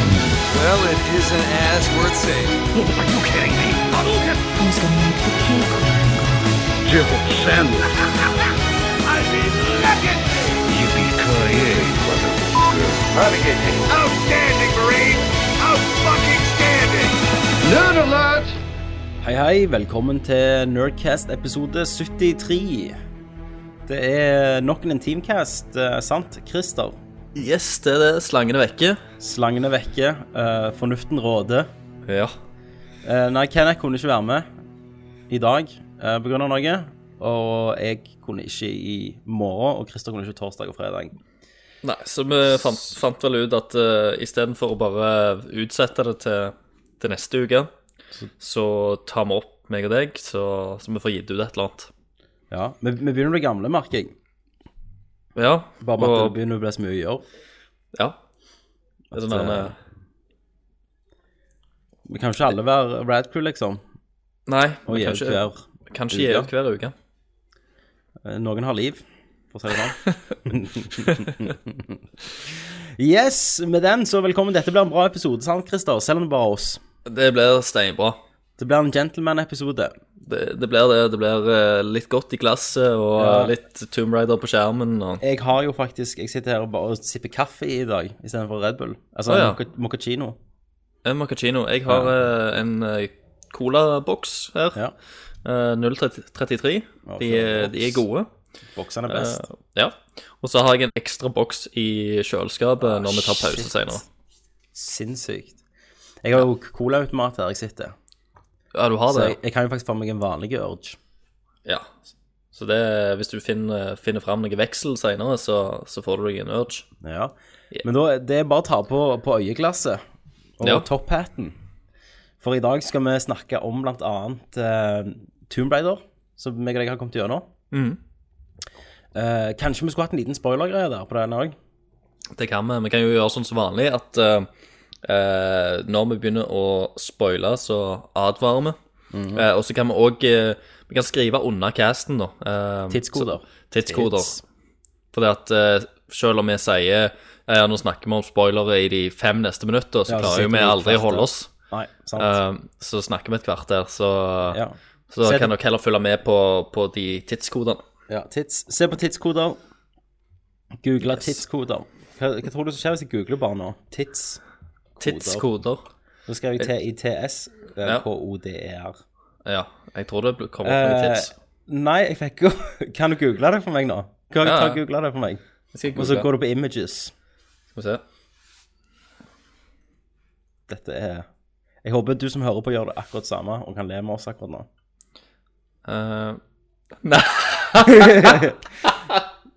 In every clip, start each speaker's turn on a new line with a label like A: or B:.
A: Well, it isn't as worth saving.
B: Are you kidding me? Hadouken!
C: Who's gonna make the cake
B: Zero Sand. I mean, legendary! Yippee-ki-yay, motherfucker. Renegade. Outstanding, Marine! Out-fucking-standing! Nerd alert!
D: Hei hei, velkommen til Nerdcast episode 73. Det er nok en intimcast, eh, sant, Christer?
E: Yes, det er det. Slangene vekke.
D: Slangene vekke, eh, fornuften råder.
E: Ja.
D: Eh, nei, Kenneth kunne ikke være med i dag eh, på grunn av noe, og jeg kunne ikke i morgen, og Christer kunne ikke torsdag og fredag.
E: Nei, så vi fant, fant vel ut at uh, istedenfor å bare utsette det til, til neste uke, så tar vi opp, meg og deg, så, så vi får gitt ut et eller annet.
D: Ja, vi, vi begynner å bli gamle, merker jeg.
E: Ja.
D: Bare med at
E: og-
D: det begynner å bli så mye å gjøre.
E: Ja. Det er sånn
D: At,
E: der,
D: eh, Vi kan jo ikke alle være Radcrew, liksom,
E: Nei,
D: og
E: vi
D: gi
E: kan
D: ut
E: ikke-
D: hver.
E: kanskje gi ut hver uke.
D: Eh, Noen har liv, for å si det sånn. yes, med den så velkommen. Dette blir en bra episode, sant, Christer? Selv om det bare er oss.
E: Det blir steinbra.
D: Det blir en gentleman-episode.
E: Det, det blir det. Det blir eh, litt godt i glasset og
D: Ja.
E: eh, litt Tomb Raider på skjermen. Og...
D: Jeg har jo faktisk Jeg sitter her og bare sipper kaffe i dag istedenfor Red Bull. Altså
E: Å, ja.
D: mocha- mochaccino.
E: En Macchino. Eh, Jeg har eh, en eh, colaboks her.
D: Ja.
E: Eh, 033.
D: Ja,
E: De,
D: fin
E: er- de er
D: boks.
E: gode.
D: Boksene er
E: Eh,
D: best.
E: ja. Og så har jeg en ekstra boks i kjøleskapet når vi tar pause
D: Ah, shit.
E: senere.
D: Sinnssykt. Jeg har jo colaautomat her jeg sitter,
E: Ja, du har
D: så
E: det?
D: jeg, jeg kan jo faktisk få meg en vanlig urge.
E: Ja. Så det, hvis du finner, finner fram noe veksel senere, så, så får du deg en urge.
D: Ja. Men da, det er bare å ta på, på øyeglasset og
E: Ja.
D: topphatten. For i dag skal vi snakke om blant annet eh, Tomb Raider, som meg og deg har kommet gjennom.
E: Mhm.
D: Eh, kanskje vi skulle hatt en liten spoiler-greie der på den òg?
E: Mm. Det kan vi. Vi kan jo gjøre sånn som vanlig at eh, eh, når vi begynner å spoile, så advarer vi.
D: Mhm.
E: Eh, og så kan vi òg Vi kan skrive under casten, da. eh,
D: Tidskoder.
E: så- Tidskoder.
D: Tids.
E: Fordi at eh, selv om vi sier eh, Nå snakker vi om spoilere i de fem neste minutter, så
D: Ja, så
E: klarer
D: sitter
E: jo vi
D: vi i
E: aldri å
D: kvarter.
E: holde oss.
D: Nei, sant?
E: Eh, så snakker vi et kvarter, så,
D: ja.
E: så
D: Se
E: kan
D: det-
E: dere heller følge med på, på de tidskodene.
D: ja tids. Se på tidskoder. Google tidskoder. Hva, hva tror du som skjer hvis jeg googler bare nå? Tids.
E: Tidskoder.
D: Så skrev
E: Eh.
D: jeg eh, T-I-T-S-K-O-D-E-R.
E: Ja, jeg tror det bl- kommer opp noen
D: Eh,
E: tids.
D: Nei, jeg fikk jo Kan du google det for meg nå? Kan du
E: Ja,
D: ta
E: ja.
D: og google det for meg?
E: Jeg skal
D: Og så
E: google.
D: går du på images.
E: Skal vi se.
D: Dette er Jeg håper du som hører på, gjør det akkurat samme og kan le med oss akkurat nå.
E: Eh,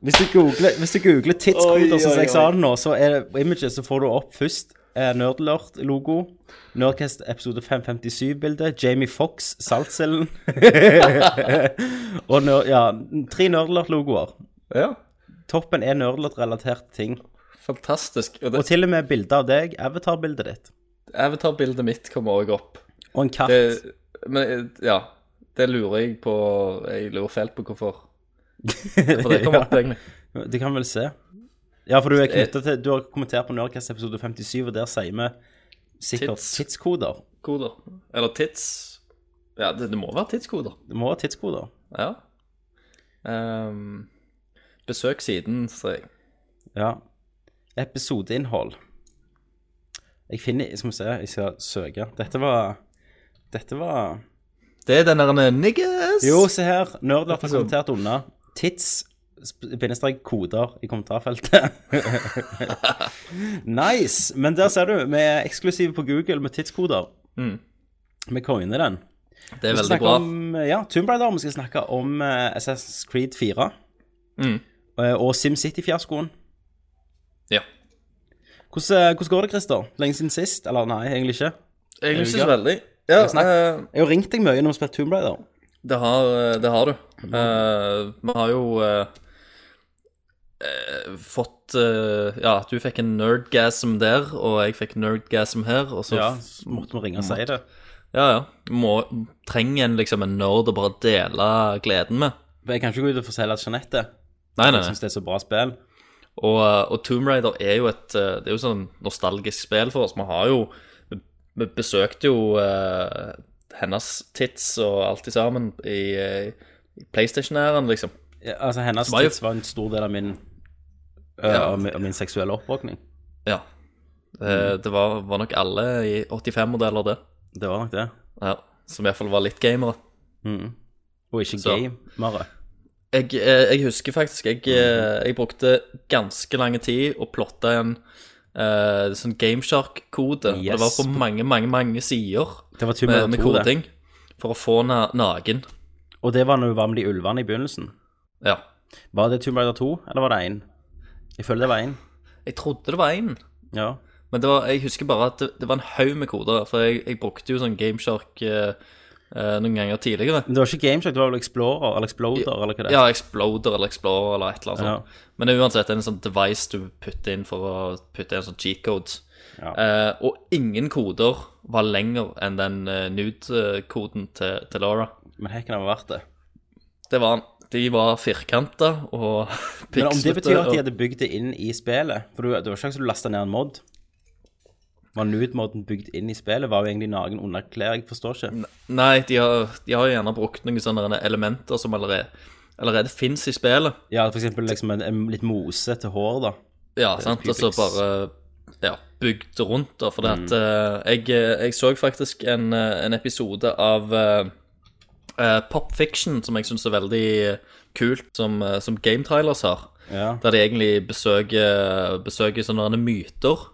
D: Hvis du googler, hvis du googler tidskoder, sånn som jeg sa det nå, så er det på images, så får du opp først eh, Nerdlert-logo, Nerdcast episode 557-bilde, Jamie Fox, Saltcellen Og nør, ja, tre Nerdlert-logoer.
E: ja,
D: Toppen er Nerdlert-relaterte ting.
E: fantastisk. Og
D: Og
E: det
D: til og med bilde av deg, avatar-bildet ditt.
E: Avatar-bildet mitt kommer òg opp.
D: Og en katt.
E: Det, men eh, ja, det lurer jeg på Jeg lurer fælt på hvorfor. For det kommer opp, egentlig.
D: Du kan vel se. Ja, for du er knyttet
E: Det-
D: til Du har kommentert på Nerdcast episode 57, og der sier vi sikkert
E: Tids.
D: tidskoder.
E: koder. Eller tids... Ja, det, det må være tidskoder.
D: Det må være tidskoder.
E: Ja. Ehm, besøk siden, sier jeg.
D: Ja. Episodeinnhold. Jeg finner Skal vi se, jeg skal søke. Dette var Dette var
E: Det er den der niggas.
D: Jo, se her. Nerdlert har
E: Episode.
D: kommentert unna. Tids sp- bindestrek koder i kommentarfeltet. nice. Men der ser du, vi er eksklusive på Google med tidskoder.
E: Mm.
D: Vi coiner den.
E: det er
D: Vi skal
E: veldig
D: snakke
E: bra.
D: Om, eh, ja, Tomb Raider. Vi skal snakke om eh, Assassin's Creed 4
E: Mm.
D: eh, og SimCity-fiaskoen.
E: Ja.
D: Hvordan, eh, hvordan går det, Christer? Lenge siden sist? Eller nei, egentlig ikke.
E: Jeg
D: synes
E: synes veldig. Ja,
D: Skal vi
E: eh,
D: Jeg har ringt deg mye når vi spilte Tomb Raider.
E: det har, eh, det har du. Eh, Vi har jo eh, eh, fått eh, Ja, du fikk en nerdgasm der, og jeg fikk nerdgasm her, og så
D: Ja, så måtte vi ringe og si det.
E: Ja, ja. Må, trenger en liksom en nerd å bare dele gleden med?
D: Men jeg kan ikke gå ut og fortelle at Jeanette
E: Nei, nei,
D: Jeg
E: nei.
D: syns det er så bra spill.
E: Og, eh, og Tomb Raider er jo et eh, Det er jo sånn nostalgisk spill for oss. Vi har jo Vi, vi besøkte jo eh, hennes tits og alt i sammen i, eh, i PlayStation-æren, liksom.
D: Ja, Altså, hennes
E: var jo-
D: tids var en stor del av min, øh,
E: Ja.
D: av min, av min seksuelle oppvåkning.
E: Ja. Eh, Det var, var nok alle i 85-modeller, det.
D: Det var nok det.
E: Ja. Som iallfall var litt gamere.
D: Og ikke
E: Så.
D: gamere.
E: Jeg, eh, jeg husker faktisk jeg, eh, jeg brukte ganske lang tid å plotte en eh, sånn Gameshark-kode. Og
D: Yes.
E: Det var på mange, mange mange sider
D: Det var Tomb
E: med,
D: Raider
E: med
D: 2, det.
E: koding for å få henne naken.
D: Og det var når hun var med de ulvene i begynnelsen.
E: Ja.
D: Var det Tomb Raider 2, eller var det 1? Jeg føler det var 1.
E: Jeg trodde det var én,
D: Ja.
E: men det var, jeg husker bare at det, det var en haug med koder. For jeg, jeg brukte jo sånn Gameshark eh, eh, noen ganger tidligere.
D: Men det var ikke Gameshock, det var vel Explorer eller Exploder eller hva det
E: Ja, Exploder eller Explorer eller et eller annet sånt.
D: Ja.
E: Men det er uansett en sånn device du putter inn for å putte inn sånn cheat codes.
D: Ja.
E: Eh, og ingen koder var lenger enn den eh, nude-koden til, til Laura.
D: Men hekken har vært det.
E: Det var han. De var firkanta og pikslete.
D: Men om det betyr at de
E: og-
D: hadde bygd det inn i spillet For du- det var ikke sånn at du lasta ned en mod. Var nude-moden bygd inn i spillet? Var jo egentlig naken underklær? Jeg forstår ikke.
E: Nei, de har, de har jo gjerne brukt noen sånne elementer som allerede, allerede fins i spillet.
D: Ja, for eksempel liksom en, en litt mose til hår, da.
E: Ja, sant, og så
D: Pyrix.
E: bare ja, bygd rundt, da. For det at eh, jeg, jeg så faktisk en, eh, en episode av eh, eh, Pop Fiction som jeg syns er veldig kult, som, eh, som Game Trailers har.
D: Ja.
E: Der de egentlig besøker, besøker sånne myter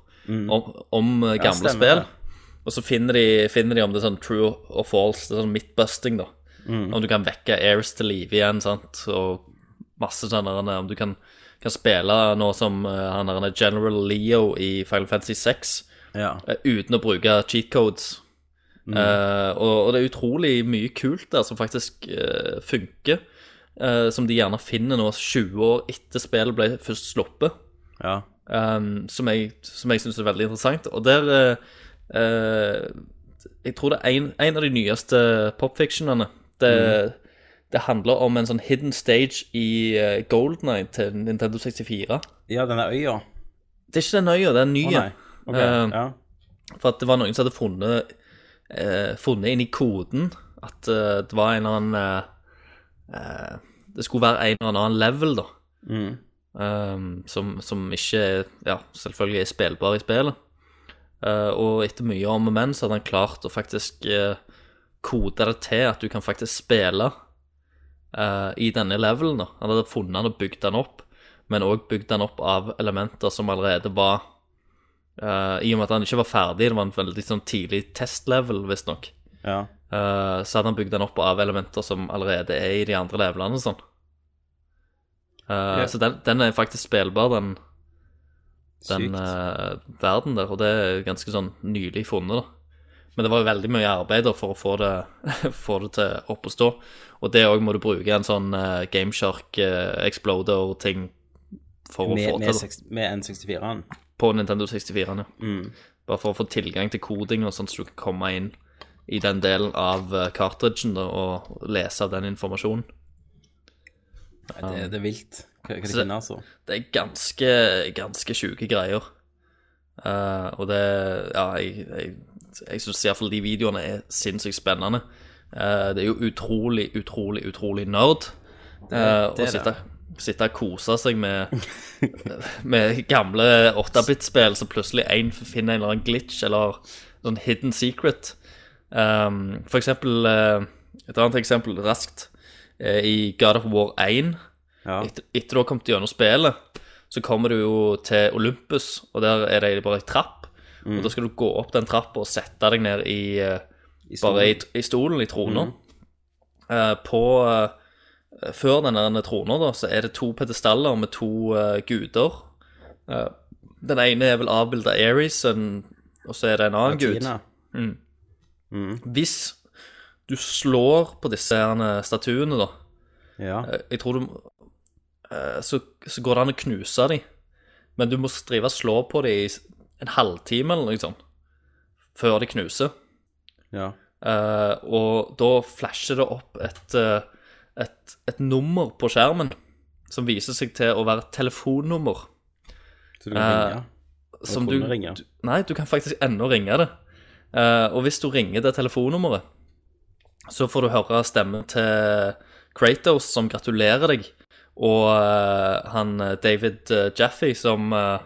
E: om, om eh, gamle
D: stemmer
E: spill.
D: det.
E: Og så finner de, finner de om det er sånn true or false, det er sånn midtbusting, da.
D: Mm.
E: Om du kan vekke Airs til live igjen, sant, og masse sånne der, Om du kan, kan spille nå som eh, han der General Leo i Final Fantasy 6
D: Ja.
E: eh, uten å bruke cheat codes.
D: Mm.
E: Eh, og, og det er utrolig mye kult der som faktisk eh, funker. eh, som de gjerne finner nå 20 år etter spillet ble først sluppet.
D: ja.
E: eh, som jeg, som jeg syns er veldig interessant. Og der eh, eh, Jeg tror det er en, en av de nyeste popfictionene. Det,
D: Mm.
E: det handler om en sånn hidden stage i uh, Golden Eye til Nintendo 64.
D: ja den der øya.
E: Det er ikke den øya, det er en ny
D: Å
E: en.
D: nei. Ok,
E: Eh,
D: ja.
E: For at det var noen som hadde funnet eh, Funnet inn i koden At eh, det var en eller annen eh, eh, Det skulle være en eller annen level da um, som, som ikke er- ja, selvfølgelig er spillbar i spillet Eh, Og etter mye om og men Så hadde han klart å faktisk eh, Kode det til at du kan faktisk spille eh, I denne levelen da Han hadde funnet den og bygd den opp Men også bygd den opp av elementer Som allerede var Eh, I og med at han ikke var ferdig, det var en veldig sånn, tidlig testlevel, visstnok,
D: ja.
E: uh, så hadde han bygd den opp av elementer som allerede er i de andre levelene. og Sånn. Eh,
D: Ja.
E: Så den, den er faktisk spillbar, den, den
D: Sykt.
E: eh, verden der, og det er ganske sånn nylig funnet. da. Men det var jo veldig mye arbeid da, for å få det, få det til opp å stå. Og det òg må du bruke en sånn eh, Gameshark eh, Exploder-ting for å
D: med,
E: få
D: med,
E: til. da.
D: seks- med N64-en. Mm.
E: På Nintendo 64, ja. Bare for å få tilgang til koding, og sånn så du kan komme inn i den delen av eh, cartridgen da, og lese den informasjonen.
D: Nei, Det, det er vilt hva, hva de
E: Så-
D: finner, altså.
E: Det er ganske, ganske sjuke greier. Eh, og det Ja, jeg, jeg, jeg syns iallfall de videoene er sinnssykt spennende. Eh, det er jo utrolig, utrolig, utrolig nerd eh,
D: det er
E: å sitte, sitte og kose seg med, med gamle 8-bit-spill, så plutselig en finner en eller annen glitch eller sånn hidden secret. Um, for eksempel eh, Et annet eksempel raskt. eh, I God of War 1
D: Ja.
E: etter, etter du har kommet gjennom spillet, så kommer du jo til Olympus, og der er det bare en trapp. Og da skal du gå opp den trappa og sette deg ned i, eh,
D: Mm. I stolen. Mm.
E: bare i, i stolen, i trona. Eh, på eh, Før den der trona, da, så er det to pedestaller med to eh, guder. Eh, den ene er vel avbilda Aries, en- og så er det en annen gud. Mm.
D: Tina. Mm.
E: Hvis du slår på disse herne statuene, da,
D: Ja.
E: Eh, Jeg tror du eh, så, så går det an å knuse dem, men du må drive og slå på dem i s- en halvtime eller noe sånt før de knuser.
D: ja.
E: Eh, og da flasher det opp et, eh, et, et nummer på skjermen som viser seg til å være et telefonnummer
D: Så du kan
E: Eh,
D: ringe.
E: Som
D: kunne
E: du,
D: ringe.
E: du Nei, du kan faktisk ennå ringe det. Eh, og hvis du ringer det telefonnummeret, så får du høre stemmen til Kratos som gratulerer deg, og eh, han eh, David eh, Jaffe som eh,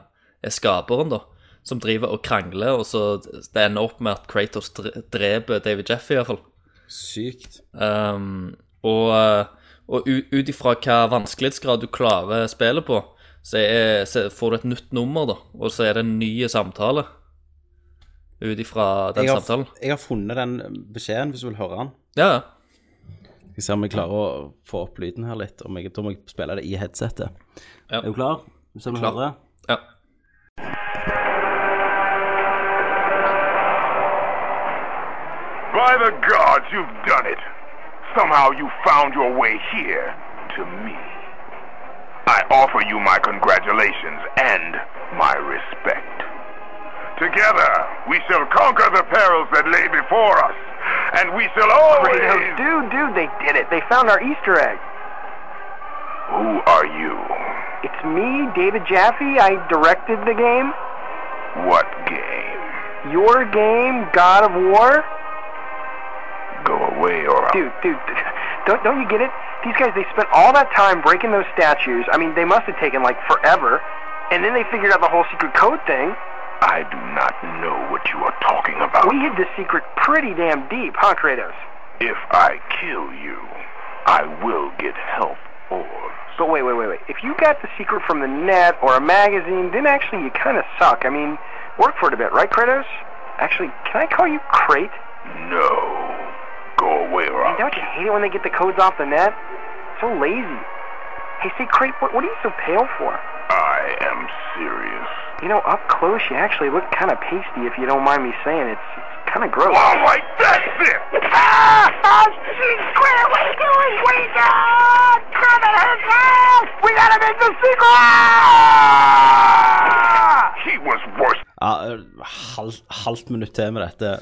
E: er skaperen, da, som driver og krangler, og så det ender opp med at Kratos dre- dreper David Jaffe, iallfall.
D: Sykt.
E: Um, og eh, og u- ut ifra hva vanskelighetsgrad du klarer spillet på, så, er, så får du et nytt nummer, da. Og så er det en ny samtale ut ifra den
D: Jeg har,
E: samtalen.
D: jeg har funnet den beskjeden, hvis du vil høre den.
E: Ja, ja.
D: Skal se om jeg klarer å få opp lyden her litt. Om jeg, da må jeg spille det i headsetet.
E: Ja.
D: Er du klar? Se om du
E: Klar.
D: hører.
E: ja.
B: By the gods, you've done it. Somehow you found your way here to me. I offer you my congratulations and my respect. Together, we shall conquer the perils that lay before us, and we shall always.
C: Dude, dude, they did it. They found our Easter egg.
B: Who are you?
C: It's me, David Jaffe. I directed the game.
B: What game?
C: Your game, God of War.
B: Go away or I'll
C: Dude, dude, don't don't you get it? These guys, they spent all that time breaking those statues. I mean, they must have taken like forever. And then they figured out the whole secret code thing.
B: I do not know what you are talking about.
C: We hid the secret pretty damn deep, huh, Kratos?
B: If I kill you, I will get help or
C: But wait, wait, wait, wait. If you got the secret from the net or a magazine, then actually you kind of suck. I mean, work for it a bit, right, Kratos? Actually, can I call you Crate?
B: no. Go away or I'll
C: Don't you hate it when they get the codes off the net? So lazy. Hey, say, Crate, what, what are you so pale for?
B: I am serious.
C: You know, up close, you actually look kind of pasty, if you don't mind me saying. It's, it's kind of gross.
B: All right, that's it! Ah! Oh, geez, Claire, what are you doing? What are you doing? Come and help us! Ah! We gotta make the secret! He was worse.
D: Ja, halvt, halvt minutt til med dette.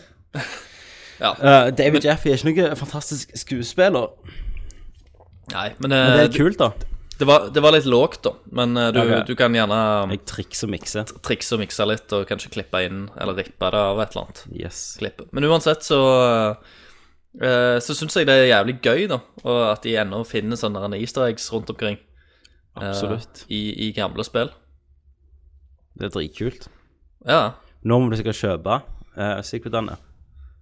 E: ja.
D: Eh, David Jaffe er ikke noen fantastisk skuespiller.
E: Nei, men,
D: Men
E: eh,
D: det
E: det,
D: er kult, da.
E: det, var, det var litt lågt, da. Men eh, du,
D: Ok.
E: du kan gjerne eh,
D: Jeg trikser og mikser.
E: trikse og mikse litt, og kanskje klippe inn eller rippe det av et eller annet.
D: Yes.
E: klippet. Men uansett så eh, Så syns jeg det er jævlig gøy, da. Og at de ennå finner sånne der easter eggs rundt omkring eh,
D: Absolutt.
E: i, i gamle spill.
D: Det er dritkult.
E: Ja.
D: Nå må du sikkert kjøpe uh, Secretene.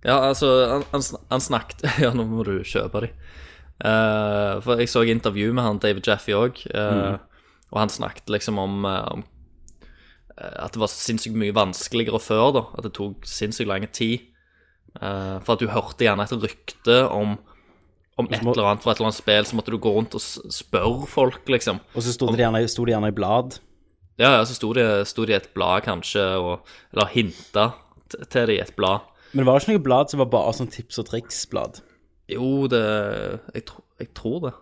E: ja, altså Han, han, sn- han snakket Ja, nå må du kjøpe de. Eh, for jeg så intervju med han David Jaffe òg,
D: Mm.
E: og han snakket liksom om, eh, om eh, at det var sinnssykt mye vanskeligere før, da. At det tok sinnssykt lang tid. Eh, for at du hørte gjerne et rykte om om et
D: må-
E: eller annet fra et eller annet spill, så måtte du gå rundt og s- spørre folk, liksom.
D: Og så sto det gjerne, sto det gjerne i blad.
E: Ja, ja, så sto det, sto det i et blad, kanskje, og, eller hinta t- til det i et blad.
D: Men det var ikke noe blad som var bare sånn tips og triks-blad.
E: Jo, det Jeg, tro, jeg tror det.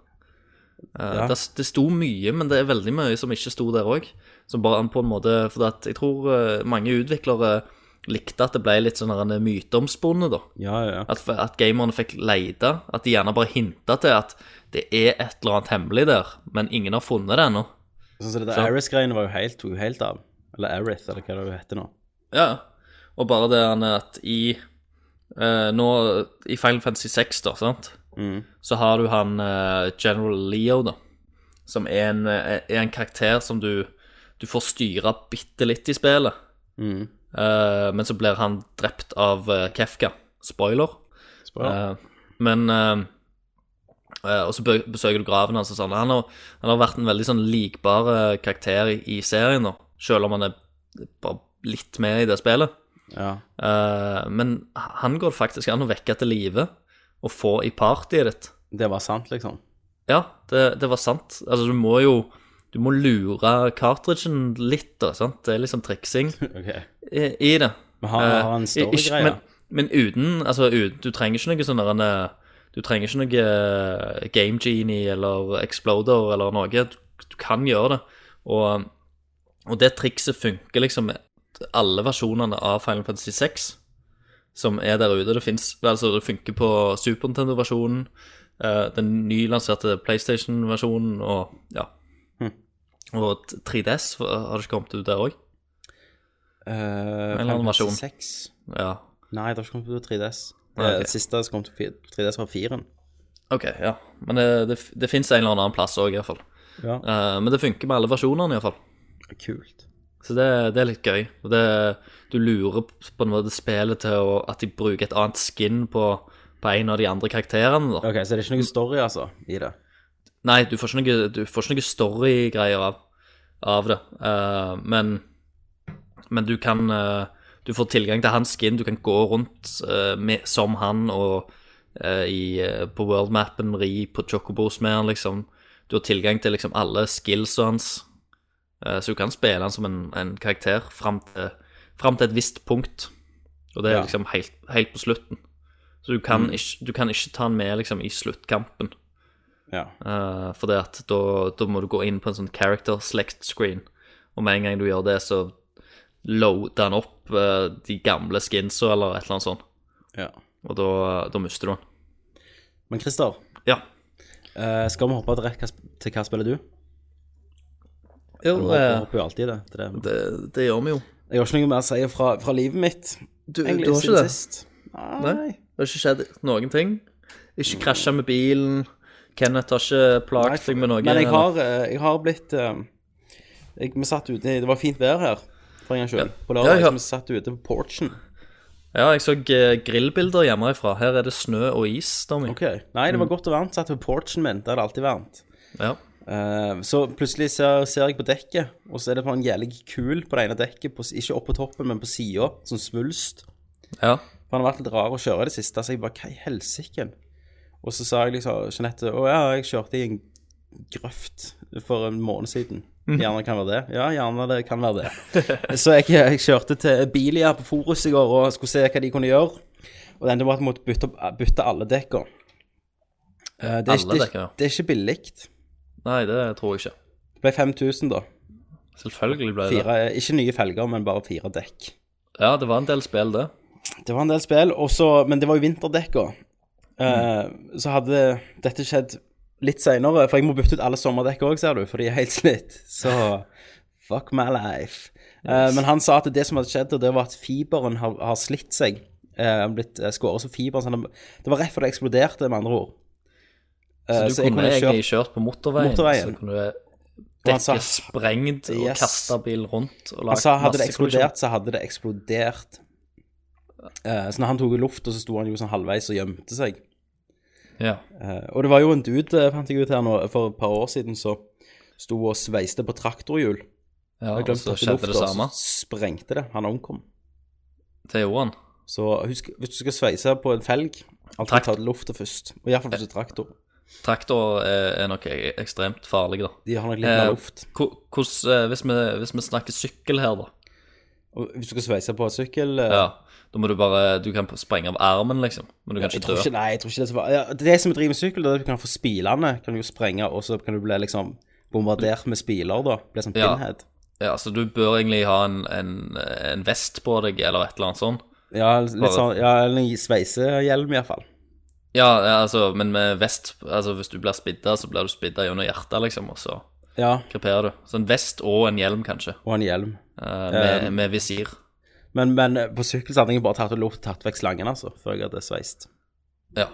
E: Eh,
D: Ja.
E: det. s- Det sto mye, men det er veldig mye som ikke sto der òg. Som bare på en måte For at jeg tror eh, mange utviklere likte at det ble litt sånn her en myteomspunnet, da.
D: Ja, ja, ja.
E: At, f- at gamerne fikk leite. At de gjerne bare hinta til at det er et eller annet hemmelig der, men ingen har funnet det ennå.
D: Sånn som det der
E: Så-
D: Aris-greiene var jo helt, tok jo helt av. Eller Arith, eller hva det heter nå.
E: Ja, og bare det han er at i eh, Nå i Final Fantasy 6, da, sant, så har du han eh, General Leo, da, som er en, eh, er en karakter som du, du får styre bitte litt i spillet.
D: Mm.
E: Eh, men så blir han drept av eh, Kefka. Spoiler. Eh,
D: Spoiler.
E: men eh, eh, Og så be- besøker du graven hans og sånn. Han har, han har vært en veldig sånn likbar eh, karakter i, i serien, nå, selv om han er bare litt med i det spillet.
D: Ja.
E: Eh, men han går det faktisk an å vekke til live og få i partyet ditt.
D: Det var sant, liksom.
E: Ja, det, det var sant. Altså, du må jo Du må lure cartridgen litt, da. sant? Det er liksom triksing
D: Ok.
E: i, i det.
D: Men har-
E: Eh,
D: har han
E: i- ikke-
D: storygreier?
E: Men, men uten Altså, uten, du trenger ikke noe sånn der en, eh, Du trenger ikke noe eh, Game Genie eller Exploder eller noe. Du, du kan gjøre det. Og, og det trikset funker liksom med alle versjonene av Final Fantasy 6 som er der ute. Det, finnes, altså, det funker på Super
D: Hm.
E: Nintendo-versjonen, eh, den nylanserte PlayStation-versjonen og ja. Og t- 3DS for- har det ikke kommet ut der òg?
D: Eh,
E: annen
D: Final
E: versjon.
D: 6.
E: Ja.
D: Nei, det har ikke kommet til 3DS.
E: Nei,
D: Eh,
E: ok.
D: Det siste som kom til 3DS, var 4-en.
E: OK, ja. Men det, det, f- det fins en eller annen plass òg, iallfall.
D: Ja.
E: Uh, men det funker med alle versjonene, iallfall.
D: Kult.
E: Så det, det er litt gøy. Og Det, du lurer på en måte spillet til å, at de bruker et annet skin på, på en av de andre karakterene. Da.
D: Ok, Så det er ikke noe story, altså, i det?
E: Nei, du får ikke noe, du får ikke noe storygreier av, av det. Eh, men, men du kan eh, Du får tilgang til hans skin. Du kan gå rundt eh, med, som han og eh, i, eh, på worldmappen, ri på chocobos med han, liksom. Du har tilgang til liksom alle skillsa hans. Eh, så du kan spille han som en, en karakter fram til, fram til et visst punkt. Og det er
D: Ja.
E: liksom helt, helt på slutten. Så du kan, ikke, du kan ikke ta han med liksom i sluttkampen.
D: Ja.
E: Eh, for det at da, da må du gå inn på en sånn character select screen, og med en gang du gjør det, så loader han opp eh, de gamle skinsa eller et eller annet sånt,
D: ja.
E: og da, da mister du han.
D: Men Christer,
E: Ja.
D: eh, skal vi hoppe rett hva- til hva spiller du?
E: Jo, eh,
D: Du hopper hopper jo alltid i det. til det.
E: det, det gjør vi jo.
D: Jeg har ikke noe mer å si fra, fra livet mitt.
E: Du,
D: egentlig,
E: du har
D: siden
E: ikke det?
D: sist.
E: Nei.
D: Nei.
E: Det har ikke skjedd noen ting? Ikke krasja med bilen? Kenneth har ikke
D: Nei,
E: plaget deg med noe?
D: Men jeg
E: eller?
D: har, eh, jeg har blitt eh, jeg, Vi satt ute Det var fint vær her for en gang skyld. På
E: Ja,
D: lørdag
E: ja.
D: så vi satt ute på porchen.
E: Ja, jeg så eh, grillbilder hjemmefra. Her er det snø og is, Tommy.
D: Nei, det var godt og varmt. Satt på porchen min. Der er det alltid varmt.
E: Ja.
D: Eh, så plutselig ser, ser jeg på dekket, og så er det bare en jævlig kul på det ene dekket. På, s- ikke opp på toppen, men på sida, sånn svulst.
E: ja.
D: For han har vært litt rar å kjøre i det siste, så jeg bare Hva i helsike? Og så sa jeg liksom Jeanette Å ja, jeg kjørte i en grøft for en måned siden.
E: Mhm.
D: Gjerne kan være det. Ja, gjerne det kan være det. Så jeg, jeg kjørte til Bilia på Forus i går og skulle se hva de kunne gjøre. Og det endte med at jeg måtte bytte, opp- bytte alle dekka. Eh, Det er, ikke-
E: Alle
D: det,
E: dekker, ja.
D: er- det er ikke billig. Det
E: Nei, det tror jeg ikke.
D: ble 5000, da.
E: Selvfølgelig ble det det.
D: Fire, ikke nye felger, men bare fire dekk.
E: Ja, det var en del spill, det.
D: Det var en del spill, og så- men det var jo vinterdekka. Eh, Så hadde dette skjedd litt seinere, for jeg må bytte ut alle sommerdekk òg, ser du, for de er helt slitt. Så fuck my life. Eh, Men han sa at det som hadde skjedd, og det var at fiberen har, har slitt seg. Eh, han blitt eh, skåret som fiber. Så han, det var rett før det eksploderte, med andre ord. Eh,
E: Så du
D: jeg
E: kunne, egentlig kjørt på motorveien,
D: Motorveien.
E: så kunne
D: han
E: dekket
D: sa-
E: sprengt og
D: Yes.
E: kasta bilen rundt og
D: Han sa Altså, hadde det
E: kollisjon.
D: eksplodert, så hadde det eksplodert. Eh, så når han tok i luft, og så sto han jo sånn halvveis og gjemte seg.
E: Ja.
D: Eh, Og det var jo en dude, eh, fant jeg ut her nå, for et par år siden, som sto og sveiste på traktorhjul.
E: ja
D: Og
E: og
D: jeg glemte
E: så
D: å ta
E: skjedde det
D: lufta,
E: samme.
D: og så sprengte det. Han omkom.
E: Det gjorde han.
D: Så husk, hvis du skal sveise på en felg, alltid ta lufta først. Og iallfall hvis du er traktor.
E: Traktor er, er nok e- ekstremt farlig, da.
D: De har nok litt mer
E: Eh,
D: luft.
E: Ko- hvordan, eh, hvis, vi, hvis vi snakker sykkel her, da,
D: Og hvis du skal sveise på en sykkel eh,
E: ja. da må du bare Du kan sprenge av armen, liksom, men du kan
D: Jeg
E: ikke
D: tror
E: dø.
D: ikke, nei, jeg tror ikke det er så farlig. Ja, det som er driver med sykkel, det er at du kan få spilene. Kan du jo sprenge, og så kan du bli liksom bombardert med spiler, da. Bli som
E: Ja.
D: pinhead.
E: Ja, så du bør egentlig ha en, en, en vest på deg, eller et eller annet sånt.
D: Ja, litt
E: Bare-
D: sånn, ja, eller en sveisehjelm, iallfall.
E: Ja, ja, altså, men med vest Altså, hvis du blir spidda, så blir du spidda gjennom hjertet, liksom, og så
D: Ja,
E: kreperer du. Så en vest og en hjelm, kanskje,
D: og en hjelm.
E: eh, med, med visir.
D: Men, men eh, på sykkel så hadde jeg bare tatt, og luft, tatt vekk slangen, altså, før jeg hadde sveist.
E: Ja.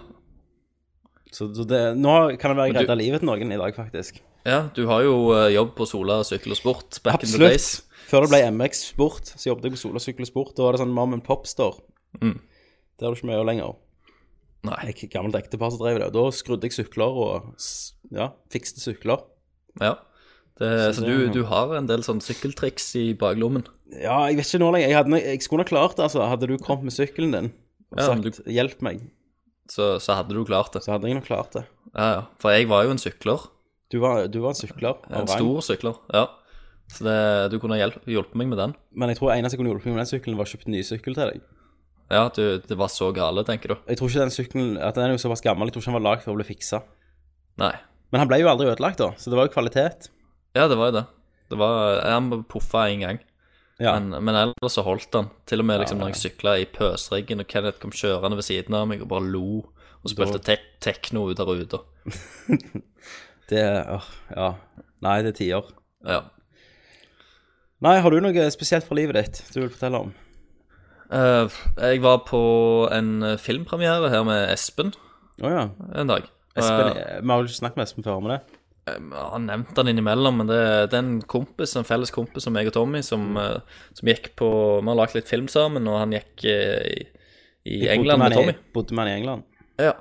D: Så så det, nå kan det være jeg
E: Men du-
D: redder livet til noen i dag, faktisk.
E: ja, du har jo eh, jobb på Sola sykkel og sport back in the days.
D: Absolutt. Før det ble MX Sport, så jobbet jeg på Sola Sykkel og Sport. Da var det sånn mom and pop-store.
E: Mm.
D: Det har du ikke mye å lenger.
E: Nei.
D: Jeg gammelt ektepar som drev det. og Da skrudde jeg sykler og s- ja, fikste sykler.
E: Ja. Det, så
D: det-
E: du, du har en del sånn sykkeltriks i baklommen.
D: Ja, jeg vet ikke nå lenger. Jeg, hadde, nok- jeg skulle nok klart det, altså. Hadde du kommet med sykkelen din og
E: Ja, men
D: sagt 'hjelp meg',
E: Så, så hadde du klart det.
D: så hadde jeg nok klart det.
E: Ja, ja. For jeg var jo en sykler.
D: Du var, du var en sykler. av
E: En
D: rang.
E: stor sykler. Ja. Så det, du kunne hjel- hjulpet meg med den.
D: Men jeg tror eneste jeg kunne hjulpet meg med den sykkelen, var å kjøpe en ny sykkel til deg.
E: Ja, du, det var så gale, tenker du.
D: Jeg tror ikke den sykkelen at Den er jo såpass gammel. Jeg tror ikke han var lagd for å bli fiksa.
E: Nei.
D: Men han ble jo aldri ødelagt, da, så det var jo kvalitet.
E: Ja, det var jo det. Det var, Han puffa én gang.
D: Ja,
E: Men, men ellers så holdt han. Til og med liksom, når jeg sykla i pøsregn, og Kenneth kom kjørende ved siden av meg og bare lo og spilte tek tekno ut av ruta.
D: det åh, Ja. Nei, det er tiår.
E: Ja.
D: Nei, har du noe spesielt fra livet ditt du vil fortelle om?
E: Eh, jeg var på en eh, filmpremiere her med Espen
D: Å ja.
E: en dag.
D: Espen, vi har jo ikke snakket med Espen før om det.
E: Eh, jeg har nevnt han innimellom, men det, det er en kompis, en felles kompis som meg og Tommy, som, eh, som gikk på Vi har lagd litt film sammen, og han gikk eh, i, i
D: Bodde
E: England
D: man
E: med Tommy.
D: I, E. bodde man i England?
E: Ja.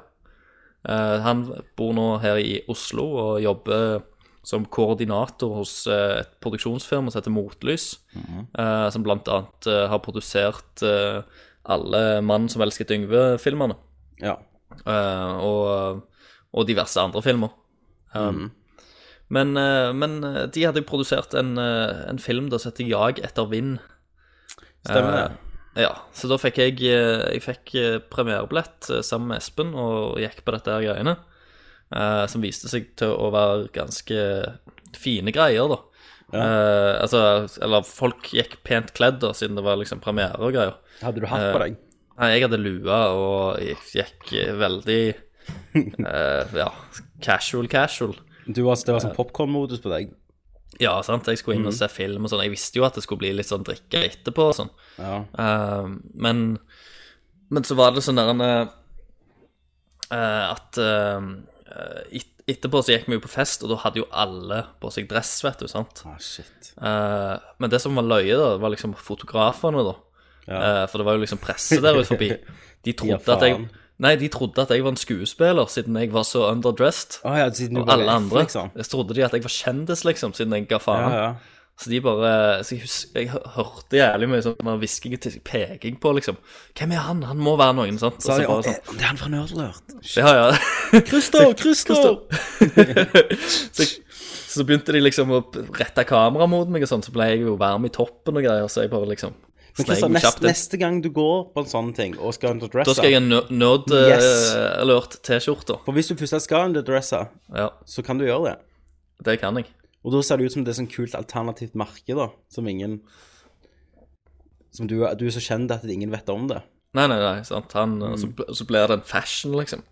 E: Eh, han bor nå her i Oslo og jobber som koordinator hos eh, et produksjonsfirma som heter Motlys, eh, som blant annet eh, har produsert eh, alle 'Mannen som elsket Yngve'-filmene.
D: Ja.
E: eh, og, og diverse andre filmer. Eh,
D: Mm.
E: men, eh, men eh, de hadde produsert en, eh, en film der som heter 'Jag etter vind'.
D: Stemmer det.
E: Eh, ja, så da fikk jeg, eh, jeg fikk eh, premierebillett eh, sammen med Espen og gikk på dette her greiene. eh, som viste seg til å være ganske fine greier, da. Eh, altså, eller folk gikk pent kledd, da, siden det var liksom premiere og greier.
D: Hadde du
E: eh,
D: hatt på deg?
E: Nei, jeg hadde lua og jeg gikk eh, veldig eh, Ja, casual, casual.
D: Du var, det var
E: eh,
D: sånn popkornmodus på deg.
E: Ja, sant, jeg skulle inn og se film og sånn. Jeg visste jo at det skulle bli litt sånn drikke etterpå og sånn.
D: Ja.
E: Eh, men, men så var det sånn der en, eh, At eh, et, etterpå så gikk vi jo på fest, og da hadde jo alle på seg dress, vet du. sant?
D: Ah, shit.
E: Eh, men det som var løye, da, var liksom fotografene, da.
D: Ja.
E: Eh, for det var jo liksom presse der ut forbi. De trodde
D: Ja,
E: at jeg
D: faen.
E: Nei, de trodde at jeg var en skuespiller, siden jeg var så underdressed.
D: Å ja, siden du
E: Og
D: var
E: alle
D: Ah, F,
E: andre
D: Liksom.
E: så trodde de at jeg var kjendis, liksom, siden jeg ga
D: Ja,
E: faen.
D: ja.
E: Så de bare Så jeg, hus- jeg hø- hørte jævlig mye sånn man hvisking og tis- peking på, liksom. Hvem er han? Han må være noen, sant? Og
D: Sa
E: så
D: de
E: bare
D: «Å,
E: sånn,
D: eh, Det er han fra Nerdlert.
E: ja, ja.
D: Christer, Christer!
E: så, så begynte de liksom å rette kamera mot meg, og sånn, så ble jeg jo varm i toppen og greier, så jeg bare liksom
D: Men
E: sneik
D: Christer,
E: meg
D: neste,
E: kjapt inn.
D: neste gang du går på en sånn ting og skal underdresse
E: Da skal jeg ha ner- nerd eh,
D: Yes.
E: alert T-skjorte.
D: For hvis du først skal underdresse,
E: Ja,
D: så kan du gjøre det.
E: det kan jeg.
D: Og da ser det ut som det er sånn kult alternativt merke, da, som ingen Som du, du er så kjent at ingen vet om det.
E: Nei, nei, nei, sant. Han, eh,
D: Mm.
E: så, bl- så blir det en fashion, liksom.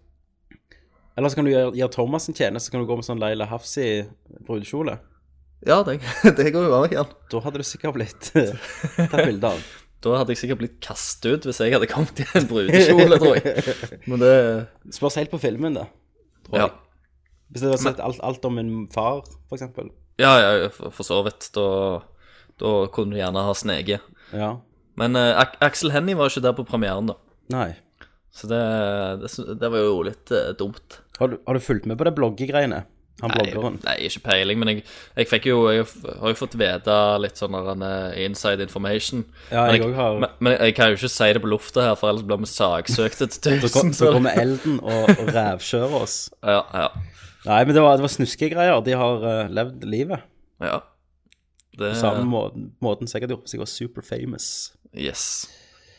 D: Eller så kan du gjøre, gjøre Thomas en tjeneste, så kan du gå med sånn Leila Hafsi-brudekjole.
E: Ja, det, det går jo an. Jan.
D: Da hadde du sikkert blitt tatt bilde av.
E: Da hadde jeg sikkert blitt kastet ut hvis jeg hadde kommet i en brudekjole, tror jeg. Men det
D: Spørs helt på filmen, det. Tror
E: Ja,
D: jeg. Hvis du hadde sett alt, alt om min far, for eksempel.
E: ja, ja for, for så vidt. Da, da kunne du gjerne ha sneket.
D: Ja.
E: Men eh, Ak Axel Hennie var jo ikke der på premieren, da.
D: Nei.
E: Så det, det, sy- det var jo litt eh, dumt.
D: Har du, har du fulgt med på det bloggegreiene? Han bloggeren.
E: Nei, ikke peiling, men jeg, jeg fikk jo Jeg har jo fått vite litt sånn der, eh, inside information.
D: Ja,
E: Men
D: jeg også har-
E: men, men jeg kan jo ikke si det på lufta her, for ellers blir vi saksøkt et
D: Så kom-
E: tusen.
D: så kommer Elden og, og rævkjører oss.
E: Ja, ja,
D: Nei, men det var, det var snuskegreier. De har eh, levd livet.
E: ja. Det,
D: På samme måten, måten som jeg hadde gjort hvis jeg var super famous.
E: Yes.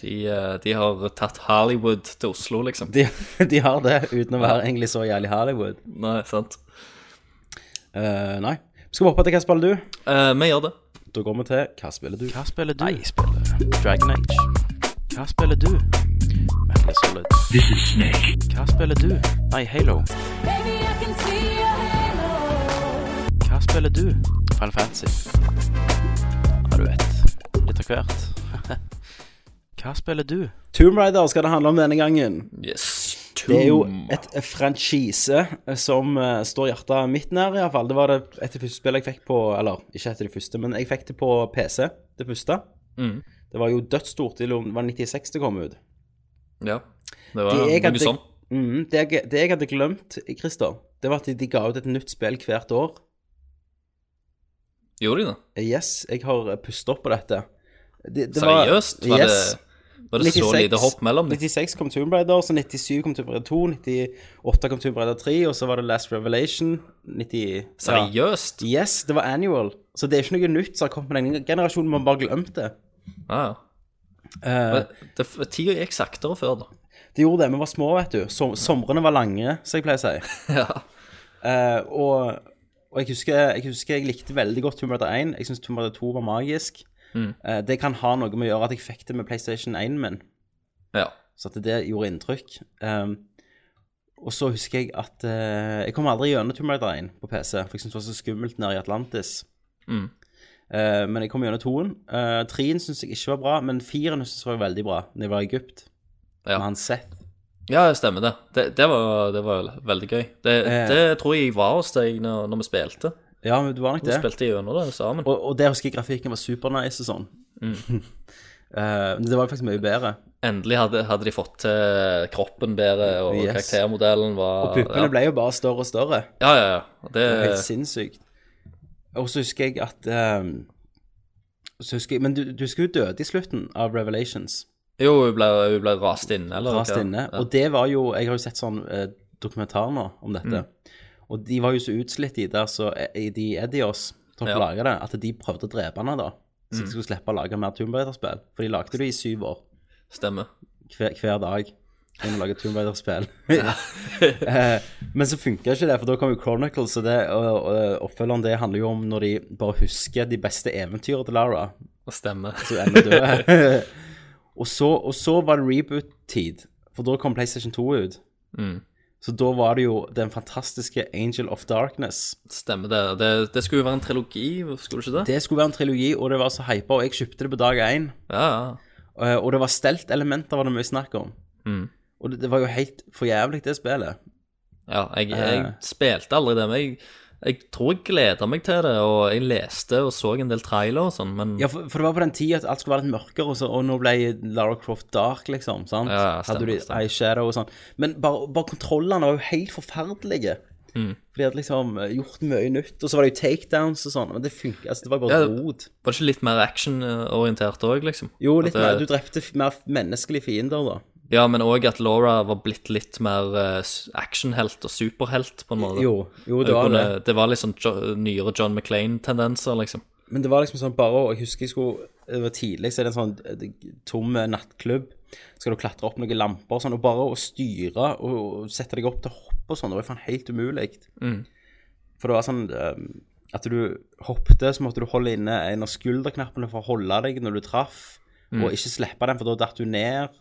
E: De, eh, de har tatt Hollywood til Oslo, liksom.
D: De, de har det, uten å være egentlig så jævlig Hollywood.
E: Nei, sant.
D: Eh, nei. Skal vi hoppe til hva spiller du?
E: Eh, vi gjør det.
D: Da går vi til hva spiller du?
F: Hva spiller du? Nei, spiller Dragon Age. Hva spiller du? Metal Gear Solid. This is Snake. Hva spiller du? Nei, Halo.
G: Baby, I can see your halo.
F: Hva spiller du? Final Fantasy. Ja, du vet. Litt av hvert. Hva spiller du?
D: Tomb Raider skal det handle om denne gangen.
E: Yes.
D: Det er jo et franchise som eh, står hjertet mitt nær, iallfall. Det var det et av de første spillene jeg fikk på Eller ikke et av de første, men jeg fikk det på PC, det første.
E: Mm.
D: Det var jo dødsstort. Det var 96 det kom ut.
E: Ja. Det var
D: Det jeg
E: noe
D: hadde-
E: sånn.
D: Mhm, det, jeg, det jeg hadde glemt, Christer, det var at de ga ut et nytt spill hvert år. Eh,
E: Gjorde de det?
D: Yes, jeg har pustet opp på dette. Det- det var-
E: Seriøst? Var
D: Yes.
E: det, var det så lite hopp mellom dem?
D: 96 kom Tomb Raider, så 97 kom Tomb Raider 2, 98 kom Tomb Raider 3, og så var det Last Revelation 90, ja.
E: Seriøst?
D: Yes, det var annual. Så det er ikke noe nytt som har kommet med denne generasjonen, man bare glemt det.
E: Ja, ja.
D: Eh,
E: Men det- Tida gikk saktere før, da.
D: det gjorde det, vi var små, vet du. Som, somrene var lange, som jeg pleier å si.
E: Ja.
D: Eh, og og jeg, husker, jeg husker jeg likte veldig godt Tomb Raider 1. Jeg syns Tomb Raider 2 var magisk.
E: Mm.
D: Eh, det kan ha noe med å gjøre at jeg fikk det med PlayStation 1 min.
E: ja.
D: Så at det gjorde inntrykk. Ehm, og så husker jeg at eh, Jeg kom aldri gjennom Tomb Raider 1 på PC, for jeg syntes det var så skummelt nede i Atlantis.
E: Mm.
D: Eh, men jeg kom gjennom toen. Uh, Treen syns jeg ikke var bra, men firen syns jeg var veldig bra. Når jeg var i Egypt.
E: Ja.
D: Med han Seth.
E: Ja, det stemmer det. Det, det, var, det var veldig gøy. Det,
D: Eh.
E: det tror jeg var hos deg når, når vi spilte.
D: Ja, men det var nok
E: Vi
D: det.
E: spilte gjennom det sammen.
D: Og, og der husker jeg grafikken var supernice og sånn. Eh, men det var jo faktisk mye bedre.
E: Endelig hadde, hadde de fått til kroppen bedre, og
D: Yes.
E: karaktermodellen var
D: Og puppene
E: ja.
D: ble jo bare større og større.
E: Ja, ja, ja. Det,
D: Det var helt sinnssykt. Og så husker jeg at eh, så husker jeg, Men du, du husker hun døde i slutten av Revelations.
E: jo, hun ble, hun ble rast inne, eller?
D: Rast
E: hva?
D: inne.
E: Ja.
D: Og det var jo Jeg har jo sett sånn eh, dokumentar nå om dette.
E: Mm.
D: Og de var jo så utslitt, de der så eh, i de Edios som
E: Ja.
D: laga det, at de prøvde å drepe henne da. Så de skulle slippe å lage mer Tomb Raider-spill. For de lagde det i syv år.
E: Stemmer.
D: hver, hver dag enn å lage Tomb Raider-spill. Eh, Men så funka ikke det, for da kom jo Chronicles, og, det, og, og oppfølgeren det handler jo om når de bare husker de beste eventyrene til Lara.
E: Stemmer.
D: Så ender død. og, så, og så var det reboot-tid, for da kom PlayStation 2 ut.
E: Mm.
D: Så da var det jo den fantastiske Angel of Darkness.
E: Stemmer det. det. Det skulle jo være en trilogi, skulle det ikke det?
D: Det skulle være en trilogi, og det var så hypa, og jeg kjøpte det på dag én.
E: Ja, ja.
D: Eh, Og det var stelt-elementer, var det mye snakk om.
E: Mm.
D: Og det, det var jo helt for jævlig, det spillet.
E: ja jeg, jeg
D: Eh.
E: spilte aldri det, men jeg, jeg tror jeg gleda meg til det, og jeg leste og så en del trailer og sånn, men
D: Ja, for, for det var på den tida at alt skulle være litt mørkere, og, så, og nå ble Lara Croft dark, liksom. sant?
E: Ja, stemmer,
D: Hadde du
E: stemmer.
D: eyeshadow og sånn. Men bare, bare kontrollene var jo helt forferdelige.
E: Mm.
D: For de hadde liksom eh, gjort mye nytt, og så var det jo takedowns og sånn. Men det funka altså, Det var bare
E: Ja, det-
D: rot.
E: Var det ikke litt mer action-orientert òg, liksom?
D: Jo, litt
E: At, eh,
D: mer, du drepte f- mer menneskelige fiender, da.
E: Ja, men òg at Laura var blitt litt mer eh, s- actionhelt og superhelt, på en måte.
D: Jo, jo, det
E: Hun
D: var det.
E: kunne- det var litt sånn jo, nyere John McClain-tendenser, liksom.
D: Men det var liksom sånn bare å- Jeg husker jeg skulle Det var tidlig, så er det en sånn eh, tom eh, nattklubb. Skal du klatre opp noen lamper og sånn. Og bare å styre og, og sette deg opp til å hoppe og sånn, det var jo faen helt umulig. For det var sånn eh, at du hoppet, så måtte du holde inne en av skulderknappene for å holde deg når du traff, og ikke slippe den, for da datt du ned.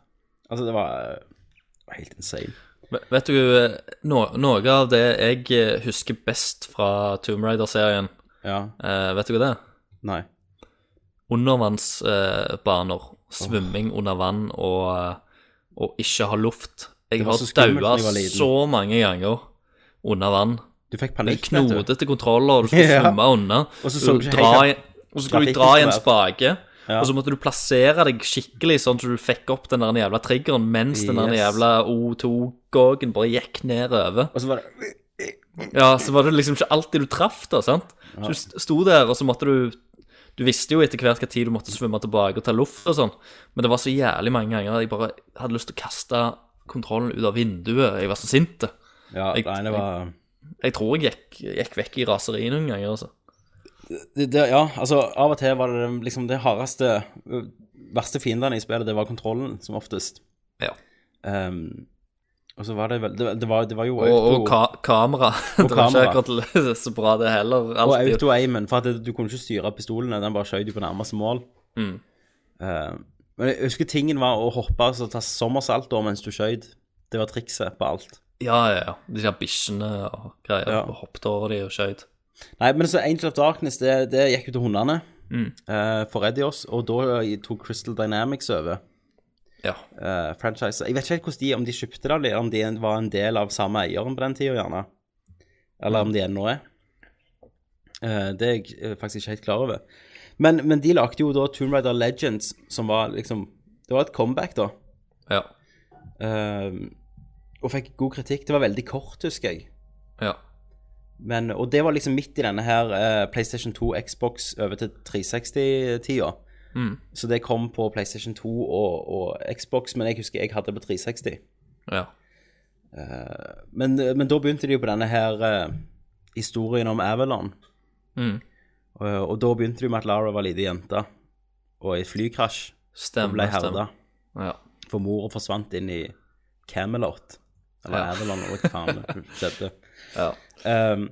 D: Altså, det var, eh, det var helt insane.
E: Men Vet du, eh, no, noe av det jeg eh, husker best fra Tomb Raider-serien,
D: Ja.
E: eh, vet du hva det er?
D: Nei.
E: Undervannsbaner. Eh, baner. Svømming under vann og, eh, og ikke ha luft. Jeg
D: Det var
E: har
D: så skummelt når
E: daua
D: jeg var liten.
E: så mange ganger under vann.
D: Du
E: Det
D: fikk
E: er
D: panikk, vet du.
E: knotete kontroller, og du skulle
D: Ja.
E: svømme unna.
D: Og så så du
E: du
D: ikke
E: dra i,
D: helt
E: og så skulle du
D: trafikken
E: dra i en
D: skulle
E: spake,
D: Ja.
E: og så måtte du plassere deg skikkelig, sånn at du fikk opp den der jævla triggeren mens den der
D: Yes.
E: jævla O2-gågen bare gikk nedover.
D: Og så var det
E: Ja, så var det liksom ikke alltid du traff, da, sant? Så du st- sto der, og så måtte du Du visste jo etter hvert hva tid du måtte svømme tilbake og ta luft og sånn, men det var så jævlig mange ganger at jeg bare hadde lyst til å kaste kontrollen ut av vinduet. Jeg var så sint.
D: Ja,
E: Jeg-
D: nei, det var
E: Jeg tror jeg gikk, gikk vekk i raseri noen ganger, altså.
D: det, det, ja, altså av og til var det liksom det hardeste ø, Verste fiendene i spillet, det var kontrollen, som oftest.
E: Ja.
D: Ehm, og så var det vel Det, det, var, det var jo
E: Og, og ka kamera. det var
D: kamera.
E: ikke akkurat så bra, det heller.
D: og
E: alltid.
D: auto-aimen, for at det, du kunne ikke styre pistolene, den bare skjøt jo på nærmeste mål.
E: Mm.
D: Ehm, men jeg husker tingen var å hoppe og ta sommersalto mens du skjøt. Det var trikset på alt.
E: Ja, ja, ja. De der bikkjene og greier.
D: Ja.
E: Og hoppet over de og skjøt.
D: Nei, men så Angel of Darkness, det, det gikk jo til hundene
E: Mm.
D: eh, for Edios, og da tok Crystal Dynamics over.
E: Ja.
D: eh, franchise. Jeg vet ikke helt hvordan de, om de kjøpte det, eller om de var en del av samme eieren på den tida, gjerne. Eller om de ennå er. Eh, det er jeg eh, faktisk ikke helt klar over. Men, men de lagde jo da Tomb Raider Legends, som var liksom Det var et comeback, da.
E: Ja.
D: Eh, og fikk god kritikk. Det var veldig kort, husker jeg.
E: ja.
D: Men, og det var liksom midt i denne her eh, PlayStation 2, Xbox over til 360-tida.
E: Mm.
D: Så det kom på PlayStation 2 og, og Xbox, men jeg husker jeg hadde det på 360.
E: ja.
D: Men, eh, men da begynte de jo på denne her eh, historien om Avalon.
E: Mm.
D: Og, og da begynte de med at Lara var lita jente og i flykrasj og ble
E: Stemmer.
D: herda.
E: stemmer. Ja.
D: For mora forsvant inn i Camelot. Eller
E: Ja.
D: Avalon, eller hva faen det skjedde.
E: ja.
D: Um,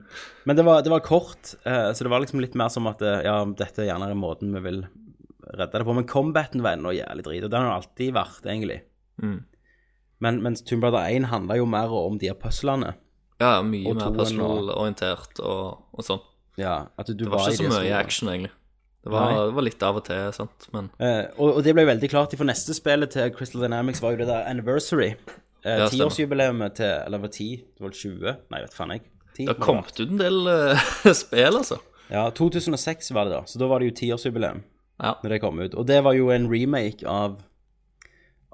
D: men det var, det var kort, eh, så det var liksom litt mer som at eh, ja, dette er gjerne måten vi vil redde det på. Men combaten var ennå jævlig drit, og den har det alltid vært, egentlig.
E: Mm.
D: Men, mens Tomb Raider 1 handla jo mer om de her puslene.
E: ja, mye
D: Og
E: mer
D: toen og-
E: personalorientert og, og sånn.
D: Ja, at du
E: Det var ikke
D: i
E: så
D: det
E: mye
D: sporet.
E: action, egentlig. Det var,
D: Nei.
E: det var litt av og til, sant, men
D: Eh, og, og det ble jo veldig klart, for neste spillet til Crystal Dynamics var jo det der Anniversary. Eh,
E: Ja, stemmer.
D: Tiårsjubileumet til Eller var det ti? Det var vel 20? Nei, vet faen jeg. 10
E: det har
D: var
E: kommet ut en del eh, spill, altså.
D: Ja, 2006 var det da, så da var det jo tiårsjubileum
E: Ja.
D: når det kom ut. Og det var jo en remake av,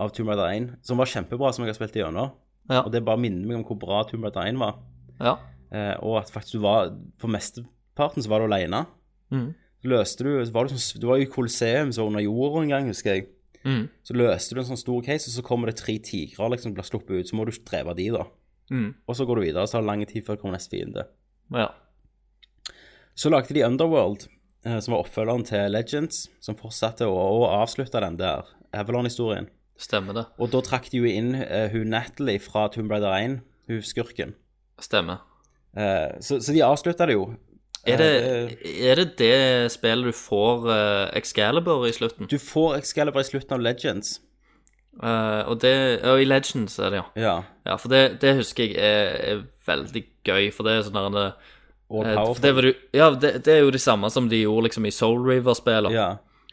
D: av Tomb Raider 1, som var kjempebra, som jeg har spilt igjennom.
E: Ja.
D: Og det bare minner meg om hvor bra Tomb Raider 1 var.
E: ja.
D: Eh, og at faktisk du var For mesteparten så var du alene.
E: Mhm.
D: Så løste du så var du, sånn, du var jo i Colosseum, så under jorda en gang, husker jeg.
E: Mhm.
D: Så løste du en sånn stor case, og så kommer det tre tigrer liksom blir sluppet ut. Så må du drepe de, da.
E: Mhm.
D: Og så går du videre, og så har det lang tid før det kommer neste fiende.
E: ja.
D: Så lagde de Underworld, eh, som var oppfølgeren til Legends, som fortsatte å, å avslutte den der Avalon-historien.
E: Stemmer det.
D: Og da trakk de jo inn eh, hun Natalie fra Tomb Raider 1, hun skurken.
E: Stemmer.
D: Eh, så, så de avslutta det jo.
E: Er det,
D: Eh,
E: er det det spillet du får eh, Excalibur i slutten?
D: Du får Excalibur i slutten av Legends.
E: Eh, og det Og i Legends er det, ja.
D: Ja.
E: ja for det, det husker jeg er, er veldig gøy, for det er sånn der en,
D: Og
E: eh,
D: Powerful.
E: for det, var du, ja, det, det er jo det samme som de gjorde liksom i Soul River-spillene.
D: ja.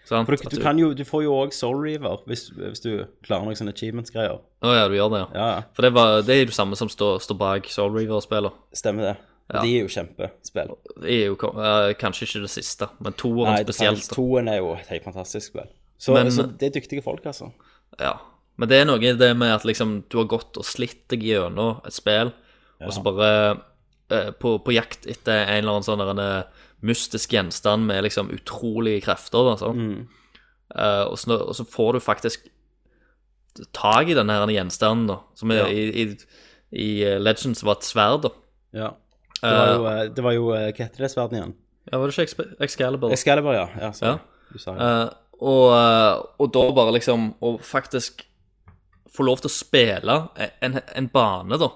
E: sant?
D: For
E: At
D: du, du, kan jo, du får jo òg Soul Reaver hvis, hvis du klarer noen sånne achievements-greier.
E: Å ja, du gjør det, ja.
D: Ja, ja.
E: For det, var, det er jo det samme som står står bak Soul River-spillene.
D: stemmer det.
E: Ja.
D: De er jo kjempespill.
E: Det er jo kom- eh, kanskje ikke det siste, men toeren
D: Nei,
E: spesielt.
D: Defiance
E: da.
D: 2 er jo et helt fantastisk spill. Så,
E: Men-
D: så det er dyktige folk, altså.
E: Ja. Men det er noe i det med at liksom, du har gått og slitt deg gjennom et spill, og så bare eh, på, på jakt etter en eller annen sånn der en, eh, mystisk gjenstand med liksom utrolige krefter. Da, sånn. Eh, og, så, og så får du faktisk tak i den her gjenstanden, da, som er,
D: Ja.
E: i, i, i eh, Legends var et sverd. da.
D: Ja. Det var jo, eh, det var jo eh, hva heter det sverdet igjen?
E: Ja, var det ikke Exp- Excalibur?
D: Excalibur, ja. ja, sorry.
E: Ja.
D: Du sa det.
E: Eh, og, eh, og da bare liksom Å faktisk få lov til å spille en, en bane, da,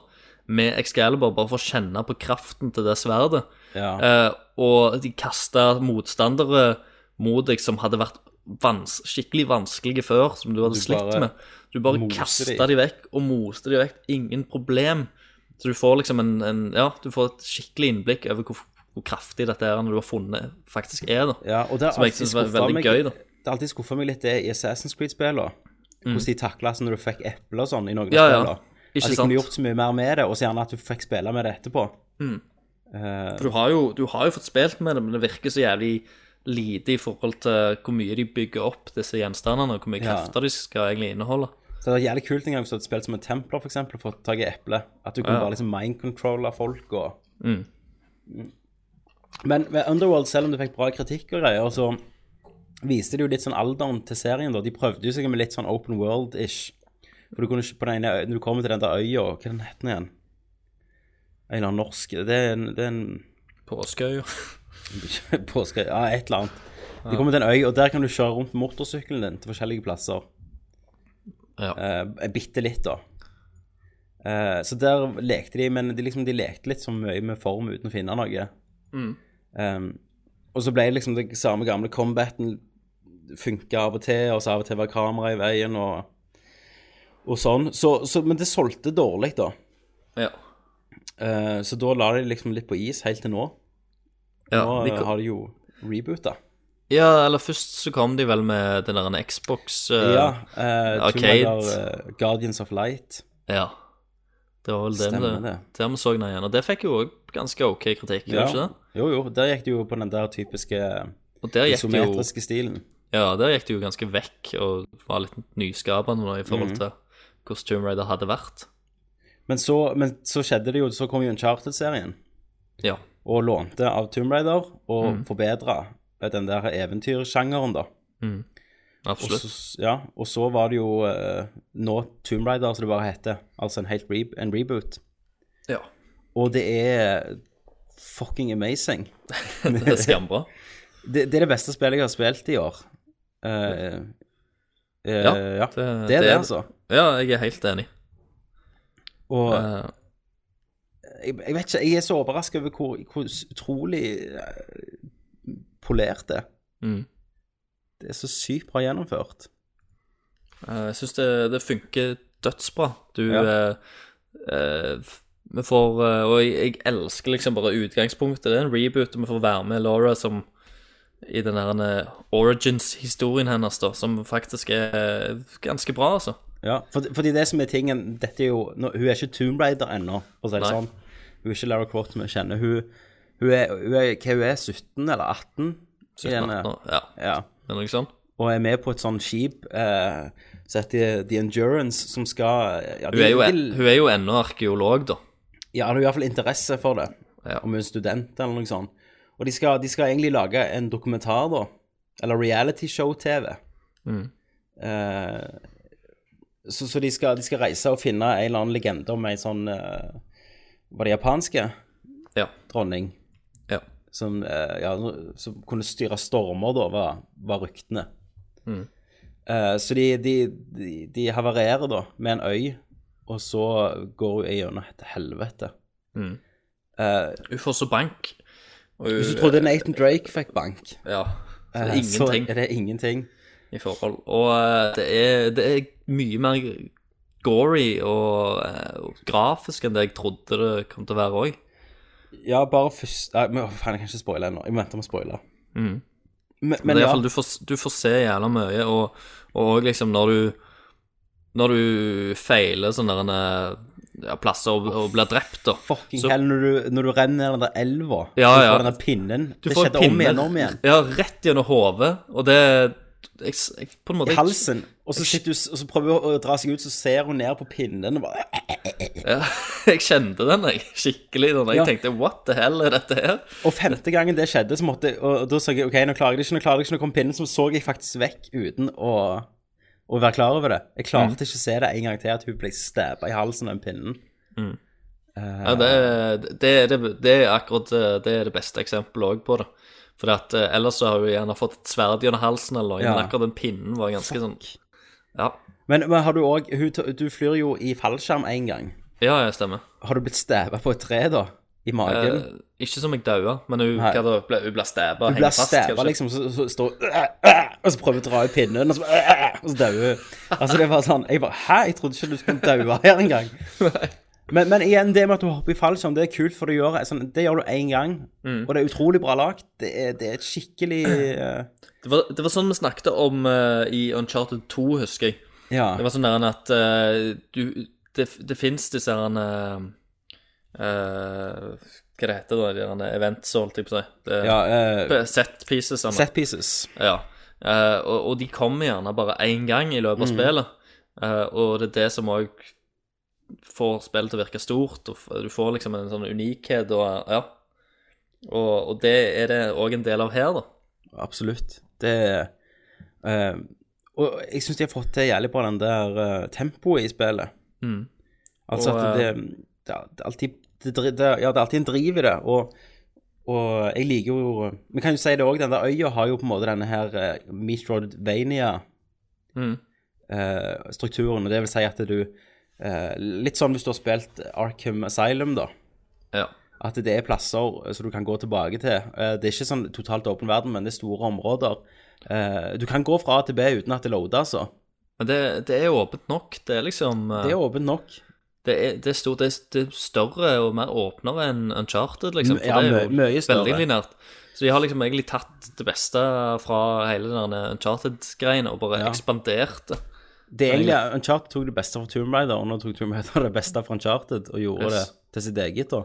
E: med Excalibur, bare for å kjenne på kraften til det sverdet.
D: Ja.
E: Eh, og de kasta motstandere mot deg som hadde vært vans skikkelig vanskelige før, som du hadde
D: Du
E: slitt
D: bare
E: med. Du bare
D: moser
E: kasta
D: de.
E: de vekk og moste de vekk. Ingen problem. Så du får liksom en, en Ja, du får et skikkelig innblikk over hvor, hvor kraftig dette er når du har funnet faktisk er, da.
D: ja og det har
E: som jeg
D: alltid
E: synes var
D: skuffet
E: veldig
D: meg-
E: gøy, da.
D: Det har alltid skuffa meg litt det i Assassin's Creed-spillene. Hvordan de takla sånn når du fikk eple og sånn i noen
E: Mm. Ja, ja.
D: spiller.
E: Ikke
D: at de
E: sant?
D: kunne gjort så mye mer med det, og så gjerne at du fikk spille med det etterpå.
E: For du har, jo, du har jo fått spilt med det, men det virker så jævlig lite i forhold til hvor mye de bygger opp disse gjenstandene, og hvor mye
D: Ja.
E: krefter de skal egentlig inneholde.
D: Så det var jævlig kult en gang hvis du hadde spilt som en templer, for eksempel, og fått tak i eple. At du kunne bare liksom mind-controlle folk og Mm. Men med Underworld, selv om du fikk bra kritikk og greier, så viste det jo litt sånn alderen til serien, da. De prøvde jo seg med litt sånn open world-ish. For du kunne ikke på den ene øy- Når du kommer til den der øya, hva er den heter den igjen? En eller annen norsk Det er en, det er en
E: Påskeøya.
D: påske... Ja, et eller annet. Du kommer til en øy, og der kan du kjøre rundt med motorsykkelen din til forskjellige plasser.
E: Ja.
D: Eh, bitte litt, da. Eh, så der lekte de, men de, liksom, de lekte litt så mye med form uten å finne noe.
E: Mm.
D: Eh, og så ble det liksom det samme gamle combaten funka av og til, og så av og til var kamera i veien og, og sånn. Så, så, men det solgte dårlig, da.
E: Ja.
D: Eh, så da la de liksom litt på is helt til nå.
E: Ja, Eh,
D: Nå
E: de,
D: eh, har de jo reboota.
E: ja, eller først så kom de vel med den der Xbox eh,
D: ja. Uh,
E: Arcade.
D: eh, Guardians of Light.
E: ja. Det var vel det,
D: Stemmer
E: vi-
D: det.
E: der vi så den igjen. Og det fikk jo òg ganske OK kritikk, gjorde ikke det?
D: Jo, jo. Der gikk det jo på den der typiske
E: Og der gikk det jo
D: isometriske stilen.
E: Ja, der gikk det jo ganske vekk, og var litt nyskapende da, i
D: Mhm.
E: forhold til hvordan Tomb Raider hadde vært.
D: Men så, men så skjedde det jo, så kom jo Uncharted-serien
E: Ja.
D: og lånte av Tomb Raider og
E: Mm.
D: forbedra den der eventyrsjangeren, da. Og
E: Absolutt.
D: så, ja, og så var det jo eh, nå Tomb Raider, som det bare heter. Altså en helt re en reboot.
E: Ja.
D: Og det er fucking amazing.
E: Det er skambra.
D: Det, det er det beste spillet jeg har spilt i år. Eh, eh,
E: Ja,
D: ja. Det,
E: det- det
D: er det,
E: er-
D: altså.
E: Ja, jeg er helt enig.
D: Og
E: Eh,
D: jeg, jeg vet ikke, jeg er så overraska over hvor, hvor utrolig eh, polert det er.
E: Mm.
D: Det er så sykt bra gjennomført.
E: Eh, Jeg syns det, det funker dødsbra. Du
D: Ja.
E: eh, eh, f- Vi får, eh, og jeg, jeg elsker liksom bare utgangspunktet. Det er en reboot, og vi får være med Laura som i den der eh, origins-historien hennes, da, som faktisk er eh, ganske bra, altså.
D: Ja, for, fordi det som er tingen Dette er jo nå, Hun er ikke Tomb Raider ennå, for å si det
E: Nei.
D: sånn. Hun er ikke Lara Croft vi kjenner. Hun, hun, er, hun er Hva hun er 17 eller 18? i
E: 17,
D: denne-
E: 18 år. Ja,
D: Ja.
E: det er noe sånn.
D: Og er med på et sånt skip eh, som heter The Endurance, som skal ja,
E: Hun er jo,
D: de-
E: hun er jo ennå arkeolog, da.
D: Ja, det er i hvert fall interesse for det.
E: Ja.
D: Om hun er student eller noe sånt. Og de skal, de skal egentlig lage en dokumentar, da. Eller realityshow-TV.
E: Mhm.
D: Eh, så så de, skal, de skal reise og finne en eller annen legende om ei sånn eh, Var det japanske
E: Ja.
D: dronning?
E: Ja.
D: Som, eh, ja, som kunne styre stormer, da, var, var ryktene.
E: Mhm.
D: Eh, så de, de, de, de havarerer, da, med en øy. Og så går hun gjennom et helvete.
E: Mhm.
D: Eh,
E: Hun får så bank. og hun-
D: hvis du trodde Nathan Drake fikk bank,
E: Ja. Så det
D: eh,
E: er ingenting
D: så er det ingenting.
E: i forhold. Og eh, det er, det er mye mer gory og, eh, og grafisk enn det jeg trodde det kom til å være òg.
D: Ja, bare først Nei, men, å, faen, jeg kan ikke spoile ennå. Jeg venter med å spoile.
E: Mhm.
D: Men,
E: Men i
D: men ja,
E: hvert fall, du får, du får se jævla mye, og, og også liksom når du Når du feiler sånne der, eh, ja, plasser og, og blir drept, da.
D: fucking
E: så-
D: hell, når du, når du renner ned den der elva
E: Ja,
D: du
E: ja.
D: får den der pinnen
E: Du
D: Det
E: får
D: skjedde om
E: pinner-
D: igjen om igjen.
E: Ja, rett gjennom hodet, og det jeg, jeg, På en måte
D: I halsen. Og så, sitter du, s- og så prøver hun å dra seg ut, så ser hun ned på pinnen og bare
E: Ja, jeg kjente den jeg, skikkelig. Den, jeg
D: Ja.
E: tenkte what the hell er dette her?
D: Og femte gangen det skjedde, så måtte Og da sa jeg OK, nå klarer jeg det ikke, nå klarer jeg det ikke, nå kom pinnen, så så jeg faktisk vekk uten å, å være klar over det. Jeg
E: Mm.
D: klarte ikke å se det en gang til at hun ble stabba i halsen av den pinnen.
E: Ja, det, det, er det, det er akkurat eh, det, er det beste eksempelet òg på det. For at, eh, ellers så har hun gjerne fått et sverd gjennom halsen, eller noe,
D: Ja.
E: men akkurat den pinnen var ganske sånn Ja,
D: Men, men har du òg Du flyr jo i fallskjerm én gang.
E: ja jeg stemmer.
D: Har du blitt stabba på et tre, da? I magen?
E: Eh, ikke som jeg daua, men hun,
D: Nei.
E: hva da, ble, hun ble stabba.
D: Du
E: hengt
D: blir
E: fast,
D: stabba,
E: kanskje.
D: liksom, så, så står hun «Åh, åh», Og så prøver hun å dra i pinnen, og så, «Åh, åh», og så dauer hun. Altså, det var sånn Jeg bare Hæ, jeg trodde ikke du skulle daue her engang. Men, men igjen, det med at du hopper i fallskjerm, det er kult, for du gjør, sånn, det gjør du én gang.
E: Mm.
D: Og det er utrolig bra lagt. Det er, det er et skikkelig eh,
E: Det, var, det var sånn vi snakket om eh, i Uncharted 2, husker jeg.
D: Ja.
E: Det var sånn der at eh, du, det, det finnes disse her eh, eh, Hva det heter det, de der events, holdt jeg på å si. sånn. Det-
D: ja eh,
E: Set pieces. Anna.
D: set pieces.
E: Ja. Eh, og, og de kommer gjerne bare én gang i
D: Mm.
E: løpet av spillet. Eh, og det er det som òg får spillet til å virke stort, og f- du får liksom en sånn unikhet og Ja. Og, og det er det òg en del av her, da.
D: Absolutt. Det eh, Og jeg syns de har fått til jævlig bra den der eh, tempoet i spillet.
E: Mm.
D: Altså
E: Og,
D: at det, det, er- det er alltid det, dri- det, Ja, det er alltid en driv i det. Og, og jeg liker jo Vi kan jo si det òg, den der øya har jo på en måte denne her eh, Metroidvania-strukturen.
E: Mm.
D: eh, og det vil si at du eh, Litt sånn hvis du har spilt Arkham Asylum, da.
E: Ja.
D: At det er plasser eh, som du kan gå tilbake til. Eh, Det er ikke sånn totalt åpen verden, men det er store områder. Eh, Du kan gå fra A til B uten at det loader, altså.
E: Men det, det er åpent nok. Det er liksom eh,
D: Det er åpent nok.
E: det er, det er, stort, det er, det er større og mer åpnere enn Uncharted, liksom. For
D: Ja,
E: det er jo
D: mø- mye større.
E: Veldig linært. Så de har liksom egentlig tatt det beste fra hele den der Uncharted-greien og bare
D: Ja.
E: ekspandert det.
D: Det er egentlig eh, Uncharted tok det beste fra Tomb Raider, og nå tok Tomb Raider det beste fra Uncharted og gjorde
E: Yes.
D: det til sitt eget, da.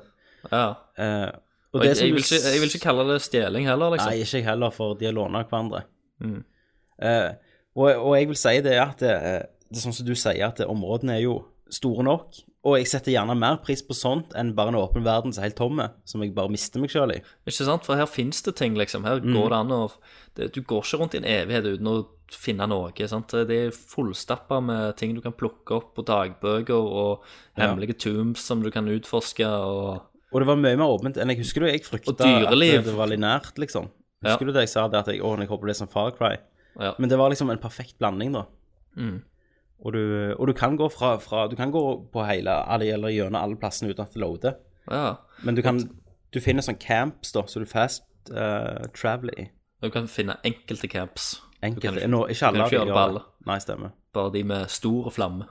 E: Ja.
D: Eh,
E: Og
D: det
E: jeg,
D: som
E: jeg,
D: du
E: vil ikke, jeg vil ikke kalle det stjeling heller,
D: Nei,
E: liksom.
D: ikke jeg heller, for de har lånt av hverandre.
E: Mm.
D: Eh, og, og jeg vil si det er at det, det er sånn som du sier, at områdene er jo store nok. Og jeg setter gjerne mer pris på sånt enn bare en åpen verden som er helt tomme, som jeg bare mister meg sjøl i.
E: Ikke sant? For her fins det ting, liksom. Her
D: Mm.
E: går det an å det, Du går ikke rundt i en evighet uten å finne noe. sant? Det er fullstappa med ting du kan plukke opp, og dagbøker og hemmelige tombs som du kan utforske. og...
D: Og det var mye mer åpent enn jeg husker det. Jeg
E: Og
D: frykta at
E: dyreliv.
D: det var lineært, liksom.
E: Ja.
D: Husker du det jeg sa det at jeg, å, jeg håper det er som Far Cry?
E: Ja.
D: Men det var liksom en perfekt blanding, da.
E: Mm.
D: Og du, og du kan gå fra, fra Du kan gå på hele alle, eller gjennom alle plassene uten at det loader.
E: ja.
D: Men du kan Du finner sånn camps, da, så du fast eh, traveler i.
E: Du kan finne enkelte camps. Du kan
D: Enkelte.
E: ikke-
D: Nå, ikke alle.
E: du kan ikke
D: av de
E: gjøre det
D: gjør
E: på alle.
D: Nei, stemmer.
E: Bare de med store flamme.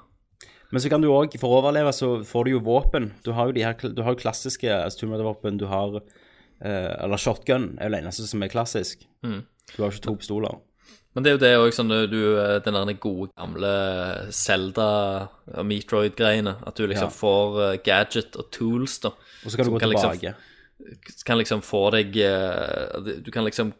D: Men så kan du òg, for å overleve, så får du jo våpen. Du har jo de her, du har jo klassiske altså, tomb-våpen. Du har eh, Eller shotgun er jo det eneste som er klassisk.
E: Mm.
D: Du har jo ikke to pistoler.
E: Men det er jo det òg, sånn du, eh, den der gode gamle Zelda og Metroid-greiene. At du liksom
D: Ja.
E: får eh, gadget og tools, da.
D: Og så kan du
E: Som
D: gå
E: liksom-
D: tilbake.
E: kan liksom få deg eh, Du kan liksom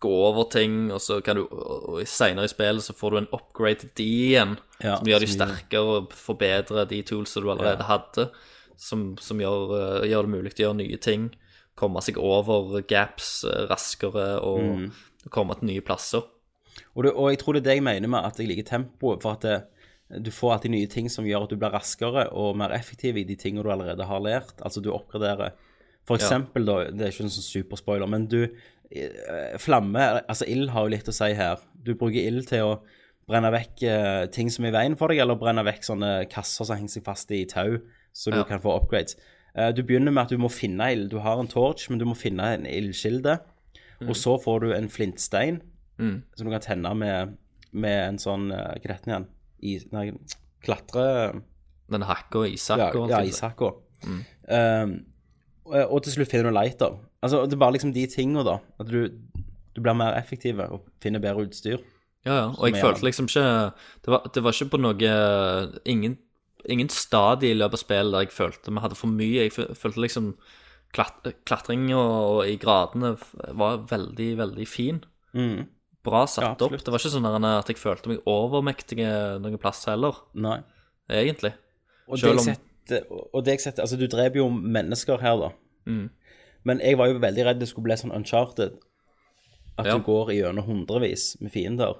E: gå over ting, og så kan du og og senere i spillet så får du en upgrade til de igjen,
D: Ja,
E: som gjør de
D: som gjør-
E: sterkere og forbedrer de toolsene du allerede hadde, som, som gjør, eh, gjør det mulig å gjøre nye ting, komme seg over gaps eh, raskere og
D: Mm.
E: komme til nye plasser.
D: Og, det, og jeg tror det er det jeg mener med at jeg liker tempoet, for at det, du får alltid nye ting som gjør at du blir raskere og mer effektiv i de tingene du allerede har lært. Altså du oppgraderer. For eksempel da, det er ikke en sånn superspoiler, men du eh, Flamme, altså ild har jo litt å si her. Du bruker ild til å brenne vekk eh, ting som er i veien for deg, eller brenne vekk sånne kasser som henger seg fast i tau, så du
E: Ja.
D: kan få upgrades. Eh, du begynner med at du må finne ild. Du har en torch, men du må finne en ildkilde. Og så får du en flintstein,
E: Mm.
D: som du kan tenne med, med en sånn eh, Hva heter den igjen? I, nei, klatre...
E: Den hakker og Isak
D: Ja,
E: og alt
D: ja
E: det der.
D: ishakka.
E: Mm.
D: og og til slutt finner du lighter. Altså, det er bare liksom de tinga, da. At du, du blir mer effektiv og finner bedre utstyr.
E: Ja, ja. Og jeg
D: er
E: følte
D: den.
E: liksom ikke Det var, det var ikke på noe Ingen, ingen stadie i løpet av spillet der jeg følte vi hadde for mye. Jeg fø- følte liksom klat, Klatringa og, og i gradene f- var veldig, veldig fin.
D: Mm,
E: Bra
D: Ja,
E: satt
D: absolutt.
E: opp. Det var ikke sånn der at jeg følte meg overmektig noen plass heller,
D: Nei.
E: egentlig.
D: Og det,
E: Selv
D: jeg
E: om-
D: setter, og det jeg setter Altså, du dreper jo mennesker her, da.
E: Mm.
D: Men jeg var jo veldig redd det skulle bli sånn uncharted. At
E: Ja.
D: du går gjennom hundrevis med fiender.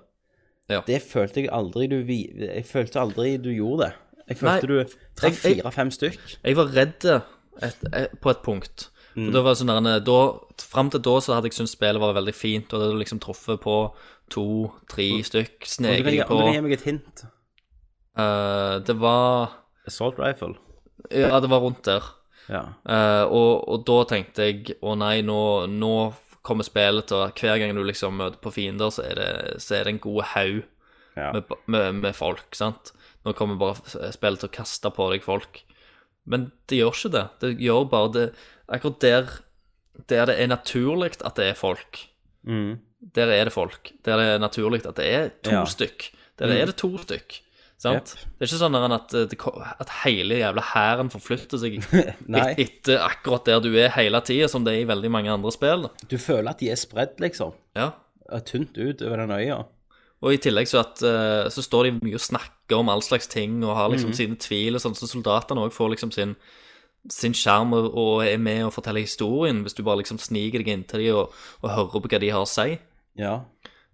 E: Ja.
D: Det følte jeg aldri du vi- Jeg følte aldri du gjorde det. Jeg
E: Nei,
D: følte du traff
E: jeg- jeg-
D: fire-fem stykk.
E: Jeg var redd eh, et, et, på et punkt.
D: Mm.
E: For da var det sånn der, da, Fram til da så hadde jeg syntes spillet var veldig fint, og det hadde liksom truffet på to-tre stykk,
D: Om du kan
E: sneker
D: gi-
E: jeg
D: om
E: på
D: du kan gi meg et hint.
E: Eh, det var
D: Assault rifle.
E: Ja, det var rundt der.
D: Ja.
E: Eh, og, og da tenkte jeg å nei, nå, nå kommer spillet til å Hver gang du liksom møter på fiender, så er det, så er det en god haug
D: Ja. Eh,
E: med, med, med folk, sant. Nå kommer bare spillet til å kaste på deg folk. Men det gjør ikke det. Det gjør bare det Akkurat der, der det er naturlig at det er folk,
D: Mm.
E: der er det folk. Der det er naturlig at det er to
D: Ja. Mm.
E: stykk. Der er det to stykk. Sant?
D: Jep.
E: Det er ikke sånn der at, det ko- at hele jævla hæren forflytter seg
D: Nei.
E: et- etter akkurat der du er hele tida, som det er i veldig mange andre spill. da.
D: Du føler at de er spredd, liksom.
E: Ja.
D: Er Tynt ut over den øya.
E: Og i tillegg så, at, eh, så står de mye og snakker om all slags ting og har
D: Mhm.
E: liksom sine tvil og sånn, så soldatene òg får liksom sin sin skjerm og- og er med og forteller historien, hvis du bare liksom sniker deg inntil dem og, og hører på hva de har å si.
D: Ja.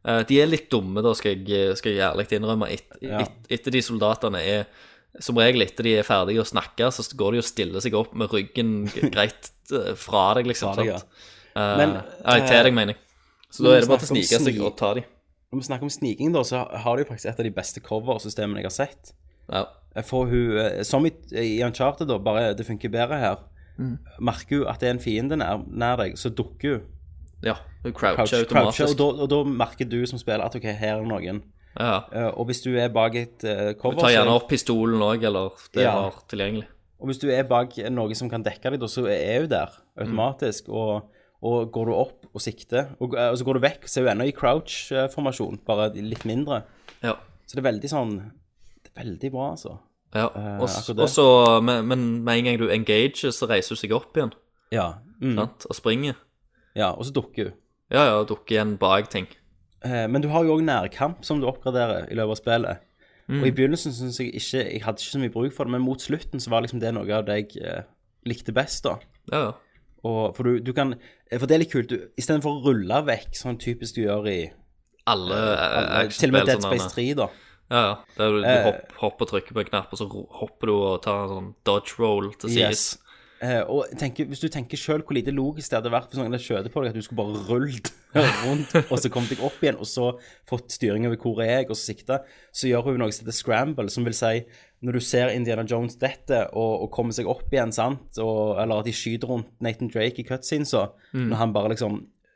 E: Eh, De er litt dumme, da, skal jeg, skal jeg ærlig innrømme. Et,
D: Ja.
E: et, etter de soldatene er Som regel etter de er ferdige å snakke, så går de og stiller seg opp med ryggen greit eh, fra deg, liksom.
D: Fra deg, ja.
E: sant? Eh,
D: Men,
E: nei, til
D: eh,
E: deg, mener jeg. Så
D: når
E: da
D: vi
E: er det bare til å
D: snakker
E: snike
D: om
E: seg
D: sni-
E: og ta de.
D: Når vi snakker om sniking, da, så har de jo faktisk et av de beste coversystemene jeg har sett.
E: Ja.
D: For hun, eh, som i, i Uncharted, da, bare det funker bedre her, merker hun at det er en fiende nær, nær deg, så dukker hun.
E: ja. Hun croucher automatisk.
D: Crouch, croucher, og, da, og da merker du som spiller at OK, her er noen.
E: ja.
D: Eh, og hvis du er bak et eh, cover
E: Hun tar
D: så-
E: gjerne opp pistolen òg, eller det
D: Ja.
E: har tilgjengelig.
D: Og hvis du er bak noe som kan dekke deg, da, så er hun der automatisk. Og, og går du opp og sikter, og, eh, og så går du vekk, så er hun ennå i crouch-formasjon, bare litt mindre.
E: Ja.
D: Så det er veldig sånn Det er veldig bra, altså.
E: ja.
D: Eh,
E: Og s-
D: akkurat det.
E: og så, men, men med en gang du engager, så reiser hun seg opp igjen
D: Ja. Mm.
E: sant? og springer.
D: ja og så dukker hun.
E: Ja, ja, og dukker igjen bak ting.
D: Eh, Men du har jo òg nærkamp som du oppgraderer i løpet av spillet.
E: Mm.
D: Og i begynnelsen syns jeg ikke Jeg hadde ikke så mye bruk for det, men mot slutten så var liksom det noe av det jeg eh, likte best, da.
E: Ja, ja.
D: Og, for du, du kan eh, For det er litt kult. du- Istedenfor å rulle vekk, sånn typisk du gjør i
E: alle eh,
D: alle, Til og
E: actionspill
D: med Dead
E: sånn
D: Space
E: der.
D: 3, da.
E: Ja, ja. Der du, du
D: Eh.
E: hopp, hopper og trykker på en knapp, og så ro- hopper du og tar en sånn dodge roll til sides.
D: Yes. Eh, og tenker, hvis du tenker sjøl hvor lite logisk det hadde vært hvis noen hadde skjøtet på deg, at du skulle bare rullet rundt, og så kommet deg opp igjen, og så fått styring over hvor er jeg, og så sikta, så gjør hun noe som heter scramble, som vil si når du ser Indiana Jones dette og, og kommer seg opp igjen, sant, og, eller at de skyter rundt Nathan Drake i cutscenes, så,
E: Mm.
D: når han bare liksom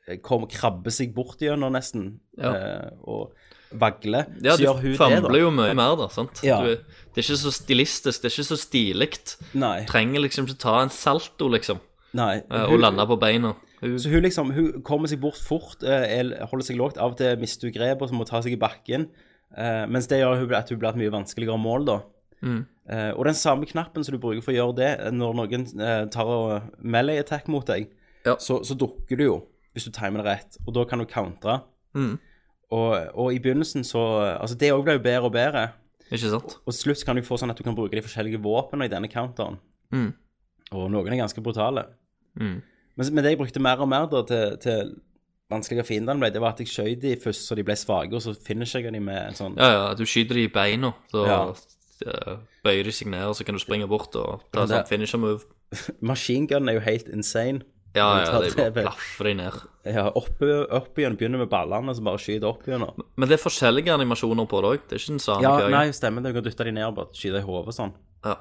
D: eh, kom, krabber seg bort gjennom nesten,
E: Ja.
D: eh, og vagler,
E: Ja,
D: så gjør
E: du
D: hun det,
E: famler
D: da.
E: jo mye mer, da. sant?
D: Ja.
E: Du, det er ikke så stilistisk, det er ikke så stilig.
D: Nei.
E: Trenger liksom ikke ta en salto, liksom,
D: Nei.
E: eh, og
D: hun-
E: lande på beina. Hun,
D: Så hun liksom, hun kommer seg bort fort, eh, er- holder seg lågt, av og til mister hun grepet og så må hun ta seg i bakken. Eh, mens det gjør hun at hun blir et mye vanskeligere mål, da.
E: mm.
D: Eh, og den samme knappen som du bruker for å gjøre det eh, når noen eh, tar og melee attack mot deg,
E: Ja.
D: så, så dukker du jo, hvis du timer det rett, og da kan du countre.
E: Mhm.
D: Og, og i begynnelsen så Altså, det òg blir jo bedre og bedre.
E: ikke sant?
D: Og til slutt kan du få sånn at du kan bruke de forskjellige våpnene i denne counteren.
E: Mm.
D: Og noen er ganske brutale.
E: Mm.
D: Men, men det jeg brukte mer og mer da til, til vanskeligere fiender ble, det var at jeg skjøt de først så de ble svake, og så finisher jeg de med en sånn
E: Ja, ja, at du skyter dem i beina, så
D: Ja.
E: eh, bøyer de seg ned, og så kan du springe bort og ta
D: Men
E: en
D: det-
E: sånn finisher move.
D: Maskingun er jo helt insane.
E: Ja,
D: Men
E: ja,
D: ta
E: de bare
D: det vel.
E: plaffer de ned.
D: Ja, opp, opp igjen, begynner med ballene, så bare skyter opp igjen. og-
E: Men det er forskjellige animasjoner på det òg, det er ikke den samme
D: Ja,
E: greia.
D: nei, stemmer det. Du kan dytte de ned og bare skyte i hodet og sånn.
E: Ja.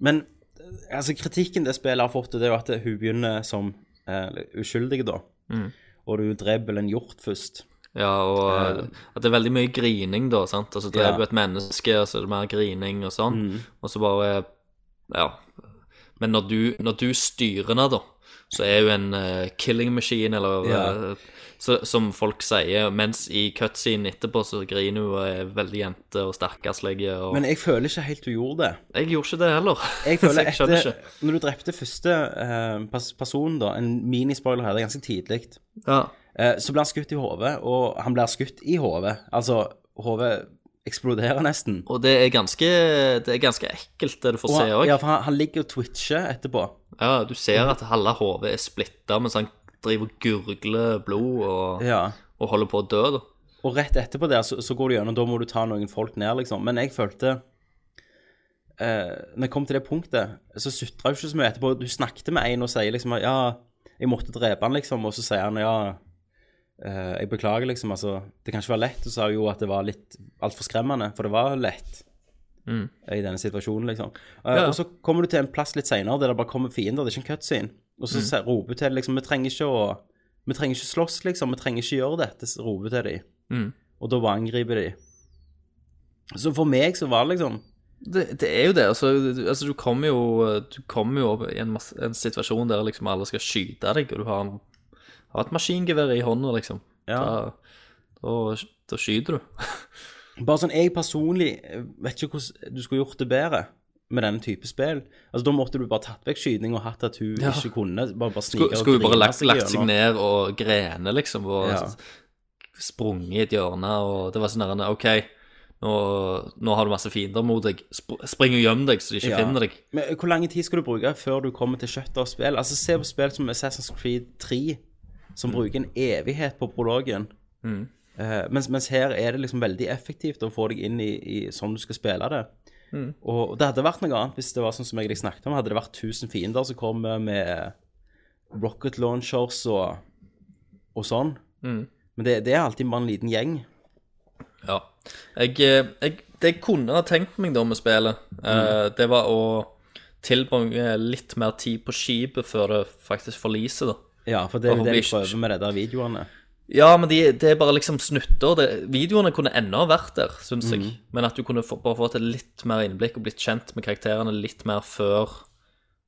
D: Men eh, altså, kritikken det spillet har fått, det er jo at hun begynner som eh, uskyldig, da.
E: Mm.
D: Og du dreper vel en hjort først.
E: Ja, og eh, at det er veldig mye grining, da. sant? Altså
D: Ja. Mm.
E: dreper du et menneske, og så er det mer grining og sånn. Og så bare Ja. Men når du, når du styrer henne, da, så er hun en eh, killing machine, eller
D: Ja.
E: eh, så, Som folk sier. Mens i cutscenen etterpå så griner hun og er veldig jente og stakkarslig. Og...
D: Men jeg føler ikke helt hun gjorde det.
E: jeg gjorde ikke det heller.
D: Jeg føler
E: så jeg skjønner
D: etter,
E: ikke.
D: når du drepte første eh, pers person, da, en minispoiler her, det er ganske tidlig,
E: Ja.
D: eh, så blir han skutt i hodet, og han blir skutt i hodet. Altså, hodet eksploderer nesten.
E: Og det er ganske Det er ganske ekkelt, det du får
D: Og
E: se
D: han,
E: òg.
D: ja,
E: Ja.
D: for han, han ligger og twitcher etterpå.
E: du ser at halve hodet er splitta mens han driver og gurgler blod og,
D: Ja.
E: og holder på å dø, da.
D: Og rett etterpå der så, så går du gjennom, da må du ta noen folk ned, liksom. Men jeg følte eh, Når jeg kom til det punktet, så sutra jeg ikke så mye etterpå. Du snakket med en og sier liksom at ja, jeg måtte drepe han, liksom. Og så sier han ja, eh, jeg beklager, liksom. Altså, det kan ikke være lett. Og så sa hun jo at det var litt altfor skremmende, for det var lett. I denne situasjonen, liksom. Eh,
E: Mm. Ja.
D: Og så kommer du til en plass litt seinere der det bare kommer fiender. Det er ikke en cutscene. Og
E: Mm.
D: så sier- roper hun til dem liksom Vi trenger ikke å Vi trenger ikke slåss, liksom. Vi trenger ikke gjøre dette, så roper hun til dem
E: Mm.
D: og da bare angriper de. Så for meg så var det liksom
E: Det, det er jo det. Altså, du- altså du kommer jo Du kommer jo opp i en, masse, en situasjon der liksom alle skal skyte deg, og du har, en, har et maskingevær i hånda, liksom.
D: Ja.
E: Da, da, da skyter du.
D: Bare sånn, jeg personlig eh, vet ikke hvordan du skulle gjort det bedre med denne type spill. Altså, Da måtte du bare tatt vekk skyting og hatt at hun
E: Ja.
D: ikke kunne. Bare, bare snike
E: Skulle, skulle
D: og
E: du bare
D: grine
E: lagt, lagt seg
D: gjennom.
E: ned og grene, liksom, og
D: Ja.
E: sprunget i et hjørne, og det var sånn der OK, nå, nå har du masse fiender mot deg. Sp spring og gjem deg, så de ikke
D: Ja.
E: finner deg.
D: Men eh, hvor lang tid skal du bruke før du kommer til kjøttet av spill? Altså, se på spill som Assassin's Creed 3,
E: Mm.
D: som bruker en evighet på prologen. Eh, mens, mens her er det liksom veldig effektivt å få deg inn i, i sånn du skal spille det.
E: Mm.
D: Og, og det hadde vært noe annet hvis det var sånn som jeg snakket om. Hadde det vært 1000 fiender som kom med rocket launchers og, og sånn.
E: Mm.
D: Men det, det er alltid bare en liten gjeng.
E: Ja. Jeg, eh, jeg, det jeg kunne ha tenkt meg da med spillet, eh, det var å tilbringe litt mer tid på skipet før det faktisk forliser, da.
D: Ja, for det er jo
E: Og
D: det
E: blir-
D: vi prøver med de der videoene.
E: Ja, men de, det er bare liksom snutter. Det, videoene kunne ennå vært der, syns jeg. Men at du kunne få, bare fått et litt mer innblikk og blitt kjent med karakterene litt mer før,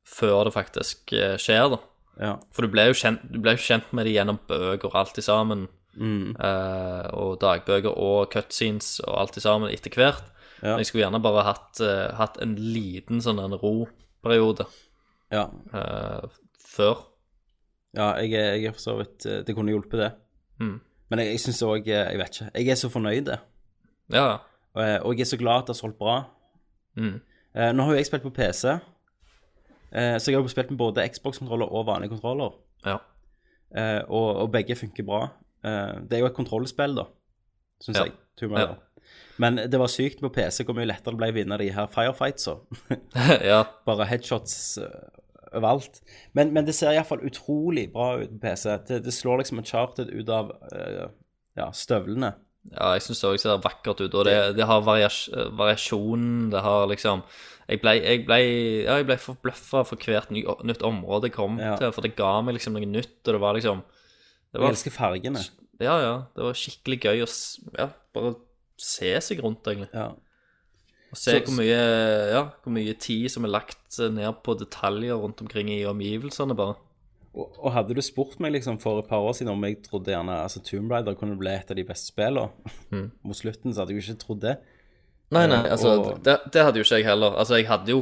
E: før det faktisk eh, skjer, da.
D: Ja.
E: For du ble jo kjent, du ble jo kjent med det gjennom bøker og alt i sammen.
D: Mm.
E: Eh, og dagbøker og cutscenes og alt i sammen etter hvert.
D: Ja.
E: Men jeg skulle gjerne bare hatt, eh, hatt en liten sånn en roperiode
D: ja.
E: eh, før.
D: Ja, jeg, er- jeg er for så vidt eh, Det kunne hjulpet, det.
E: Mm.
D: Men jeg, jeg syns òg Jeg vet ikke. Jeg er så fornøyd, eh,
E: Ja.
D: og, jeg- og jeg er så glad at det har solgt bra.
E: Mm.
D: Eh, nå har jo jeg spilt på PC, eh, så jeg har jo spilt med både Xbox-kontroller og vanlige kontroller.
E: ja.
D: Eh, og, og begge funker bra. Eh, det er jo et kontrollspill, da, syns
E: Ja.
D: jeg. Tomb Raider. Men det var sykt på PC hvor mye lettere det ble å vinne de her firefightsa.
E: ja.
D: Bare headshots eh, overalt. Men, men det ser iallfall utrolig bra ut på PC. Det, det slår liksom en charted ut av eh, ja, støvlene.
E: Ja, jeg syns det òg ser vakkert ut. Og det, det har varias, variasjon, det har liksom Jeg ble, jeg ble, ja, jeg ble forbløffa for hvert ny, nytt område jeg kom
D: Ja.
E: til, for det ga meg liksom noe nytt, og det var liksom det
D: Og jeg
E: var,
D: elsker fargene.
E: Ja, ja. Det var skikkelig gøy å s- ja, bare se seg rundt, egentlig.
D: Ja.
E: Og se
D: Så-
E: hvor mye, ja, hvor mye tid som er lagt ned på detaljer rundt omkring i omgivelsene, bare.
D: Og, og hadde du spurt meg liksom for et par år siden om jeg trodde gjerne altså Tomb Raider kunne bli et av de beste spillene
E: Mm.
D: mot slutten, så hadde jeg jo ikke trodd det.
E: Nei, nei, altså,
D: og-
E: det, det hadde jo ikke jeg heller. Altså, jeg hadde jo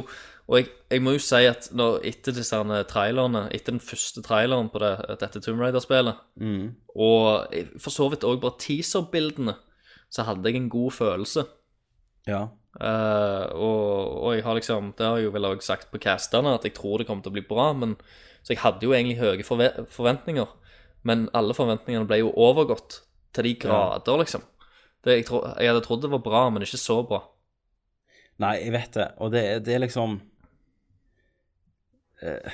E: Og jeg, jeg må jo si at når, etter disse her trailerne, etter den første traileren på det, dette Tomb Raider-spillet,
D: Mm.
E: og jeg- for så vidt òg bare teaser-bildene, så hadde jeg en god følelse.
D: Ja.
E: Eh, og, og jeg har liksom Det har jeg jo vel også sagt på casterne, at jeg tror det kommer til å bli bra, men Så jeg hadde jo egentlig høye forve forventninger, men alle forventningene ble jo overgått til de grader, liksom. Det, jeg, tro, jeg hadde trodd det var bra, men ikke så bra.
D: Nei, jeg vet det. Og det, det er liksom eh,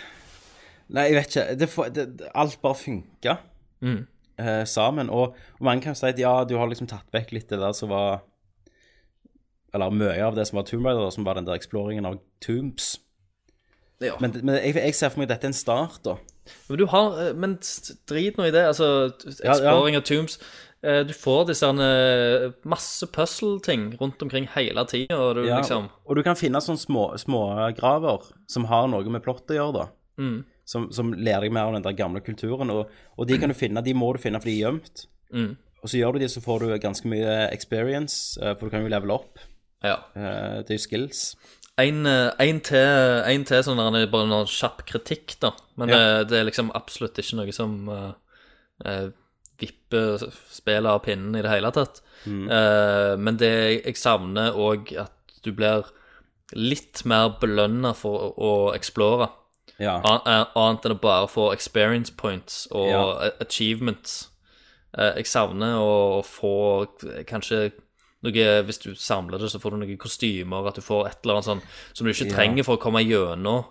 D: Nei, jeg vet ikke. Det, får- det, det- alt bare funka
E: Mm.
D: eh, sammen. Og, og mange kan jo si at ja, du har liksom tatt vekk litt det der som var Eller mye av det som var Tomb Raider, da, som var den der exploringen av tombs.
E: Ja.
D: Men, men jeg, jeg ser for meg at dette er en start, da.
E: Men du har eh, Men s- drit nå i det. Altså,
D: ja.
E: Exploring av tombs eh, Du får disse eh, masse puzzle-ting rundt omkring hele tida, og du
D: Ja,
E: liksom
D: Og du kan finne sånne små, små graver som har noe med plott å gjøre, da.
E: mm,
D: Som, som lærer deg mer om den der gamle kulturen. Og, og de kan du finne, de må du finne, for de er gjemt.
E: Mm.
D: Og så gjør du de, så får du ganske mye experience, eh, for du kan jo level opp.
E: Ja.
D: Eh, Det er jo skills.
E: En, eh, en til, en til sånn der, det er bare noen kjapp kritikk, da. Men
D: Ja.
E: det, det er liksom absolutt ikke noe som eh, eh, vipper spillet av pinnen i det hele tatt. Eh, men det jeg savner òg, at du blir litt mer belønna for å, å explore.
D: Ja.
E: An- eh, Annet enn å bare få experience points og
D: Ja.
E: a- achievements. Eh, Jeg savner å få k- kanskje noe Hvis du samler det, så får du noen kostymer, at du får et eller annet sånn som du ikke
D: Ja.
E: trenger for å komme gjennom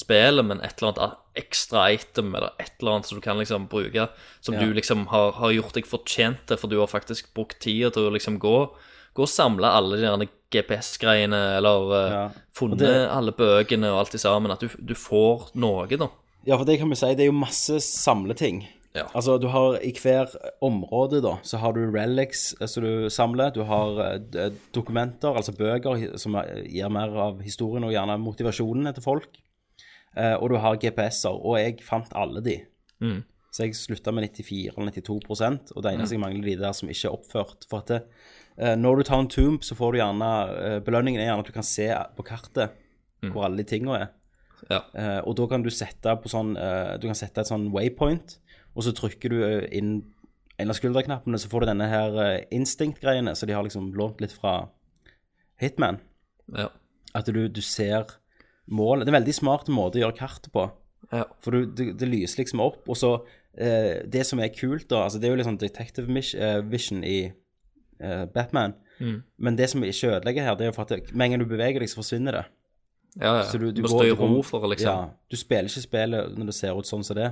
E: spillet, men et eller annet a- ekstra item eller et eller annet som du kan liksom bruke, som
D: Ja.
E: du liksom har, har gjort deg fortjent til, for du har faktisk brukt tida til å liksom gå. Gå og samle alle de der GPS-greiene, eller eh,
D: Ja.
E: funnet
D: Og det-
E: alle bøkene og alt det sammen. At du, du får noe, da.
D: ja, for det kan vi si, det er jo masse samleting.
E: Ja.
D: Altså, du har i hver område, da, så har du relics eh, som du samler. Du har eh, d- dokumenter, altså bøker, hi- som eh, gir mer av historien og gjerne motivasjonen til folk. Eh, og du har GPS-er, og jeg fant alle de.
E: Mm.
D: Så jeg slutta med 94 eller 92 prosent, og det eneste jeg mangler, er de der som ikke er oppført. For at det, eh, når du tar en tomb, så får du gjerne eh, Belønningen er gjerne at du kan se på kartet
E: Mm.
D: hvor alle de tinga er.
E: Ja.
D: Eh, og da kan du sette på sånn eh, Du kan sette et sånn waypoint, og så trykker du eh, inn en av skulderknappene, så får du denne her eh, instinct-greiene, så de har liksom lånt litt fra Hitman.
E: Ja.
D: At du, du ser målet. Det er en veldig smart måte å gjøre kartet på.
E: Ja.
D: For du, det, det lyser liksom opp, og så eh, Det som er kult, da altså Det er jo litt sånn detective mis- eh, vision i eh, Batman, men det som ikke ødelegger her, det er jo for at det- med en gang du beveger deg, så forsvinner det.
E: ja, ja.
D: Så du, du
E: må
D: går
E: stå i
D: til rom-
E: ro for det, liksom.
D: Ja, du spiller ikke spillet når det ser ut sånn som det.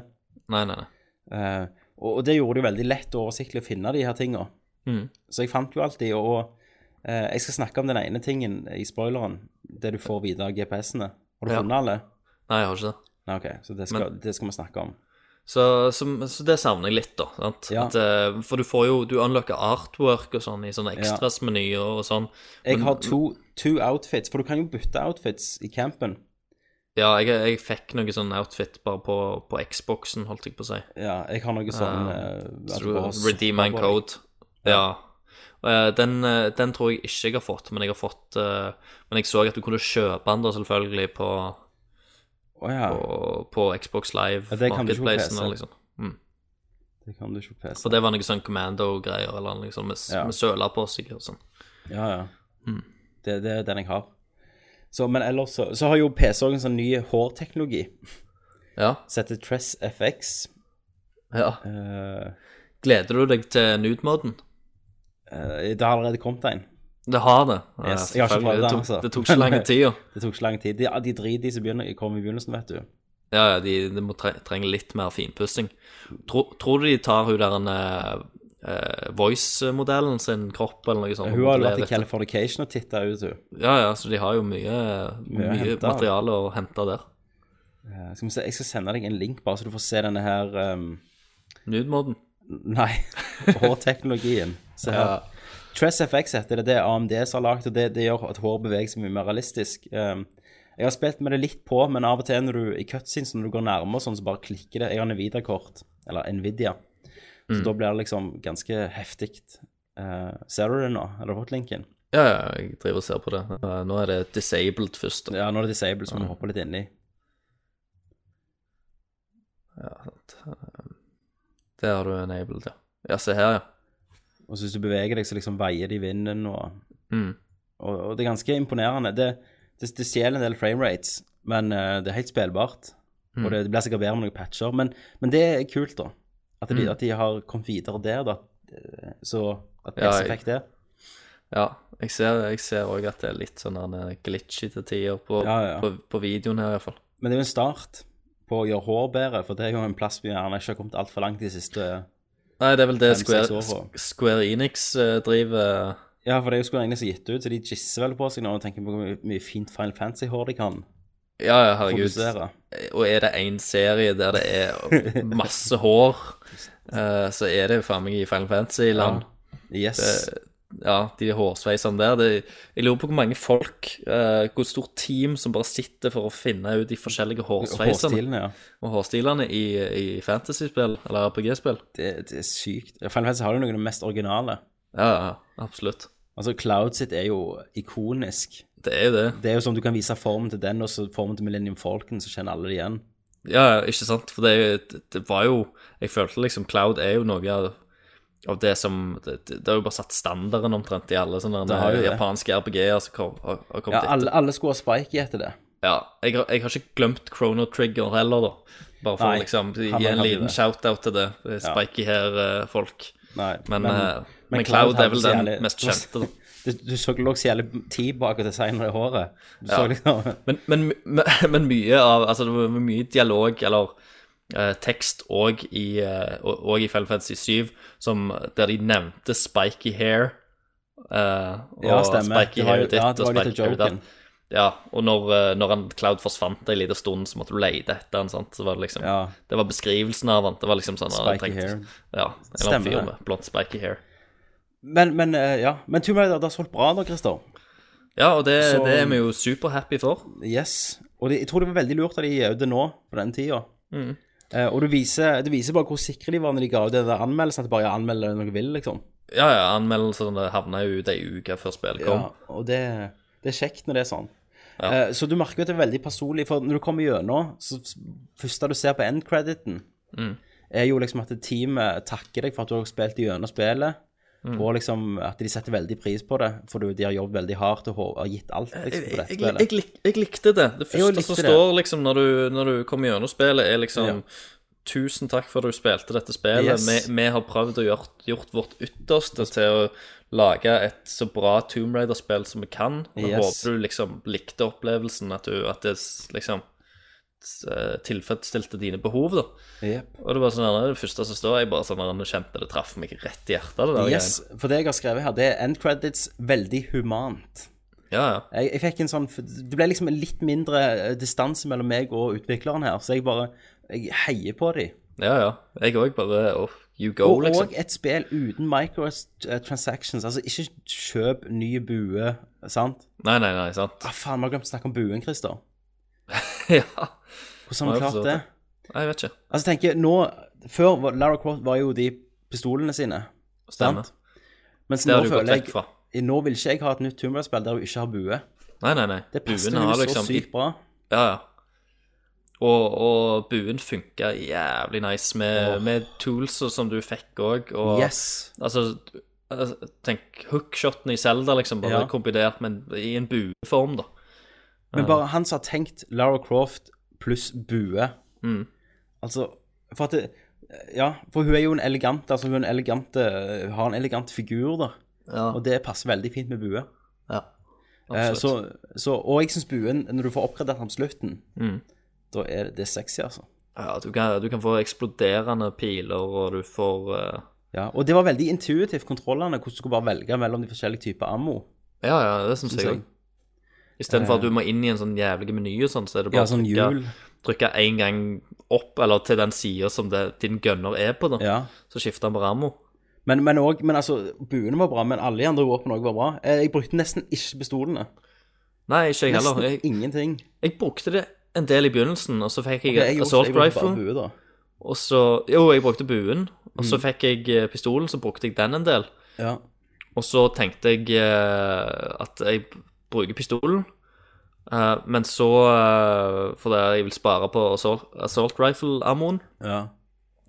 E: Nei, nei, nei.
D: Eh, og, og det gjorde det jo veldig lett og oversiktlig å finne de her tinga.
E: Mm.
D: Så jeg fant jo alltid, og, og eh, jeg skal snakke om den ene tingen i spoileren, det du får videre av GPS-ene. Har du
E: Ja.
D: funnet alle?
E: Nei, jeg har ikke det.
D: Nei, ok, så det skal, det skal vi snakke om.
E: Så, så, så det savner jeg litt, da. Sant?
D: Ja.
E: At, eh, for du får jo Du unlocker artwork og sånn i sånne ekstrasmenyer og sånn.
D: Jeg
E: Men-
D: har to, to outfits, for du kan jo bytte outfits i campen.
E: Ja, jeg, jeg fikk noe sånn outfit bare på, på Xboxen, holdt jeg på å si.
D: Ja, jeg har
E: Ah.
D: noe sånn eh, at du bare surfer
E: Redeem and
D: på deg.
E: code. Ja. Eh, Den, eh, den tror jeg ikke jeg har fått, men jeg har fått eh, Men jeg så at du kunne kjøpe den da selvfølgelig på,
D: Å ja,
E: på, på Xbox Live.
D: Ja, det kan du ikke på
E: marketplacen,
D: PC.
E: eller Liksom. Mm.
D: det kan du ikke på PC.
E: For det var noe sånn Commando-greier eller noe sånt med,
D: Ja.
E: med søler på seg og sånn.
D: Ja, ja. Det, det er den jeg har. Så, men ellers så, så har jo PC òg en sånn ny hårteknologi
E: Ja.
D: som heter Tress FX.
E: ja.
D: Eh,
E: Gleder du deg til nude-moden?
D: eh, det har allerede kommet en.
E: Det har det. Ja,
D: Yes, jeg har ikke
E: selvfølgelig.
D: prøvd
E: det,
D: den,
E: tok,
D: altså.
E: det tok ikke lang tid. ja.
D: Det tok så lang tid. De, de driter i som begynner- kommer i begynnelsen, vet du.
E: Ja, ja, de, de må tre trenger litt mer finpussing. Tro, tror du de tar hun der en voice-modellen sin kropp eller noe sånt?
D: Hun har jo vært i
E: Modellere etter?
D: Californication og titta ut, hun.
E: Ja, ja, så de har jo mye,
D: Mye å
E: mye,
D: hente, da.
E: materiale å hente der.
D: Eh, skal vi se, jeg skal sende deg en link, bare så du får se denne her um,
E: Nude-moden.
D: Nei. Hårteknologien. Se her.
H: Ja.
D: Tress FX heter det, det er AMDs har lagd, og det, det gjør at hår beveger seg mye mer realistisk. Um, jeg har spilt med det litt på, men av og til når du i cutscenes, når du går nærmere sånn, så bare klikker det. Jeg har Nvidia-kort, eller Nvidia, så da blir det liksom ganske heftig. Eh, ser du det nå? Har du fått linken?
E: Ja, ja, jeg driver og ser på det. Eh, Nå er det disabled først. da.
D: Ja, nå er det disabled, så må du hoppe litt inni.
E: Det har du enabled, ja. Ja, se her, ja.
D: Og så hvis du beveger deg, så liksom veier det i vinden, og,
E: Mm.
D: og, og det er ganske imponerende. Det, det, det stjeler en del framerates, men eh, det er helt spillbart.
E: Mm.
D: Og det, det blir sikkert bedre med noen patcher, men, men det er kult, da. At
E: Mm.
D: de, at de har kommet videre der, da. Eh, Så at
E: Ja,
D: PS
E: jeg-
D: fikk det.
E: Ja, jeg ser jeg ser òg at det er litt sånn her, eh, glitchy til tider på,
D: Ja, ja.
E: på, på videoen her, iallfall.
D: Men det er jo en start på å gjøre hår bedre, for det er jo en plass vi gjerne ikke har kommet altfor langt de siste
E: Nei, det er vel det
D: Fem, seks
E: Square,
D: år fra.
E: S- Square Enix eh, driver
D: Ja, for det er jo skulle egentlig så gitt ut, så de gisser vel på seg nå og tenker på hvor mye- mye fint Final Fantasy-hår de kan
E: Ja, ja, herregud.
D: produsere.
E: Og er det én serie der det er masse hår, eh, så er det jo faen meg i Final Fantasy-land.
D: Yes.
E: ja, de hårsveisene der. Det, jeg lurer på hvor mange folk, eh, hvor stort team som bare sitter for å finne ut de forskjellige hårsveisene
D: Hårstilene, ja.
E: og hårstilene i, i fantasy-spill, eller RPG-spill.
D: Det, det er sykt. Final Fantasy har jo noe av det mest originale.
E: Ja, ja, absolutt.
D: Altså, Cloud sitt er jo ikonisk.
E: Det er jo det.
D: Det er jo sånn du kan vise formen til den, og så formen til Millennium Falcon, så kjenner alle det igjen.
E: Ja, ja, ikke sant? For det, er jo- det- det var jo Jeg følte liksom Cloud er jo noe av, av det som det, det det har jo bare satt standarden omtrent i alle sånne
D: Det har jo det.
E: japanske RPG-er som kom, har, har kommet
D: Ja,
E: etter.
D: alle, alle skulle ha Spike i etter det.
E: Ja, jeg, har- jeg har ikke glemt Chrono Trigger heller, da. Bare for
D: Nei,
E: å liksom, gi
D: han- han
E: en
D: hadde
E: liten
D: det.
E: shout-out til det. det er
D: Ja.
E: Spiky eh, her-folk.
D: Nei,
E: men, eh, men Cloud er
D: hadde
E: vel
D: så
E: den mest kjente, da.
D: Du, du så det lå så jævlig tid bak å designe det håret. Du så liksom
E: Men, men, men, men mye av Altså, det var mye dialog, eller eh, tekst, og i, eh, og, og i Final Fantasy 7, som, der de nevnte Spiky hair. eh, og
D: Ja, stemmer.
E: Spiky
D: Det var jo-
E: hair ditt
D: ja, det
E: og
D: var litt
E: Spiky
D: av
E: hair
D: joken.
E: datt. Ja, og når, eh, når han, Cloud forsvant en liten stund, så måtte du lete etter han, sant? Så var det liksom
D: Ja.
E: Det var beskrivelsen av han. Det var liksom sånn han hadde
D: Spiky
E: trengt-
D: hair.
E: Ja, en eller annen
D: Stemmer
E: fyr
D: det.
E: med blondt spiky hair.
D: Men, men eh, ja. Men Tomb Raider, det har solgt bra da, Christer.
E: Ja, og det,
D: Så-
E: det er vi jo superhappy for.
D: Yes. Og det, jeg tror det var veldig lurt at de ga ut det nå, på den tida.
E: Mm.
D: Eh, og det viser, det viser bare hvor sikre de var når de ga ut den der anmeldelsen, at de bare ja, anmeld det når dere vil, liksom.
E: Ja, ja, anmeldelsene havna jo ut ei uke før spillet kom.
D: Ja, og det, det er kjekt når det er sånn. Eh, så du merker jo at det er veldig personlig, for når du kommer gjennom, så s- første du ser på end-crediten,
E: Mm.
D: er jo liksom at teamet takker deg for at du har spilt gjennom spillet,
E: Mm.
D: og liksom at de setter veldig pris på det, for du- de har jobbet veldig hardt og har gitt alt
E: Jeg,
D: liksom, på dette
E: Eh, jeg,
D: spillet.
E: jeg, lik, jeg likte det. Det
D: Jeg jo
E: første som
D: likte det.
E: står liksom når du, når du kommer gjennom spillet, er liksom
D: Ja.
E: Tusen takk for at du spilte dette spillet.
D: Yes.
E: Vi, vi har prøvd og gjort, gjort vårt ytterste til å lage et så bra Tomb Raider-spill som vi kan. Vi håper
D: Yes.
E: du liksom likte opplevelsen, at, du, at det s- liksom s- eh, tilfredsstilte dine behov, da.
D: Jep.
E: Og det var sånn her, det første som står, jeg bare sånn her, kjente det traff meg rett i hjertet. det der
D: Yes, for det jeg har skrevet her, det er end credits veldig humant.
E: greien. Ja, ja.
D: Jeg, jeg fikk en sånn, Det ble liksom en litt mindre eh, distanse mellom meg og utvikleren her, så jeg bare jeg heier på dem.
E: ja, ja. Jeg òg bare oh, You go,
D: Og,
E: liksom.
D: og et spill uten microtransactions. Altså, ikke kjøp ny bue, sant?
E: Nei, nei, nei, sant.
D: Ah, faen, vi har glemt å snakke om buen, Christer.
E: ja.
D: Hvordan har
E: Ja, jeg
D: vi
E: forstår
D: klart det?
E: det. Nei, jeg vet ikke.
D: Altså, tenk, nå Før var- Lara Croft var jo de pistolene sine,
E: Stemmer.
D: sant? Mens
E: Det
D: nå
E: har du gått
D: føler
E: vekk
D: jeg
E: fra.
D: Nå vil ikke jeg ha et nytt Tomb Raider-spill der hun ikke har bue.
E: Nei, nei, nei.
D: Det passer
E: Buen
D: jo
E: har
D: så
E: liksom
D: sykt bra.
E: Ja, ja. Og, og buen funka jævlig nice med, med tools og som du fikk òg, og
D: Yes.
E: Altså, altså, tenk hookshotene i Zelda, liksom, bare
D: Ja.
E: kombinert, men i en bueform, da.
D: Men bare han som har tenkt Lara Croft pluss bue.
E: Mm.
D: Altså, for at det, Ja, for hun er jo en elegant, altså hun er en elegant, eh, har en elegant figur, da. Og det passer veldig fint med bue.
E: Ja.
D: Eh,
E: Absolutt.
D: så, så, og jeg syns buen, når du får oppgradert den på slutten, da er det, det er sexy, altså.
E: Mm. Ja, du kan, du kan få eksploderende piler, og du får eh,
D: Ja, og det var veldig intuitivt, kontrollene, hvordan du skulle bare velge mellom de forskjellige typer ammo.
E: Ja, ja, det syns jeg
D: jeg.
E: òg. Istedenfor at du må inn i en sånn jævlig meny og sånn, så er det bare
D: Ja, sånn hjul.
E: trykke én gang opp eller til den sida som det, din gunner er på, da.
D: Ja.
E: Så skifter han på rammo.
D: Men, men, også, men altså, buene var bra, men alle de andre våpnene også var bra. Eh, Jeg brukte nesten ikke pistolene.
E: Nei, ikke jeg
D: Nesten
E: heller. Jeg,
D: ingenting.
E: jeg brukte det en del i begynnelsen, og så fikk jeg,
D: Jeg gjorde-
E: assault
D: jeg brukte bare
E: rifle.
D: bue, da.
E: Og så Jo, jeg brukte buen, og
D: Mm.
E: så fikk jeg eh, pistolen, så brukte jeg den en del.
D: Ja.
E: Og så tenkte jeg eh, at jeg bruker pistolen, eh, men så eh, For det er jeg vil spare på assault, assault rifle-ammoen.
D: ja.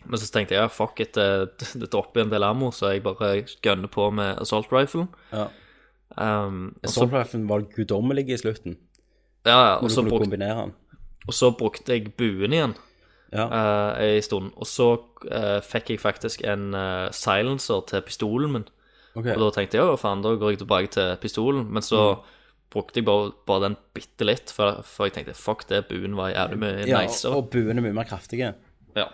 E: Men så tenkte jeg ja, fuck it, det, det dropper en del ammo, så jeg bare gønner på med assault rifle.
D: Ja.
E: Um, og så,
D: Assault rifle var guddommelig i slutten.
E: ja, ja,
D: Når
E: og
D: du
E: så
D: kunne
E: brukte,
D: kombinere den.
E: og så brukte jeg buen igjen
D: Ja.
E: eh, en stund. Og så eh, fikk jeg faktisk en eh, silencer til pistolen min.
D: ok.
E: Og da tenkte jeg ja, faen, da går jeg tilbake til pistolen. Men så
D: Mm.
E: brukte jeg bare, bare den bitte litt, for, for jeg tenkte fuck det, buen var jævlig mye
D: ja,
E: nicer.
D: og buene er mye mer kraftige.
E: Ja.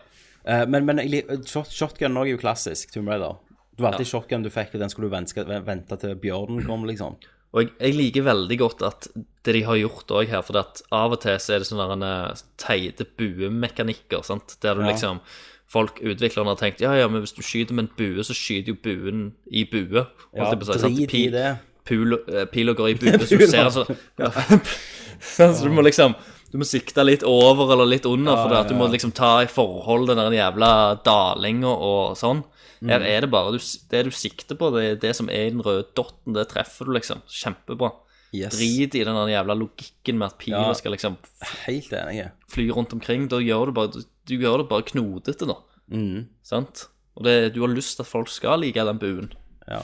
D: Eh, men men jeg lik- shot, shotgun også er jo klassisk Tomb Raider. Det var alltid
E: Ja.
D: shotgun du fikk, og den skulle du venske, vente til bjørnen kom, liksom.
E: Og jeg, jeg liker veldig godt at det de har gjort òg her, for at av og til så er det sånne der, eh, teite buemekanikker, sant, der du
D: Ja.
E: liksom Folk, utviklerne, har tenkt ja, ja, men hvis du skyter med en bue, så skyter jo buen i bue.
D: Ja,
E: holdt jeg på å si, sant?
D: drit i
E: Pil-
D: det.
E: pul- eh, Pila går i bue, så du ser altså ja. Så du må liksom du må sikte litt over eller litt under, for det at du må liksom ta i forhold den der jævla dalinga og sånn. Her
D: Mm.
E: er det bare du, det du sikter på, det er det som er i den røde dotten, det treffer du liksom. Kjempebra.
D: Yes.
E: Drit i den der jævla logikken med at pila
D: Ja.
E: skal liksom
D: Helt enig.
E: fly rundt omkring. Da gjør du bare, du, du gjør det bare knodete, da.
D: Mm.
E: Sant? Og det, du har lyst til at folk skal like den buen.
D: Ja.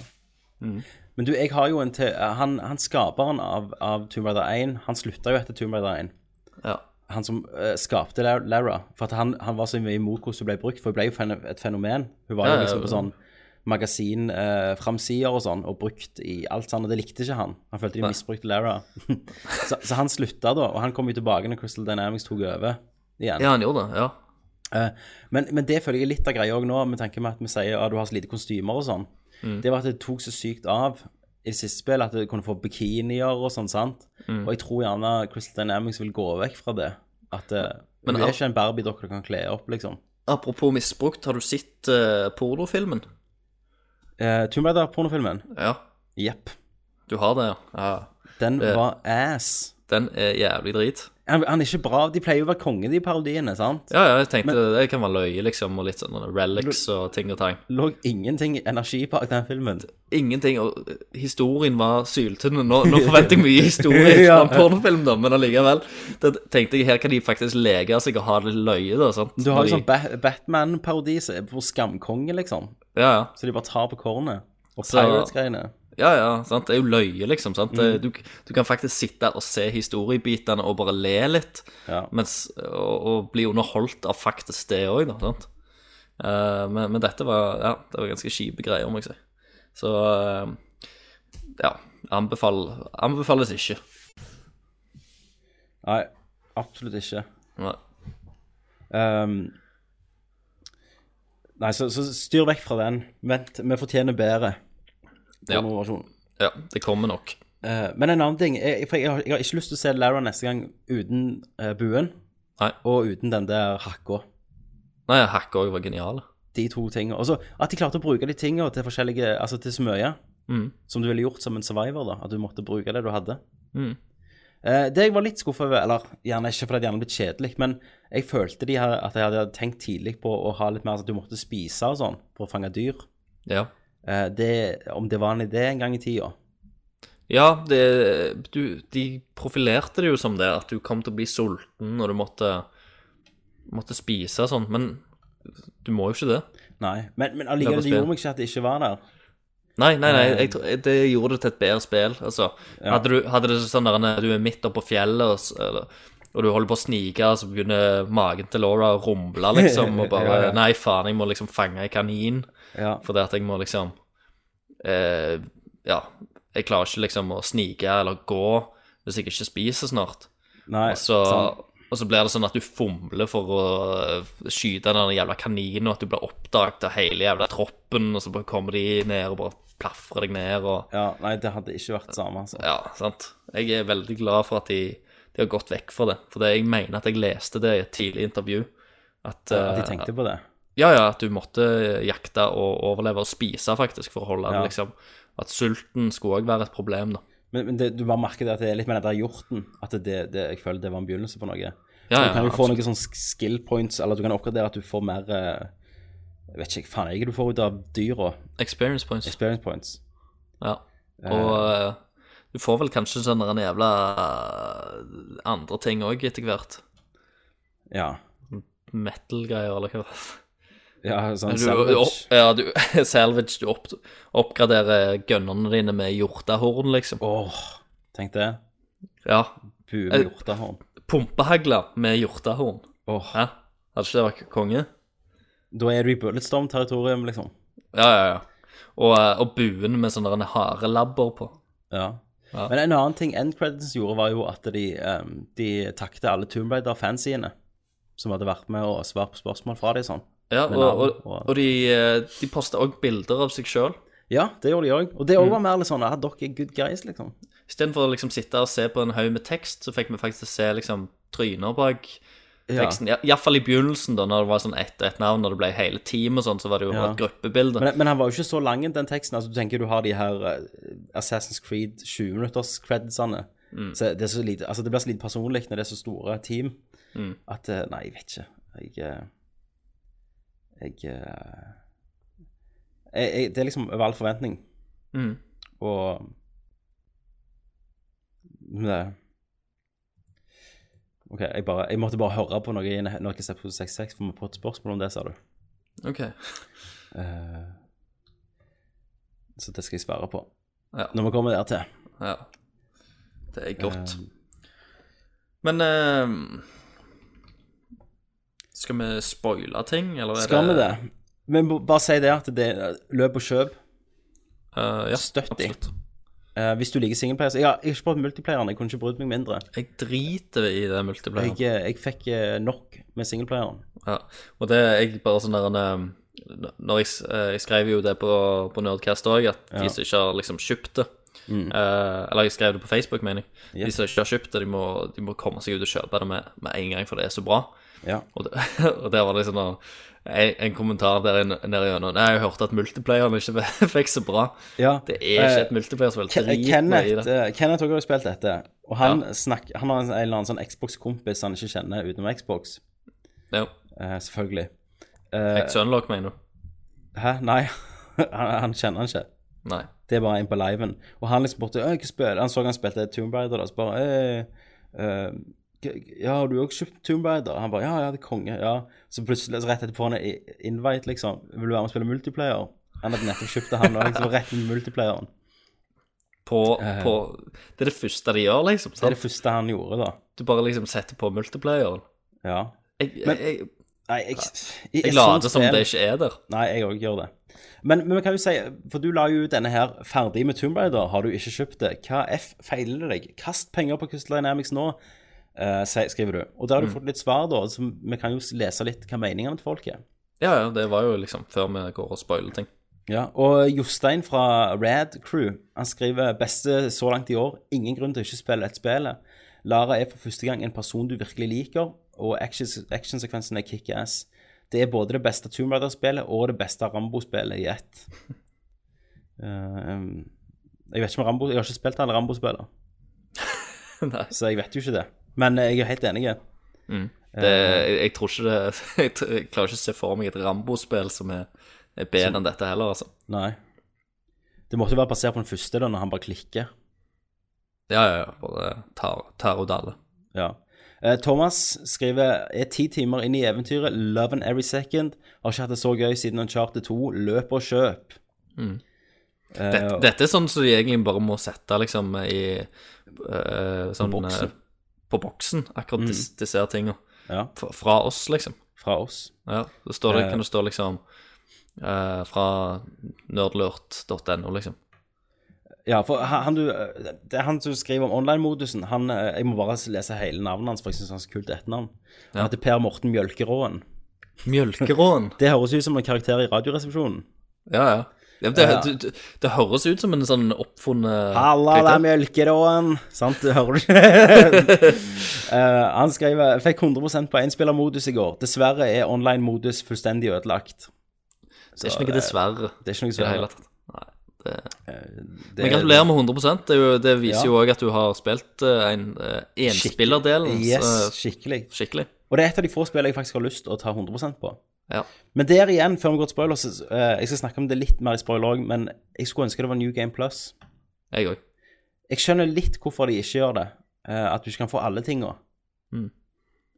D: Men du, jeg har jo en til Han, han skaperen av, av Tomb Raider 1, han slutta jo etter Tomb Raider 1.
E: Ja.
D: Han som eh, skapte Lar- Lara. For at han, han var så mye imot hvordan hun ble brukt, for hun ble jo fen et fenomen. Hun var
E: Ja,
D: jo
E: ja,
D: liksom på
E: ja.
D: sånn magasinframsider eh, framsider og sånn, og brukt i alt sånn, og det likte ikke han. Han følte de misbrukte Lara. så, så han slutta da, og han kom jo tilbake når Crystal Dynamics tok over igjen.
E: ja, han gjorde det. ja.
D: Eh, Men, men det føler jeg er litt av greia òg nå, med tanke med at vi sier at du har så lite kostymer og sånn.
E: Mm.
D: Det var at det tok så sykt av i siste spill at du kunne få bikinier og sånn, sant.
E: Mm.
D: Og jeg tror gjerne Crystal Dynamics vil gå vekk fra det. At eh,
E: Men
D: hun
E: al-
D: er ikke en Barbie-dokke du kan kle opp, liksom.
E: Apropos misbrukt, har du sett eh, pornofilmen?
D: Uh, Tomb Raider-pornofilmen.
E: Ja,
D: Jepp.
E: du har det, ja.
D: Den
E: Eh.
D: var ass.
E: Den er jævlig drit.
D: Han, han er ikke bra. De pleier jo å være konge, de parodiene, sant?
E: Ja, ja, jeg tenkte det kan være løye, liksom, og litt sånn relics og ting og tang.
D: Lå ingenting energi bak den filmen.
E: Ingenting, og eh, historien var syltynn. Nå, nå forventer jeg mye historie fra
D: Ja.
E: en pornofilm, da, men allikevel. Da tenkte jeg, her kan de faktisk leke seg og ha det litt løye, da, sant?
D: Du har
E: Når
D: jo sånn
E: de,
D: ba Batman-parodi som er på skamkonge, liksom.
E: Ja, ja.
D: Så de bare tar på kornet. Og
E: Så-
D: Pirates-greiene.
E: Ja, ja, sant? det er jo løye, liksom. sant? Det- Du, du kan faktisk sitte der og se historiebitene og bare le litt,
D: Ja.
E: mens, og, og bli underholdt av faktisk det òg, da. sant? Eh, men, men dette var ja, det var ganske kjipe greier, må jeg si. Så eh, ja, anbefal, anbefales ikke.
D: Nei, absolutt ikke.
E: Nei.
D: Ehm, nei, så, så styr vekk fra den. Vent, vi fortjener bedre.
E: Ja.
D: Pornoversjon.
E: Ja, det kommer nok.
D: Eh, men en annen ting jeg, For jeg har, jeg har ikke lyst til å se Lara neste gang uten eh, buen
E: Nei.
D: og uten den der hakka.
E: Nei, hack òg var geniale.
D: De to tingene. Og så at de klarte å bruke de tingene til forskjellige Altså til så mye
E: Mm.
D: som du ville gjort som en survivor, da. At du måtte bruke det du hadde.
E: Mm.
D: Eh, det jeg var litt skuffa over, eller gjerne ikke fordi det gjerne blitt kjedelig, men jeg følte de her, at jeg hadde tenkt tidlig på å ha litt mer sånn at du måtte spise og sånn for å fange dyr.
E: Ja.
D: Eh, det, om det var en idé en gang i tida.
E: Ja, det, du, de profilerte det jo som det, at du kom til å bli sulten og du måtte, måtte spise og sånn, men du må jo ikke det.
D: Nei. Men,
E: Det
D: men
E: var
D: allikevel, det
E: spill.
D: gjorde meg ikke at det ikke var der.
E: Nei, nei, nei, jeg, tror- det gjorde det til et bedre spill. Altså,
D: Ja.
E: hadde, du, hadde det sånn der når du er midt oppe på fjellet og, s- eller, og du holder på å snike, og så begynner magen til Laura å rumle, liksom, og bare
D: Ja, ja.
E: Nei, faen, jeg må liksom fange en kanin.
D: Ja.
E: Fordi at jeg må liksom eh, Ja, jeg klarer ikke liksom å snike eller gå hvis jeg ikke spiser snart.
D: Nei,
E: Og så,
D: sant.
E: og så blir det sånn at du fomler for å eh, skyte den jævla kaninen, og at du blir oppdaget av hele jævla troppen, og så bare kommer de ned og bare plafrer deg ned og
D: ja, nei, det hadde ikke vært det samme, altså.
E: Ja, sant. Jeg er veldig glad for at de, de har gått vekk fra det. For det, jeg mener at jeg leste det i et tidlig intervju, At,
D: At de
E: eh,
D: tenkte på det.
E: Ja, ja, at du måtte eh, jakte og overleve og spise faktisk for å holde
D: Ja.
E: det, liksom. At sulten skulle også være et problem, da.
D: Men, men det, du bare merker det at det er litt med den der hjorten. At det, det, jeg føler det var en begynnelse på noe.
E: Ja,
D: du kan jo
E: ja,
D: få noen sånne sk- skill points, eller du kan oppgradere at du får mer eh, Jeg vet ikke, faen jeg ikke du får ut av dyra.
E: Experience points.
D: Experience points.
E: Ja. Og eh, du får vel kanskje sånne der jævla eh, andre ting òg etter hvert.
D: Ja.
E: Metal-greier, eller hva. det var.
D: ja sånn
E: Du,
D: salvage.
E: opp, ja, du, salvage, du opp, oppgraderer gønnerne dine med hjortehorn, liksom.
D: Åh, tenk det.
E: Ja.
D: Bue
E: Eh,
D: med hjortehorn.
E: Pumpehagla med hjortehorn.
D: Åh,
E: Hæ? Hadde ikke det vært konge?
D: Da er du i Bulletstorm-territorium, liksom.
E: Ja, ja, ja. Og, eh, og buen med sånne der harelabber på.
D: Ja.
E: Ja.
D: Men en annen ting End Credits gjorde, var jo at de, um, de takte alle Tomb Raider-fansiene som hadde vært med og svart på spørsmål fra dem sånn.
E: Ja,
D: Med
E: og, og,
D: navn og-
E: og de, eh, de posta òg bilder av seg sjøl.
D: Ja, det gjorde de òg. Og det
E: Mm.
D: òg var mer litt sånn ja, dere er good guys, liksom.
E: Istedenfor å liksom sitte og se på en haug med tekst, så fikk vi faktisk se liksom tryner bak
D: Ja.
E: teksten. Ja. Iallfall i begynnelsen, da når det var sånn ett og ett navn, når det ble hele team og sånn, så var det jo
D: Ja.
E: et gruppebilde.
D: Men, men han var jo ikke så lang, den teksten. Altså, du tenker du har de her eh, Assassin's Creed 20-minutters-credsene. Så det, er så lite, altså, det blir så lite personlig når det er så store team at eh, Nei, jeg vet ikke. Jeg eh, Jeg, eh, jeg, jeg Det er liksom over all forventning.
E: Mm.
D: Og mm, det. OK, jeg, bare, jeg måtte bare høre på noe i Norges episode 66, for vi får et spørsmål om det, sa du.
E: Ok.
D: Eh, Så det skal jeg svare på.
E: Ja.
D: Når vi kommer dertil.
E: ja. Det er godt.
D: Eh,
E: Men eh, Skal vi spoile ting, eller er
D: skal vi det? Men b- bare si det at det er løp og kjøp.
E: Eh, ja,
D: Støtt de.
E: absolutt.
D: Eh, hvis du liker singleplayer så- Jeg har jeg har ikke prøvd multiplayeren, jeg kunne ikke brydd meg mindre.
E: Jeg driter i det multiplayeren.
D: Jeg, eh, jeg fikk eh, nok med singleplayeren.
E: Ja, og det er jeg bare sånn der en, eh, Når jeg, s- eh, jeg skrev jo det på, på Nerdcast òg, at
D: Ja. Mm.
E: de som ikke har liksom kjøpt det eh, Eller jeg skrev det på Facebook, mener jeg. De
D: Yep.
E: som ikke har kjøpt det, de må, de må komme seg ut og kjøpe det med, med en gang, for det er så bra.
D: Ja.
E: Og, det, og der var det liksom en, en, en kommentar der inne- der igjennom. Nei, jeg hørte at multiplayeren ikke fikk så bra.
D: Ja,
E: Det er ikke
D: eh,
E: et multiplayerspill.
D: Ken-
E: Drit meg i
D: Kenneth
E: det.
D: eh, Kenneth også har jo spilt dette, og han,
E: Ja.
D: snakk- han har en, en eller annen sånn Xbox-kompis han ikke kjenner utenom Xbox,
E: Ja,
D: eh, selvfølgelig. eh,
E: Sunlock, mener du?
D: Hæ? Nei, han, han kjenner han ikke.
E: Nei.
D: Det er bare inn på liven. Og han liksom borte «Øy, hva spiller? Han så han spilte Tomb Raider, da, så bare «Øy, eh, g- Ja, har du òg kjøpt Tomb Raider? Han bare Ja, ja, det er konge. Ja. Så plutselig, så rett etterpå, han er i- invite, liksom. Vil du være med og spille multiplayer? Han hadde nettopp kjøpt det, han òg. Liksom, rett inn i multiplayeren.
E: På, på, det er det første de gjør, liksom.
D: eh, Det er det
E: Sant?
D: første han gjorde, da.
E: Du bare liksom setter på multiplayeren.
D: Ja.
E: Jeg,
D: Men-
E: jeg, jeg,
D: Nei, jeg, i- i
E: jeg
D: et
E: later
D: sånt
E: som
D: spill-
E: det ikke er der.
D: Nei, jeg òg gjør det. Men, men vi kan jo si, for du la jo ut denne her ferdig med Tomb Raider, har du ikke kjøpt det? Hva f feiler det deg? Kast penger på Crystal Dynamics nå, eh, si- skriver du. Og da har du fått litt svar, da. Så vi kan jo lese litt hva meningene til folk er.
E: Ja, ja, det var jo liksom før vi går og spoiler ting.
D: Ja, Og Jostein fra Rad Crew han skriver beste så langt i år. Ingen grunn til å ikke spille et spill. Lara er for første gang en person du virkelig liker, og action- actionsekvensen er kickass. Det er både det beste Tomb Raider-spillet og det beste Rambo-spillet i ett. Eh, um, jeg vet ikke om Rambo, jeg har ikke spilt alle Rambo-spillene,
E: Nei,
D: så jeg vet jo ikke det. Men eh, jeg er helt enig.
E: det, jeg, jeg tror ikke det jeg, tr- jeg klarer ikke å se for meg et Rambo-spill som er, er bedre enn dette heller, altså.
D: Nei. Det måtte jo være basert på den første, da, når han bare klikker.
E: Ja, ja, ja. Bare tar, tar ut alle.
D: Ja. Eh, Thomas skriver er ti timer inn i eventyret, love and every second. Har ikke hatt det så gøy siden Uncharted 2. Løp og kjøp. Eh,
E: Dette, dette er sånn som de egentlig bare må sette liksom i eh, sånn,
D: På boksen.
E: eh, På boksen, akkurat dis- disse her tinga.
D: Ja,
E: Fra, fra oss, liksom.
D: fra oss.
E: Ja, da står det,
D: Eh.
E: kan det stå liksom eh, fra nerdlurt.no, liksom.
D: Ja, for han han du eh, Det er han som skriver om online-modusen. Han eh, Jeg må bare lese hele navnet hans, for jeg syns han har så kult etternavn. Han
E: Ja.
D: heter Per Morten Mjølkeråen.
E: Mjølkeråen.
D: Det høres ut som en karakter i Radioresepsjonen.
E: Ja, ja. Det, det, det, det høres ut som en sånn oppfunnet
D: Halla, det er
E: karakter.
D: mjølkeråen. Sant, det hører du ikke? Eh, han skriver Fikk 100 på enspillermodus i går. Dessverre er online-modus fullstendig ødelagt.
E: Det er ikke noe dessverre.
D: Det er ikke noe
E: i det
D: svært.
E: hele tatt. Nei, det... Men gratulerer med 100 Det, er jo, det viser
D: Ja.
E: jo òg at du har spilt eh, en eh, enspillerdelen eh,
D: Yes, skikkelig.
E: skikkelig.
D: Og det er et av de få spillene jeg faktisk har lyst til å ta 100 på.
E: Ja.
D: Men der igjen, før vi går til spoiler, så, eh, jeg skal snakke om det litt mer i spoiler òg, men jeg skulle ønske det var New Game Plus.
E: Jeg òg.
D: Jeg skjønner litt hvorfor de ikke gjør det. eh, at du ikke kan få alle tinga.
E: Mm.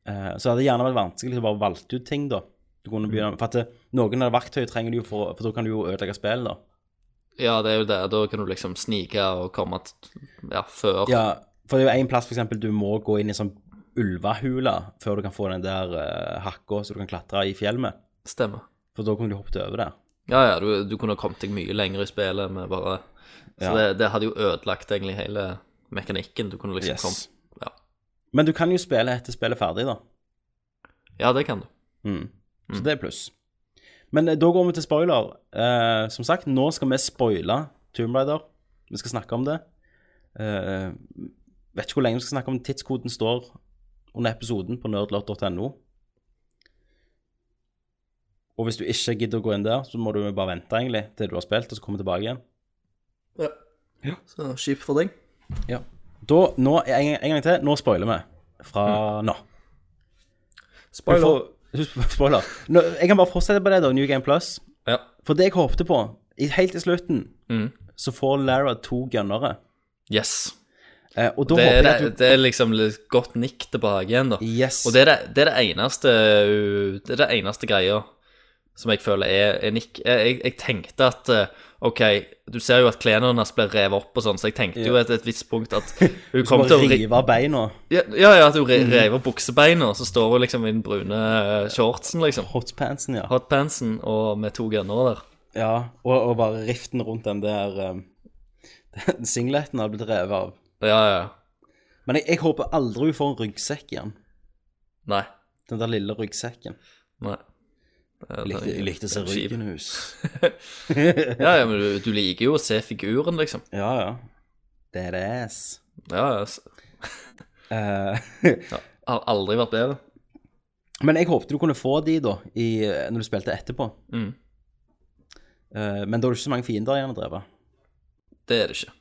D: Eh, så hadde det gjerne vært vanskelig å bare valgte ut ting, da. Du kunne
E: Mm.
D: begynne, for at det, Noen av verktøyene trenger du jo, for, for da kan du jo ødelegge spill, da.
E: Ja, det er jo det. Da kan du liksom snike og komme til Ja, før.
D: Ja, for det er jo en plass for eksempel du må gå inn i sånn ulvehule før du kan få den der eh, hakka så du kan klatre i fjell med.
E: Stemmer.
D: For da kunne du hoppet over der.
E: Ja, ja, du, du kunne ha kommet deg mye lenger i spillet med bare Så
D: Ja.
E: det, det hadde jo ødelagt egentlig hele mekanikken. Du kunne liksom
D: Yes.
E: kommet ja.
D: Men du kan jo spille etter spillet er ferdig, da.
E: ja, det kan du.
D: Mm. Så det er pluss. Men eh, da går vi til spoiler. Eh, som sagt, nå skal vi spoile Tomb Raider. Vi skal snakke om det. Eh, vet ikke hvor lenge vi skal snakke om det. tidskoden står under episoden på nerdlot.no. Og hvis du ikke gidder å gå inn der, så må du bare vente egentlig til du har spilt, og så komme tilbake igjen.
E: Ja. Så kjipt for deg.
D: Da, nå, en, en gang til, nå spoiler vi fra nå.
E: Spoiler.
D: For- spoiler. Nå, jeg kan bare fortsette på det, da. New Game Plus.
E: Ja.
D: For det jeg håpte på, i- helt til slutten,
E: Mhm.
D: så får Lara to gunnere.
E: Yes.
D: Eh, og da
E: Det
D: håper
E: er,
D: jeg
E: det,
D: at du
E: det er liksom litt godt nikk tilbake igjen, da.
D: Yes.
E: Og det er det, det, er det eneste Det er det eneste greia som jeg føler er, er nikk. Jeg, jeg, jeg tenkte at eh, OK, du ser jo at klærne hennes blir revet opp og sånn, så jeg tenkte jo et, et visst punkt at hun
D: Bare
E: kom til å ri-
D: rive Mm. av beina.
E: Ja, ja, ja, at hun re rever buksebeina, og så står hun liksom i den brune eh, shortsen, liksom.
D: Hotpantsen, ja.
E: Hotpantsen og med to gunner der.
D: ja og, og bare riften rundt den der um, den singleten hadde blitt revet av.
E: Ja, ja, ja.
D: Men jeg, jeg håper aldri hun får en ryggsekk igjen.
E: Nei.
D: Den der lille ryggsekken.
E: Nei. Det er-
D: Jeg likte, jeg likte å se
E: det er kjipt.
D: ryggen hennes.
E: Ja, ja, men du, du liker jo å se figuren, liksom.
D: Ja, ja. Det er det ass.
E: Ja, ja. s-
D: Eh,
E: Har aldri vært bedre.
D: Men jeg håpte du kunne få de da, i, når du spilte etterpå.
E: Mm.
D: Eh, men da er det ikke så mange fiender igjen å dreve.
E: Det er det ikke.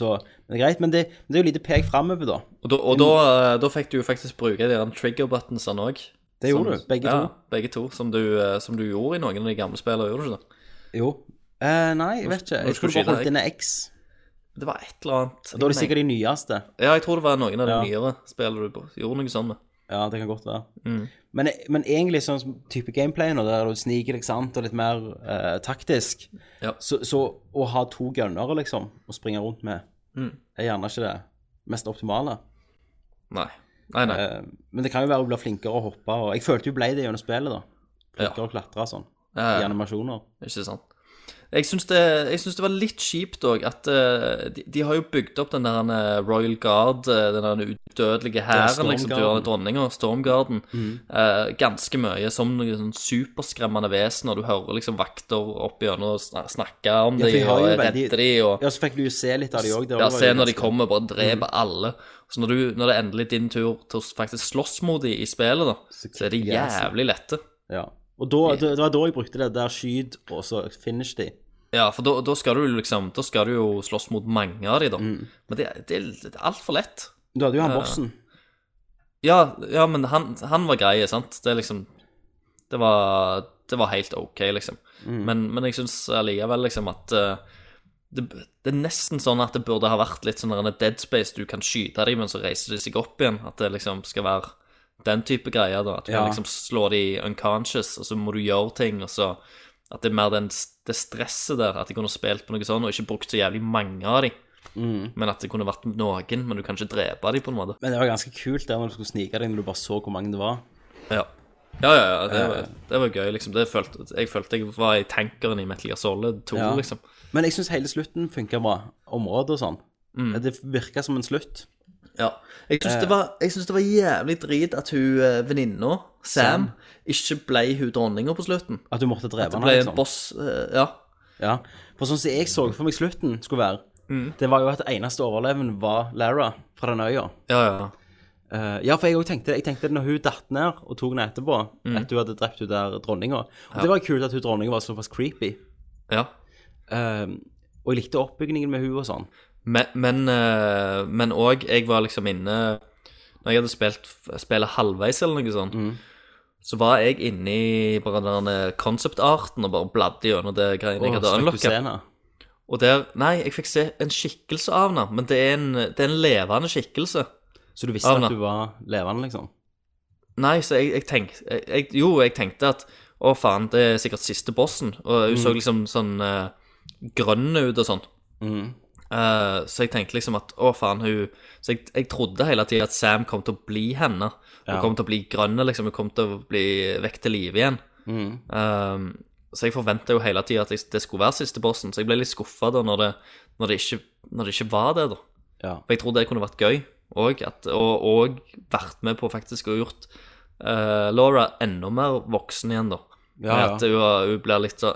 D: Så, men det er greit, men det, men det er jo lite pek framover, da.
E: Og da, og da, eh, da fikk du jo faktisk bruke de der trigger buttonsene òg.
D: Det gjorde du, begge
E: ja,
D: to.
E: Begge to, som du, eh, som du gjorde i noen av de gamle spillene, gjorde du ikke det?
D: Jo. Eh, nei, jeg vet ikke.
E: Nå
D: Jeg
E: skal du
D: tror du bare
E: skyte
D: holdt
E: deg.
D: inne X.
E: Det var et eller annet
D: Da er det sikkert de nyeste.
E: Ja, jeg tror det var noen av de
D: Ja.
E: nyere spillene du på- gjorde noe sånn med. Mm.
D: Ja, det kan godt være. Men, men egentlig sånn som type gameplay nå, der du sniker deg sant, og litt mer eh, taktisk,
E: Ja.
D: så, så å ha to gunnere, liksom, å springe rundt med,
E: Mm.
D: er gjerne ikke det mest optimale.
E: Nei. Nei, nei.
D: Eh, men det kan jo være å bli flinkere å hoppe, og jeg følte jo ble det gjennom spillet, da. Flinkere
E: Ja.
D: å klatre og sånn,
E: Ja,
D: i
E: ja.
D: animasjoner.
E: Ikke sant. Jeg syns det, jeg syns det var litt kjipt òg at eh, de, de har jo bygd opp den der eh, Royal Guard, eh, den der udødelige hæren
D: Stormgarden. Mm.
E: liksom, til dronninga, Stormgarden, eh, ganske mye som noen sånn superskremmende vesen, og du hører liksom vakter opp gjennom og sna- snakke om
D: Ja, for de
E: dem
D: har
E: og
D: jo veldig-
E: redde dem og
D: Ja, så fikk du jo Mm. se litt av de òg.
E: ja, se når de kommer, bare dreper alle. Så når, du, når det er endelig din tur til å faktisk slåss mot dem i spillet, da, så, er de
D: kicker jeg, altså.
E: jævlig lette.
D: Ja. Og da, det, det var da jeg brukte det der skyt, og så finish de.
E: Ja, for da, da skal du liksom Da skal du jo slåss mot mange av de, da. Men det, det er litt- altfor lett.
D: Du hadde jo han bossen.
E: Ja, ja men han, han var grei, sant? Det er liksom Det var, det var helt OK, liksom. Men, men jeg syns allikevel liksom at eh, det, det er nesten sånn at det burde ha vært litt sånn der en dead space. Du kan skyte dem, men så reiser de seg opp igjen. At det liksom skal være den type greier. da, At du
D: Ja.
E: kan liksom slå dem unconscious, og så må du gjøre ting. og så At det er mer den, det stresset der. At de kunne spilt på noe sånt og ikke brukt så jævlig mange av dem. Men at det kunne vært noen, men du kan ikke drepe dem på en måte.
D: Men det var ganske kult der når du skulle snike deg, når du bare så hvor mange det var.
E: Ja. Ja, ja, ja det,
D: Eh.
E: var, det var gøy, liksom. Det følte, jeg følte jeg var i tankeren i Metal Gear Solid 2,
D: Ja.
E: liksom.
D: Men jeg syns hele slutten funka bra. Området og sånn.
E: Mm.
D: Det virka som en slutt.
E: Ja. Jeg syns
D: Eh.
E: det, var- jeg syns det var jævlig drit at hun eh, venninna, Sam, ikke ble hun dronninga på slutten.
D: At du måtte dreve
E: Det
D: den,
E: ble en
D: liksom.
E: boss eh, Ja.
D: Ja. For sånn som jeg så for meg slutten skulle være,
E: Mm.
D: det var jo at eneste overleven var Lara fra den øya.
E: Ja, ja.
D: Eh, ja, for jeg òg tenkte jeg tenkte når hun datt ned og tok henne etterpå,
E: Mm.
D: at hun hadde drept hun der dronninga. Og det var kult at hun dronninga var såpass creepy.
E: ja.
D: Eh, og jeg likte oppbygningen med hun og sånn.
E: Men- Men eh, men òg, jeg var liksom inne Når jeg hadde spilt spillet halvveis eller noe sånt,
D: Mm.
E: så var jeg inne i bare den der concept-arten og bare bladde gjennom det greiene jeg hadde
D: Åh,
E: unlocka.
D: Sekucena.
E: Og der Nei, jeg fikk se en skikkelse av henne, men det er en, det er en levende skikkelse.
D: Så du visste
E: Avna.
D: at du var levende, liksom?
E: Nei, så jeg, jeg tenkte jeg, jeg, Jo, jeg tenkte at å, faen, det er sikkert siste bossen. Og hun så liksom sånn eh, grønn ut og sånn.
D: Mhm.
E: Eh, så jeg tenkte liksom at å, faen, hun Så jeg, jeg trodde hele tida at Sam kom til å bli henne. Hun
D: Ja.
E: kom til å bli grønn, liksom. Hun kom til å bli vekk til live igjen.
D: Mhm.
E: Ehm, så jeg forventa jo hele tida at jeg, det skulle være siste bossen, så jeg ble litt skuffa da når det, når, det ikke, når det ikke var det, da.
D: Ja.
E: For jeg tror det kunne vært gøy òg, og, og vært med på faktisk å gjort eh, Laura enda mer voksen igjen, da.
D: Ja,
E: Med
D: ja.
E: At hun, hun blir litt så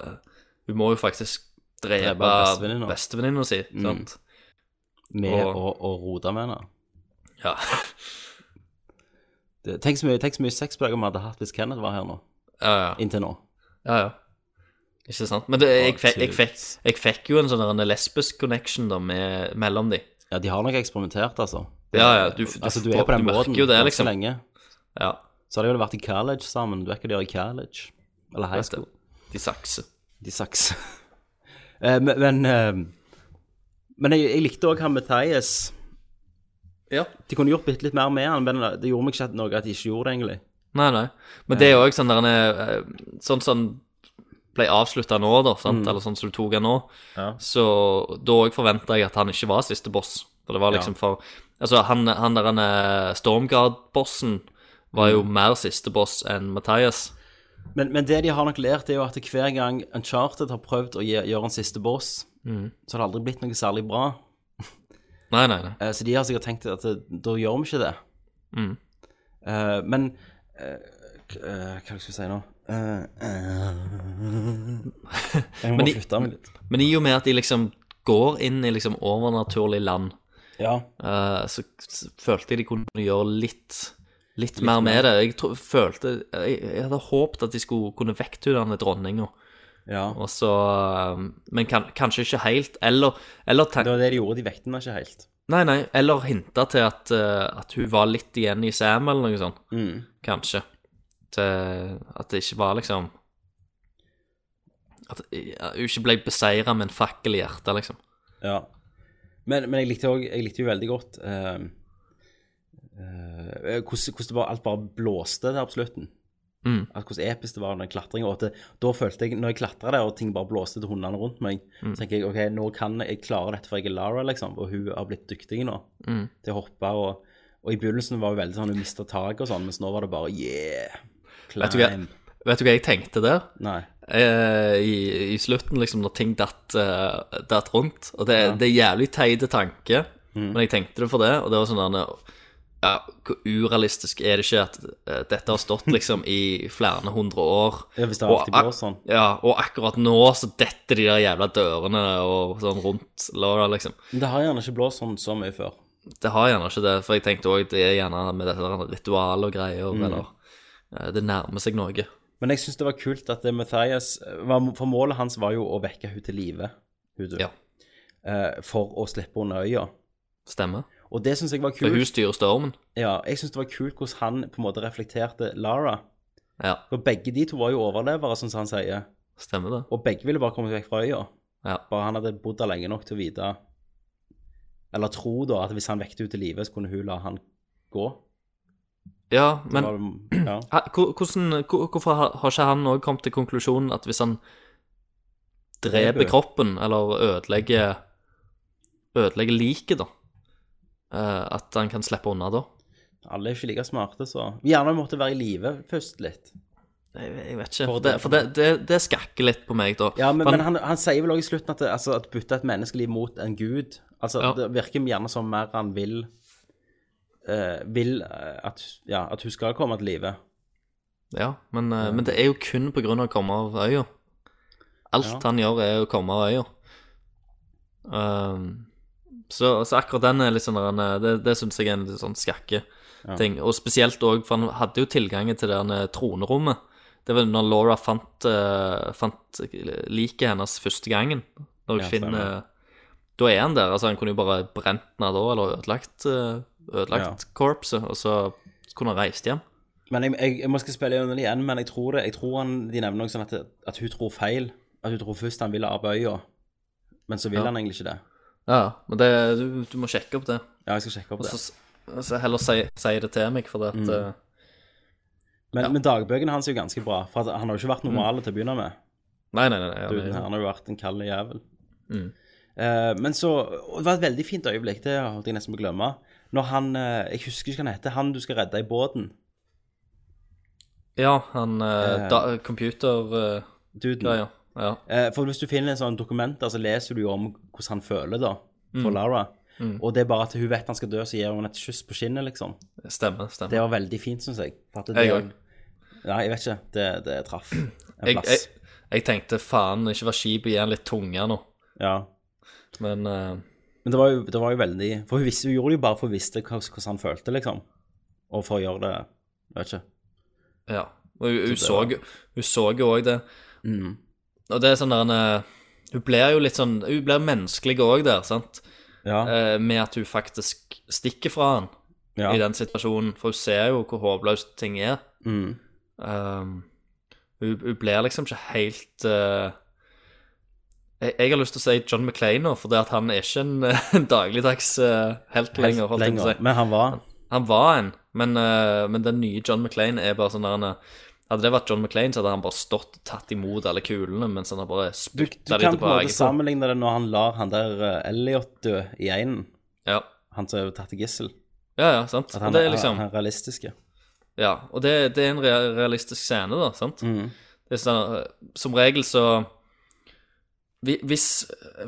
E: Hun må jo faktisk drepe,
D: bestevenninna. Mm.
E: bestevenninna si, sant?
D: Med
E: Og-
D: å, å rote med henne.
E: Ja.
D: Det- Tenk så mye, tenk så mye sexbøker vi hadde hatt hvis Kenneth var her nå.
E: ja, ja.
D: Inntil nå.
E: Ja, ja. Ikke sant? Men det, jeg,
D: Å,
E: fikk, jeg,
D: tut.
E: fikk, jeg fikk jo en sånn der en lesbisk connection da med, mellom de.
D: Ja, de har nok eksperimentert, altså.
E: Ja, ja, du- du-
D: altså, du er på den
E: du merker
D: måten
E: jo det,
D: ganske
E: liksom.
D: lenge.
E: Ja,
D: Så har de vel vært i college sammen. Du vet hva de gjør i college? Eller high
E: vet
D: school.
E: du. De sakser.
D: De saks. Eh, men men, eh, men jeg, jeg likte òg han Mathias.
E: Ja.
D: De kunne gjort bitte litt mer med han, men det gjorde meg ikke at- noe at de ikke gjorde det, egentlig.
E: Nei, nei. Men det er jo òg sånn der en eh, Sånn som ble avslutta nå, da, sant? eller sånn som du tok han nå, så da òg forventa jeg at han ikke var siste boss. For det var liksom for Altså, han, han der han, eh, Stormgard-bossen var jo mer siste boss enn Mathias.
D: Men, men det de har nok lært, er jo at hver gang Uncharted har prøvd å gi, gjøre en siste boss,
E: Mm.
D: så har det aldri blitt noe særlig bra.
E: Nei, nei, nei.
D: Eh, så de har sikkert tenkt at det, da gjør vi ikke det.
E: Mm.
D: Eh, men eh, k- eh, Hva skal jeg si nå? Eh, eh, jeg må
E: Men de-
D: flytte meg litt.
E: Men i og med at de liksom går inn i liksom overnaturlig land,
D: Ja.
E: eh, så, så følte jeg de kunne gjøre litt Litt mer med det. Jeg tro, følte jeg, jeg hadde håpet at de skulle kunne vekte denne dronninga,
D: ja.
E: og så eh, Men kan, kanskje ikke helt. Eller, eller
D: Det
E: ten,
D: var det de gjorde. De vekte den ikke helt.
E: Nei, nei. Eller hinta til at, eh, at hun var litt igjen i Sam, eller noe sånt.
D: Mm.
E: Kanskje. Til at det ikke var liksom At ja, hun ikke ble beseira med en fakkel i hjertet, liksom.
D: Ja. Men, men jeg likte òg Jeg likte jo veldig godt eh, eh, hvordan, hvordan det bare, alt bare blåste der på slutten.
E: Mm.
D: At hvordan episk det var under klatringa. og at det- Da følte jeg, når jeg klatra der og ting bare blåste til hundene rundt meg,
E: Mm.
D: så tenker jeg OK, nå kan jeg, jeg klare dette, for jeg er Lara, liksom, og hun har blitt dyktig nå
E: Mm.
D: til å hoppe. og og I begynnelsen var hun veldig sånn, hun mista taket og sånn, mens nå var det bare yeah.
E: Vet du, hva,
D: Climb.
E: vet du hva jeg tenkte der?
D: Nei.
E: Eh, i, I slutten, liksom, når ting datt, eh, datt rundt. Og det, det er jævlig teite tanke,
D: Mm.
E: men jeg tenkte det for det. Og det var sånn der ja, Hvor urealistisk er det ikke at eh, dette har stått liksom i flere hundre år?
D: Ja, hvis det
E: Og
D: alltid
E: ak-
D: blåser sånn.
E: Ja, og akkurat nå så detter de der jævla dørene og sånn rundt Laura, liksom.
D: Men det har gjerne ikke blåst sånn så mye før.
E: Det har gjerne ikke det, for jeg tenkte òg det er gjerne med dette der ritualet og greier,
D: Mm.
E: eller eh, Det nærmer seg noe.
D: Men jeg syns det var kult at det Mathias var- For målet hans var jo å vekke henne til live. Hun døde.
E: Ja.
D: Eh, for å slippe henne øya.
E: Stemmer.
D: Og det syns jeg var
E: For
D: kult.
E: hun styrer stormen.
D: Ja, jeg synes det var kult hvordan han på en måte reflekterte Lara.
E: Ja,
D: For begge de to var jo overlevere, sånn som han sier.
E: stemmer det.
D: Og begge ville bare komme seg vekk fra øya.
E: Ja.
D: Bare han hadde bodd der lenge nok til å vite Eller tro, da, at hvis han vekket henne til live, så kunne hun la han gå.
E: Ja,
D: Det
E: men
D: var, ja.
E: ha- hvor- hvordan, hvor- hvorfor har har ikke han òg kommet til konklusjonen at hvis han dreper
D: Dreper.
E: kroppen, eller ødelegger ødelegger liket, da, eh, at han kan slippe unna da?
D: Alle er ikke like smarte, så Gjerne måtte være i live først litt.
E: Jeg, jeg vet ikke.
D: For
E: For det, for det, det, det skakker litt på meg, da.
D: Ja, men,
E: For
D: men han, han sier vel også i slutten at, det, altså, at bytte et menneskeliv mot en gud Altså,
E: Ja.
D: det virker gjerne som mer han vil eh, Vil eh, at, ja, at hun skal komme til live.
E: ja, men, eh, men det er jo kun på grunn av å komme av øya. Alt han gjør, er å komme av øya. Um, så, så akkurat den er litt sånn der en, eh, Det, det syns jeg er en litt sånn skakke ting. Og spesielt òg, for han hadde jo tilgangen til det der tronerommet. Det var når Laura fant, uh, fant liket hennes første gangen. Når hun
D: Ja, stemmer.
E: finner Da er han der. altså Han kunne jo bare brent den av da, eller ødelagt, eh, ødelagt korpset, og så kunne han reist hjem.
D: Men jeg, jeg, jeg må skal spille gjennom det igjen, men jeg tror det. Jeg tror han, de nevner noe sånn at, at hun tror feil. At hun tror først han ville av øya, men så vil
E: Ja.
D: han egentlig ikke det.
E: Ja, men det, du, du må sjekke opp det.
D: Ja, Mm. jeg skal sjekke opp
E: Og
D: det.
E: så, så heller si, si det til meg, for det at eh,
D: Men,
E: ja. Mm.
D: men dagbøkene hans er jo ganske bra, for at han har jo ikke vært normal til å begynne med.
E: Nei, nei, nei. nei,
D: Duden,
E: nei.
D: her. han har jo vært en kald jævel.
E: Mm.
D: Eh, men så og Det var et veldig fint øyeblikk, det holdt jeg nesten på å glemme. Når han eh, Jeg husker ikke hva han heter. Han du skal redde i båten.
E: Ja, han
D: Eh.
E: uh, da, Computer eh,
D: Duden.
E: greier. Ja.
D: Eh, for hvis du finner en sånn dokumenter, så leser du jo om hvordan han føler, da, for Lara.
E: Mm.
D: Og det er bare at hun vet han skal dø, så gir hun et kyss på kinnet, liksom.
E: Stemmer. stemmer.
D: Det var veldig fint, syns jeg. For at det-
E: Jeg òg.
D: Nei, jeg vet ikke. Det, det traff en
E: Jeg, jeg,
D: plass.
E: jeg tenkte faen, ikke vær kjip, gi han litt tunge nå.
D: Ja.
E: Men eh,
D: Men det var jo, det var jo veldig For hun, visste, hun gjorde det jo bare for å vite hva- hvordan han følte, liksom. Og for å gjøre det Jeg vet ikke.
E: ja. Og hun, hun,
D: Så
E: så,
D: det
E: hun så jo òg det.
D: Mm.
E: Og det er sånn der en eh, Hun blir jo litt sånn Hun blir menneskelig òg der, sant?
D: Ja.
E: Eh, med at hun faktisk stikker fra han
D: ja.
E: i den situasjonen. For hun ser jo hvor håpløst ting er.
D: Mm.
E: Um, hun, hun blir liksom ikke helt eh, jeg, jeg har lyst til å si John McClain nå, for det at han er ikke en, en dagligdags eh, helt lenger. Holdt jeg på å
D: lenger.
E: si.
D: Men han var
E: Han var en, men, eh, men den nye John McClain er bare sånn der han er- Hadde det vært John McClain, så hadde han bare stått og tatt imot alle kulene mens han har bare
D: Du, du
E: spytta de
D: kan på
E: tilbake.
D: en måte sammenligne det når han lar han der eh, Elliot dø i einen.
E: Ja.
D: Han som er tatt til gissel.
E: ja, ja, sant.
D: At
E: Og
D: han
E: det
D: er,
E: er liksom
D: han er realistisk. ja.
E: Ja, og det, det er en rea- realistisk scene, da, sant?
D: Mm,
E: Det er sånn, eh, som regel så hvi- hvis,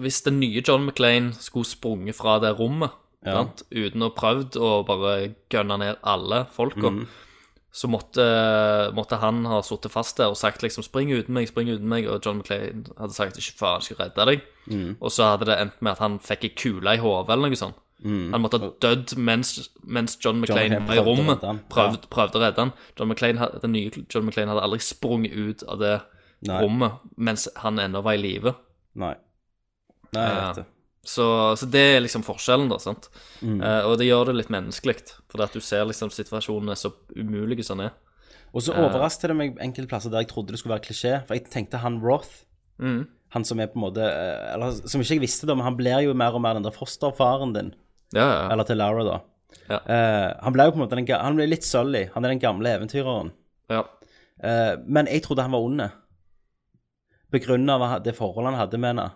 E: hvis den nye John McClain skulle sprunget fra det rommet
D: Ja.
E: sant? uten å ha prøvd å bare gønne ned alle folka,
D: Mhm.
E: så måtte, måtte han ha sittet fast der og sagt liksom 'spring uten meg', 'spring uten meg', og John McClain hadde sagt 'ikke faen, jeg skal redde deg',
D: mm,
E: og så hadde det endt med at han fikk ei kule i hodet eller noe sånt.
D: mm.
E: Han måtte ha dødd mens, mens John McClain
D: McClane
E: var i
D: prøvde å
E: rommet.
D: redde han.
E: Prøvde, prøvde å redde han. John McClane, had- den nye John McClain hadde aldri sprunget ut av det
D: Nei.
E: rommet mens han ennå var i live.
D: Nei. Nei, jeg
E: Ja.
D: vet det.
E: Så, så det er liksom forskjellen, da. sant?
D: Mm.
E: Eh, og det gjør det litt menneskelig, fordi at du ser liksom situasjonen er så umulig som den er. Eh.
D: Og så overrasket det meg enkelte plasser der jeg trodde det skulle være klisjé. For jeg tenkte han Roth,
E: Mhm.
D: han som er på en måte eh, Eller som ikke jeg visste, da, men han blir jo mer og mer den der fosterfaren din.
E: Ja, ja, ja.
D: Eller til Lara, da.
E: Ja.
D: Eh, han ble jo på en måte den, ga- Han ble litt Sully. Han er den gamle eventyreren.
E: ja.
D: Eh, men jeg trodde han var ond. På grunn av det forholdet han hadde med henne.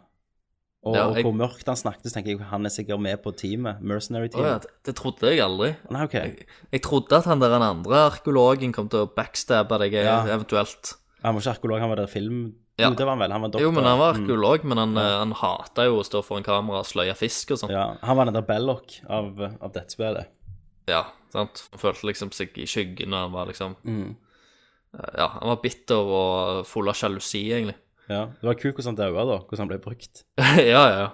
D: Og
E: Ja, jeg-
D: hvor mørkt han snakket, så tenker jeg han er sikkert med på teamet.
E: Å ja,
D: Mercenary-teamet.
E: det, det trodde jeg aldri.
D: Nei, ok.
E: Jeg, jeg trodde at han der den andre arkeologen kom til å backstabbe deg
D: Ja.
E: eventuelt.
D: Han var ikke arkeolog, han var der film...
E: Ja.
D: Jo, det var han vel. Han var doktor.
E: Jo, men han var
D: Mm.
E: arkeolog, men han, ja. han hata jo å stå foran kamera og sløye fisk og sånn. Ja.
D: Ja, han var den der Belloc av, av dette spillet.
E: sant? Han følte liksom seg i skyggen, og han var liksom
D: Mm.
E: Ja, han var bitter og full av sjalusi, egentlig.
D: Ja, Det var kult hvordan han daua, da. Hvordan han ble brukt.
E: ja, ja.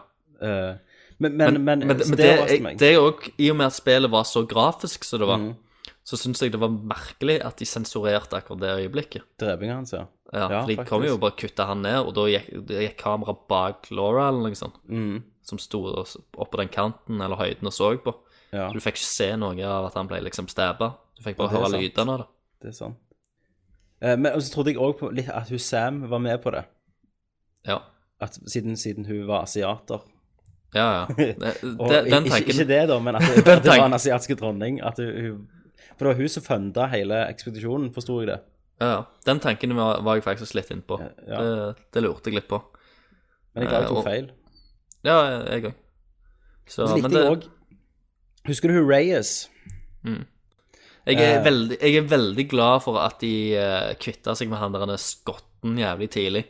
D: Eh, men, men, men,
E: Men,
D: så
E: men det,
D: det overrasker
E: jeg-
D: meg.
E: det er jo også, I og med at spillet var så grafisk som det var,
D: Mhm.
E: så syns jeg det var merkelig at de sensurerte akkurat det øyeblikket.
D: Drepinga hans, ja.
E: Ja,
D: Ja,
E: for de kom
D: faktisk.
E: jo og bare kutta han ned, og da gikk, da gikk kameraet bak Laura eller noe sånt,
D: Mm,
E: som sto oppå den kanten eller høyden og så på.
D: ja,
E: Så Du fikk ikke se noe av at han ble liksom stabba. Du fikk bare
D: Ja, det er
E: høre
D: sant.
E: lydene av det.
D: det er sant. Eh, men og så trodde jeg òg litt at hun Sam var med på det.
E: Ja,
D: At siden, siden hun var asiater.
E: ja. ja. Det,
D: Og
E: det, den
D: ikke,
E: tanken
D: ikke det, da, men at det, at det
E: tanken-
D: var en asiatiske dronning. At hun, hun, for det var hun som funda hele ekspedisjonen, forsto jeg det.
E: ja, ja. Den tanken var, var jeg faktisk litt innpå.
D: Ja.
E: Det, det lurte jeg litt på.
D: Men jeg klarer jeg
E: Eh,
D: tok
E: og-
D: feil.
E: Ja, jeg òg. Så,
D: Så
E: men
D: likte
E: det,
D: jeg òg Husker du hun Reyes?
E: jeg, er
D: eh,
E: veldig, jeg er veldig glad for at de uh, kvitta seg med han der denne skotten jævlig tidlig.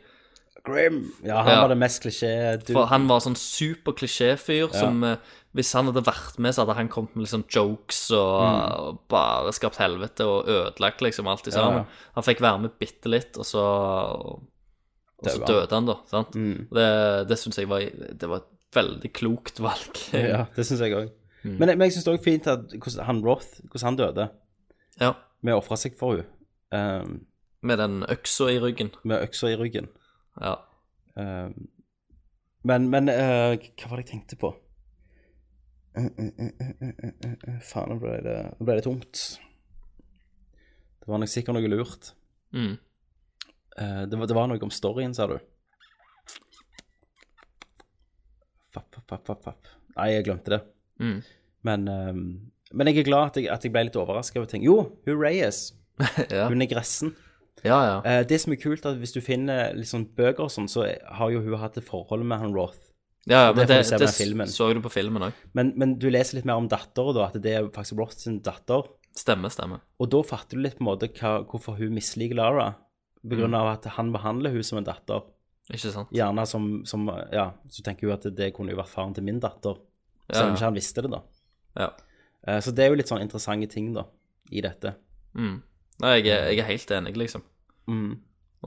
D: Grim. Ja, han
E: Ja.
D: var det mest klisjé. Du,
E: For han var sånn super klisjéfyr som eh, Hvis han hadde vært med, så hadde han kommet med liksom jokes og, og bare skapt helvete og ødelagt liksom alt i
D: Mm. Ja,
E: sammen.
D: ja.
E: Han fikk være med bitte litt, og så og så
D: Døde han.
E: døde han, da. sant?
D: Mm.
E: Det, det syns jeg var, det var et veldig klokt valg.
D: Ja, det syns jeg òg.
E: Mm.
D: Men, men jeg syns det er fint at hvordan han Roth, hvordan han døde,
E: Ja,
D: med å ofre seg for henne, um,
E: Med den øksa i ryggen.
D: med øksa i ryggen.
E: Ja.
D: Um, men men eh, hva var det jeg tenkte på? Eh, eh, eh, eh, eh, eh, eh, Faen, nå ble, det, nå ble det tomt. Det var nok sikkert noe lurt.
E: Mm.
D: Eh, det, var, det var noe om storyen, sa du. Fapp, fapp, fapp, fapp, fapp. Nei, jeg glemte det.
E: Mm.
D: Men, ehm, men jeg er glad at jeg, at jeg ble litt overraska over ting. Jo, hun Reyes.
E: Ja.
D: Hun er gressen.
E: ja, ja.
D: Eh, det som er kult, er at hvis du finner litt sånn bøker og sånn, så har jo hun hatt et forhold med han Roth.
E: ja, ja men
D: det får
E: det,
D: du se
E: det,
D: med filmen.
E: så du på filmen òg.
D: Men, men du leser litt mer om datteren, da, at det er faktisk Roth sin datter.
E: Stemme, stemme.
D: Og da fatter du litt på en måte hva, hvorfor hun misliker Lara.
E: Mm.
D: På grunn av at han behandler hun som en datter.
E: Ikke sant?
D: Gjerne som, som Ja, så tenker hun at det kunne jo vært faren til min datter. Selv om ikke han visste det, da.
E: Ja.
D: Eh, Så det er jo litt sånn interessante ting, da, i dette.
E: Mm. Nei, jeg, er- jeg er helt enig, liksom.
D: Mm.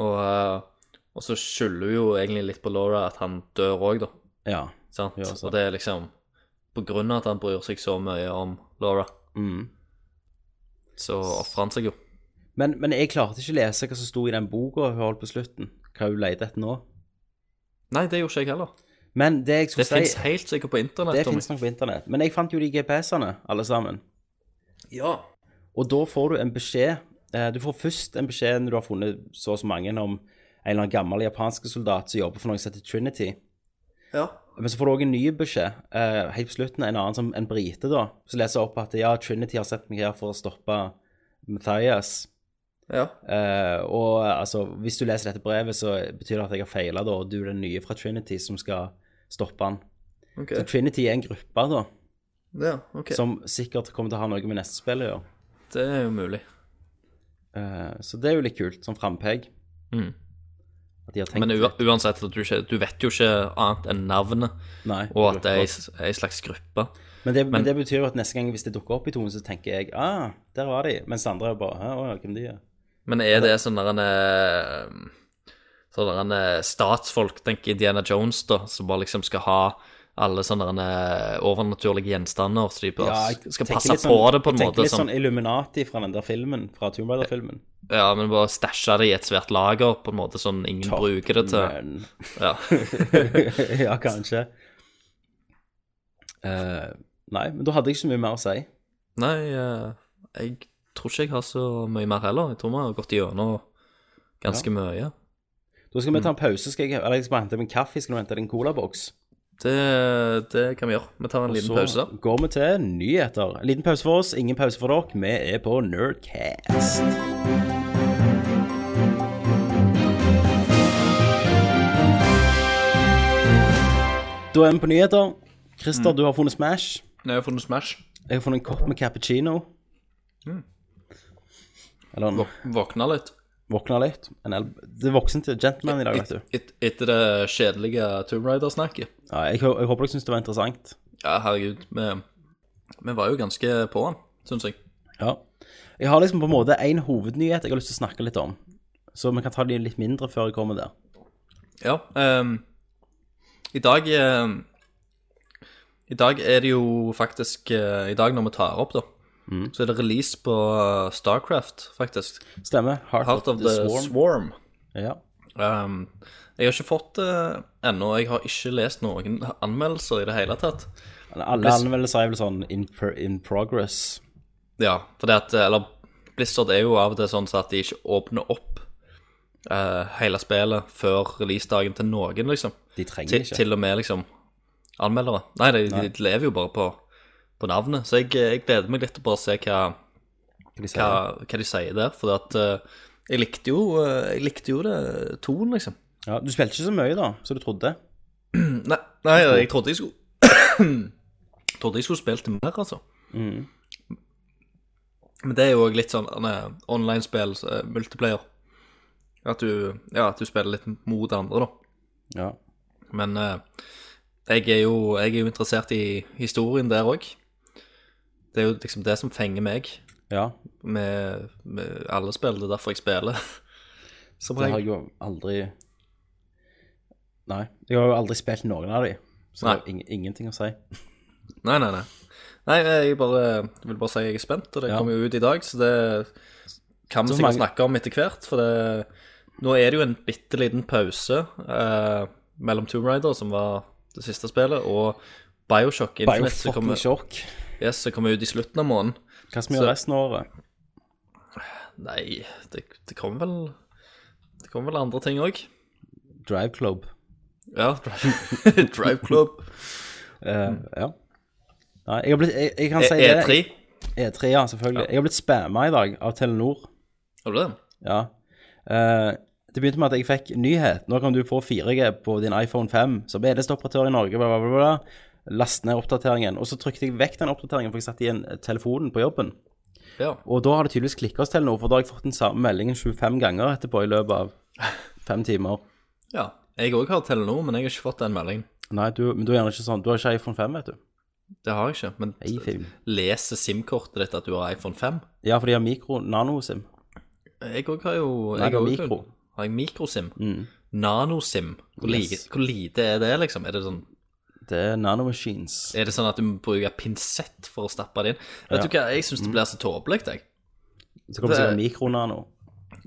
E: Og, eh, og så skylder hun jo egentlig litt på Laura at han dør òg, da.
D: Ja.
E: Sant?
D: Ja, sant.
E: Og det er liksom på grunn av at han bryr seg så mye om Laura,
D: Mm.
E: så ofrer han seg jo.
D: Men, men jeg klarte ikke å lese hva som sto i den boka hun holdt på slutten. Hva hun leter etter nå.
E: Nei, det gjorde ikke jeg heller.
D: Men det jeg
E: Det
D: skulle
E: fins
D: si
E: helt sikkert på internett.
D: Det
E: Tommy.
D: fins nok på internett. Men jeg fant jo de GPS-ene, alle sammen.
E: Ja.
D: Og da får du en beskjed. eh, Du får først en beskjed når du har funnet så og så mange om en eller annen gammel japansk soldat som jobber for noe som heter Trinity.
E: Ja.
D: Men så får du òg en ny beskjed eh, helt på slutten, en annen som en brite, da, som leser opp at ja, Trinity har sett meg her for å stoppe Matthias.
E: Ja.
D: Eh, og altså, hvis du leser dette brevet, så betyr det at jeg har feila, da, og du er den nye fra Trinity som skal stoppe han.
E: Ok.
D: Så Trinity er en gruppe, da,
E: Ja, ok.
D: som sikkert kommer til å ha noe med neste spill å gjøre.
E: Det er jo mulig.
D: Eh, så det er jo litt kult, som frampeg.
E: Mm.
D: At de har tenkt
E: Men u
D: litt.
E: uansett, at du, ikke, du vet jo ikke annet enn navnet,
D: Nei,
E: og at det er
D: grupper.
E: ei- ei slags gruppe.
D: men, det, men det betyr jo at neste gang hvis det dukker opp i tonen, så tenker jeg ah, der var de. Mens andre er bare Hæ, å ja, hvem de er.
E: Men er det sånn der en eh, Sånn der en eh, statsfolk, tenker Indiana Jones, da, som bare liksom skal ha alle sånne der en, eh, overnaturlige gjenstander, så de bare
D: Ja, jeg
E: skal
D: tenker
E: passe
D: litt
E: på det på en
D: jeg tenker
E: måte.
D: Litt
E: Som, Eh,
D: sånn Illuminati fra den der filmen, fra Tomb Raider-filmen.
E: Ja, men bare stæsje det i et svært lager, på en måte sånn ingen bruker det til.
D: Men-
E: Ja.
D: ja, kanskje. Eh, nei, men da hadde jeg ikke så mye mer å si.
E: Nei, eh, jeg tror ikke jeg har så mye mer heller. Jeg tror vi har gått gjennom ganske mye.
D: Da skal vi ta en pause. Skal jeg, eller jeg skal bare hente meg en kaffe. Skal du hente deg en colaboks?
E: Det, det kan vi gjøre. Vi tar en liten pause.
D: Så går vi til nyheter. En liten pause for oss, ingen pause for dere. Vi er på Nerdcast. Da er vi på nyheter.
E: Mm.
D: Christer, du har funnet Smash.
E: Nå har jeg funnet Smash.
D: Jeg har funnet en kopp med cappuccino.
E: Mm.
D: Eller en
E: Våkna litt.
D: våkna litt. En el det er voksen til gentleman i dag, vet du.
E: Et, et, etter det kjedelige Tomb Raider-snakket.
D: Ja, jeg, hå- jeg håper dere syns det var interessant.
E: Ja, herregud, vi, vi var jo ganske på han, syns jeg.
D: Ja. Jeg har liksom på en måte én hovednyhet jeg har lyst til å snakke litt om. Så vi kan ta de litt mindre før jeg kommer der.
E: Ja. ehm, I dag ehm, I dag er det jo faktisk eh, I dag når vi tar opp, da, så er det release på eh, Starcraft, faktisk.
D: Stemmer. Heart,
E: Heart of the Swarm.
D: Ja.
E: Ehm, jeg har ikke fått det ennå. Jeg har ikke lest noen anmeldelser i det hele tatt.
D: Alle
E: Bliss-
D: anmeldelser er vel sånn in, pr in progress.
E: Ja, for det at eh, Eller Blizzard er jo av og til sånn så at de ikke åpner opp eh, hele spillet før releasedagen til noen, liksom.
D: De trenger
E: Til,
D: ikke.
E: til og med liksom anmeldere. Nei, de, de lever jo bare på, på navnet. Så jeg, eh, jeg gleder meg litt til bare å se hva,
D: Hva de sier.
E: hva, hva de sier der. For at eh, jeg likte jo, eh, jeg likte jo det tonen, liksom.
D: Ja, du spilte ikke så mye, da, som du trodde.
E: Nei, nei jeg trodde jeg skulle Trodde jeg skulle spilt mer, altså. Men det er jo òg litt sånn eh, online-spill, eh, multiplayer. At du, ja, at du spiller litt mot andre, da.
D: Ja.
E: Men eh, jeg, er jo, jeg er jo interessert i historien der òg. Det er jo liksom det som fenger meg
D: ja.
E: med, med alle spill. Det er derfor jeg spiller. Som
D: Det har
E: regel.
D: jeg jo aldri Nei. Jeg har jo aldri spilt noen av de, så
E: Nei.
D: det har ing ingenting å si.
E: Nei, nei, nei. Nei, jeg bare, jeg vil bare si jeg er spent, og det
D: Ja.
E: kommer jo ut i dag, så det kan vi
D: Så
E: sikkert
D: mange-
E: snakke om etter hvert. For det, nå er det jo en bitte liten pause eh, mellom Tomb Raider, som var det siste spillet, og Bioshock Infinite, som
D: Biofucking
E: kommer,
D: shock.
E: yes, som kommer ut i slutten av måneden.
D: Hva som
E: Så-
D: gjør resten av året?
E: Nei, det, det kommer vel Det kommer vel andre ting òg.
D: Drive Club.
E: Ja. Drive, drive Club.
D: Eh,
E: Mm.
D: ja. Nei, jeg, har blitt, jeg, jeg
E: E-
D: kan si det.
E: E3.
D: E3, ja, selvfølgelig. Jeg har blitt spamma i dag av Telenor.
E: Har du det?
D: Ja. Eh, det begynte med at jeg fikk nyhet. Nå kan du få 4G på din iPhone 5 som eneste operatør i Norge. Bla, bla, bla, bla. Last ned oppdateringen. Og så trykte jeg vekk den oppdateringen, for jeg satt igjen telefonen på jobben.
E: Ja.
D: Og da har det tydeligvis klikka hos Telenor, for da har jeg fått den samme meldingen 25 ganger etterpå i løpet av fem timer.
E: ja. Jeg òg har Telenor, men jeg har ikke fått den meldingen.
D: Nei, du, men du er gjerne ikke sånn. Du har ikke iPhone 5, vet du.
E: Det har jeg ikke. Men
D: iPhone.
E: leser SIM-kortet ditt at du har iPhone 5?
D: Ja, for de har mikro nano-SIM.
E: Jeg òg har jo
D: Nei,
E: jeg
D: det er
E: også-
D: mikro. Mm.
E: Har jeg mikrosim? Nanosim? Hvor,
D: Yes.
E: lite- hvor lite er det, liksom? Er det sånn,
D: Det er nanomachines.
E: er det sånn at du må bruke pinsett for å stappe det inn? Vet
D: Ja. Mm.
E: du hva, jeg syns det blir så tåpelig, jeg.
D: Så kommer det sikkert
E: det-
D: mikronano.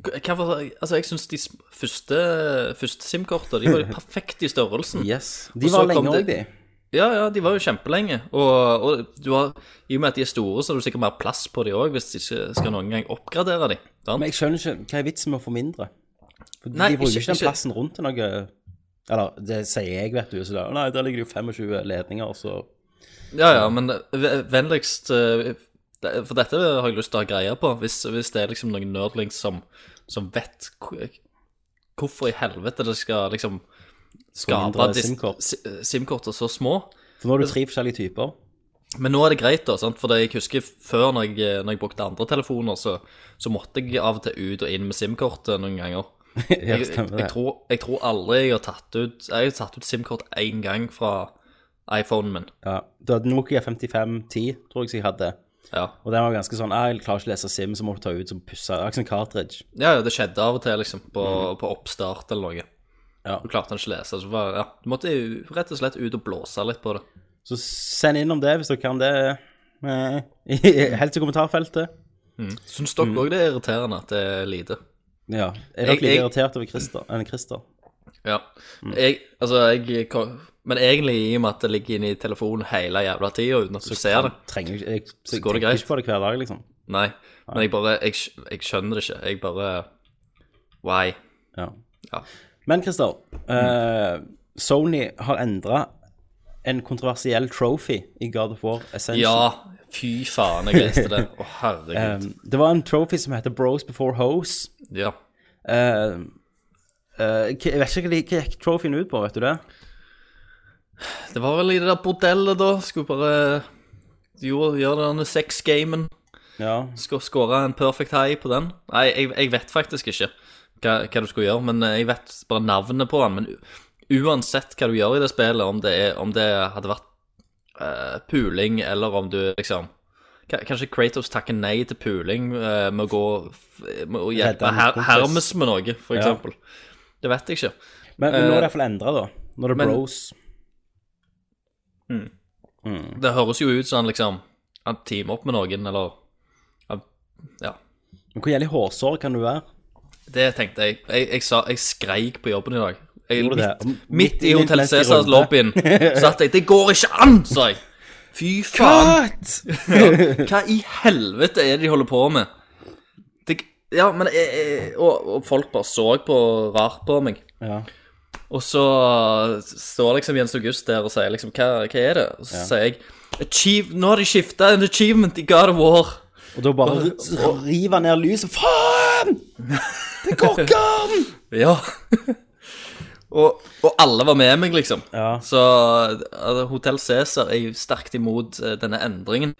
E: Hvorfor- Altså, jeg syns de sm- første, første SIM-kortene de var jo perfekte i størrelsen.
D: Yes.
E: Og
D: De
E: så
D: var
E: kom
D: lenge òg,
E: det-
D: de.
E: Ja, ja, de var jo kjempelenge. Og, og du har, i og med at de er store, så har du sikkert mer plass på de òg, hvis de ikke skal noen gang oppgradere de. sant?
D: Men jeg skjønner ikke hva er vitsen med å få mindre. For
E: Nei,
D: de bruker
E: ikke-
D: ikke den
E: ikke-
D: plassen rundt til noe Eller det sier jeg, vet du. Så da, nei, der ligger det jo 25 ledninger, så
E: Ja, ja, men v- vennligst eh, det- For dette har jeg lyst til å ha greie på. Hvis, hvis det er liksom noen nerdlings som, som vet hvor- hvorfor i helvete det skal liksom skape
D: mindre
E: dis-
D: SIM-kort.
E: si- SIM-korter så små.
D: For nå har du tre forskjellige typer.
E: Men nå er det greit, da. sant? For det jeg husker før, når jeg, når jeg brukte andre telefoner, så, så måtte jeg av og til ut og inn med SIM-kortet noen ganger.
D: Ja,
E: Jeg, jeg,
D: stemmer
E: jeg,
D: det.
E: tror, jeg tror aldri jeg har tatt ut Jeg har tatt ut SIM-kort én gang fra iPhonen min.
D: Ja. Du hadde Nokia 5510, tror jeg så jeg hadde.
E: Ja.
D: Og den var ganske sånn «Ah, Jeg klarer ikke å lese SIM, så må du ta ut som pussa. Akkurat som cartridge.
E: Ja, ja, det skjedde av og til, liksom, på, på oppstart eller noe.
D: Ja.
E: Du klarte han ikke å lese, så var, ja, du måtte jo rett og slett ut og blåse litt på det.
D: Så send inn om det, hvis dere kan det. Eh, Helt til kommentarfeltet.
E: Syns dere òg det er irriterende at det er lite?
D: Ja.
E: Jeg-
D: Er dere like
E: jeg-
D: irritert over Christer enn Christer?
E: Ja. Jeg, altså, jeg ko- Men egentlig, i og med at det ligger inne i telefonen hele jævla tida uten at du ser det
D: Trenger ikke Jeg,
E: Så
D: så
E: går det
D: tenker
E: greit.
D: ikke på det hver dag, liksom.
E: Nei. Men jeg bare Jeg, skj- jeg skjønner det ikke. Jeg bare Why?
D: Ja.
E: Ja.
D: Men Christer, eh, Sony har endra en kontroversiell trophy i God of War Essential.
E: Ja, fy faen, jeg leste det. Å, herregud.
D: Eh, det var en trophy som heter Bros Before Hoes.
E: Ja.
D: Eh, eh, hva- jeg vet ikke hva de- hva gikk trophyen ut på, vet du det?
E: Det var vel i det der bordellet, da. Skulle bare gjøre, gjøre denne sex-gamen.
D: Ja,
E: Sk- Skåre en perfect high på den? Nei, jeg, jeg vet faktisk ikke hva, hva du skulle gjøre, men eh, jeg vet bare navnet på den. Men u- uansett hva du gjør i det spillet, om det, er, om det hadde vært eh, puling, eller om du liksom Ka- Kanskje Kratos takker nei til puling eh, med å gå f- med å
D: Redde
E: hjelpe
D: en
E: her,
D: kompis.
E: Hermes med noe, for
D: Ja.
E: eksempel. Det vet jeg ikke.
D: Men, men nå er
E: Eh,
D: det iallfall endra, da. Nå er det
E: men-
D: Bros.
E: Det høres jo ut som han liksom Han teamer opp med noen, eller han- Ja.
D: Men hvor jævlig hårsår kan du være?
E: Det tenkte jeg. Jeg, jeg, sa, jeg skreik på jobben i dag. Jeg,
D: Gjorde du det?
E: midt, midt i
D: Midt
E: Hotell
D: mens de
E: Cæsars
D: rullet.
E: lobbyen satt jeg 'Det går ikke an', sa jeg. Fy faen. Hva i helvete er det de holder på med? Det, ja, men jeg, jeg, og, og folk bare så på rart på meg.
D: Ja.
E: Og så står liksom Jens August der og sier liksom 'Hva, hva er det?' Og så sier jeg Achieve, 'Nå har de skifta en achievement i God of War'.
D: Og da bare r- river ned lyset. Faen! Det går ikke an!
E: Ja. og, og alle var med meg, liksom.
D: Ja.
E: Så altså, Hotell Cæsar er jo sterkt imot eh, denne endringen.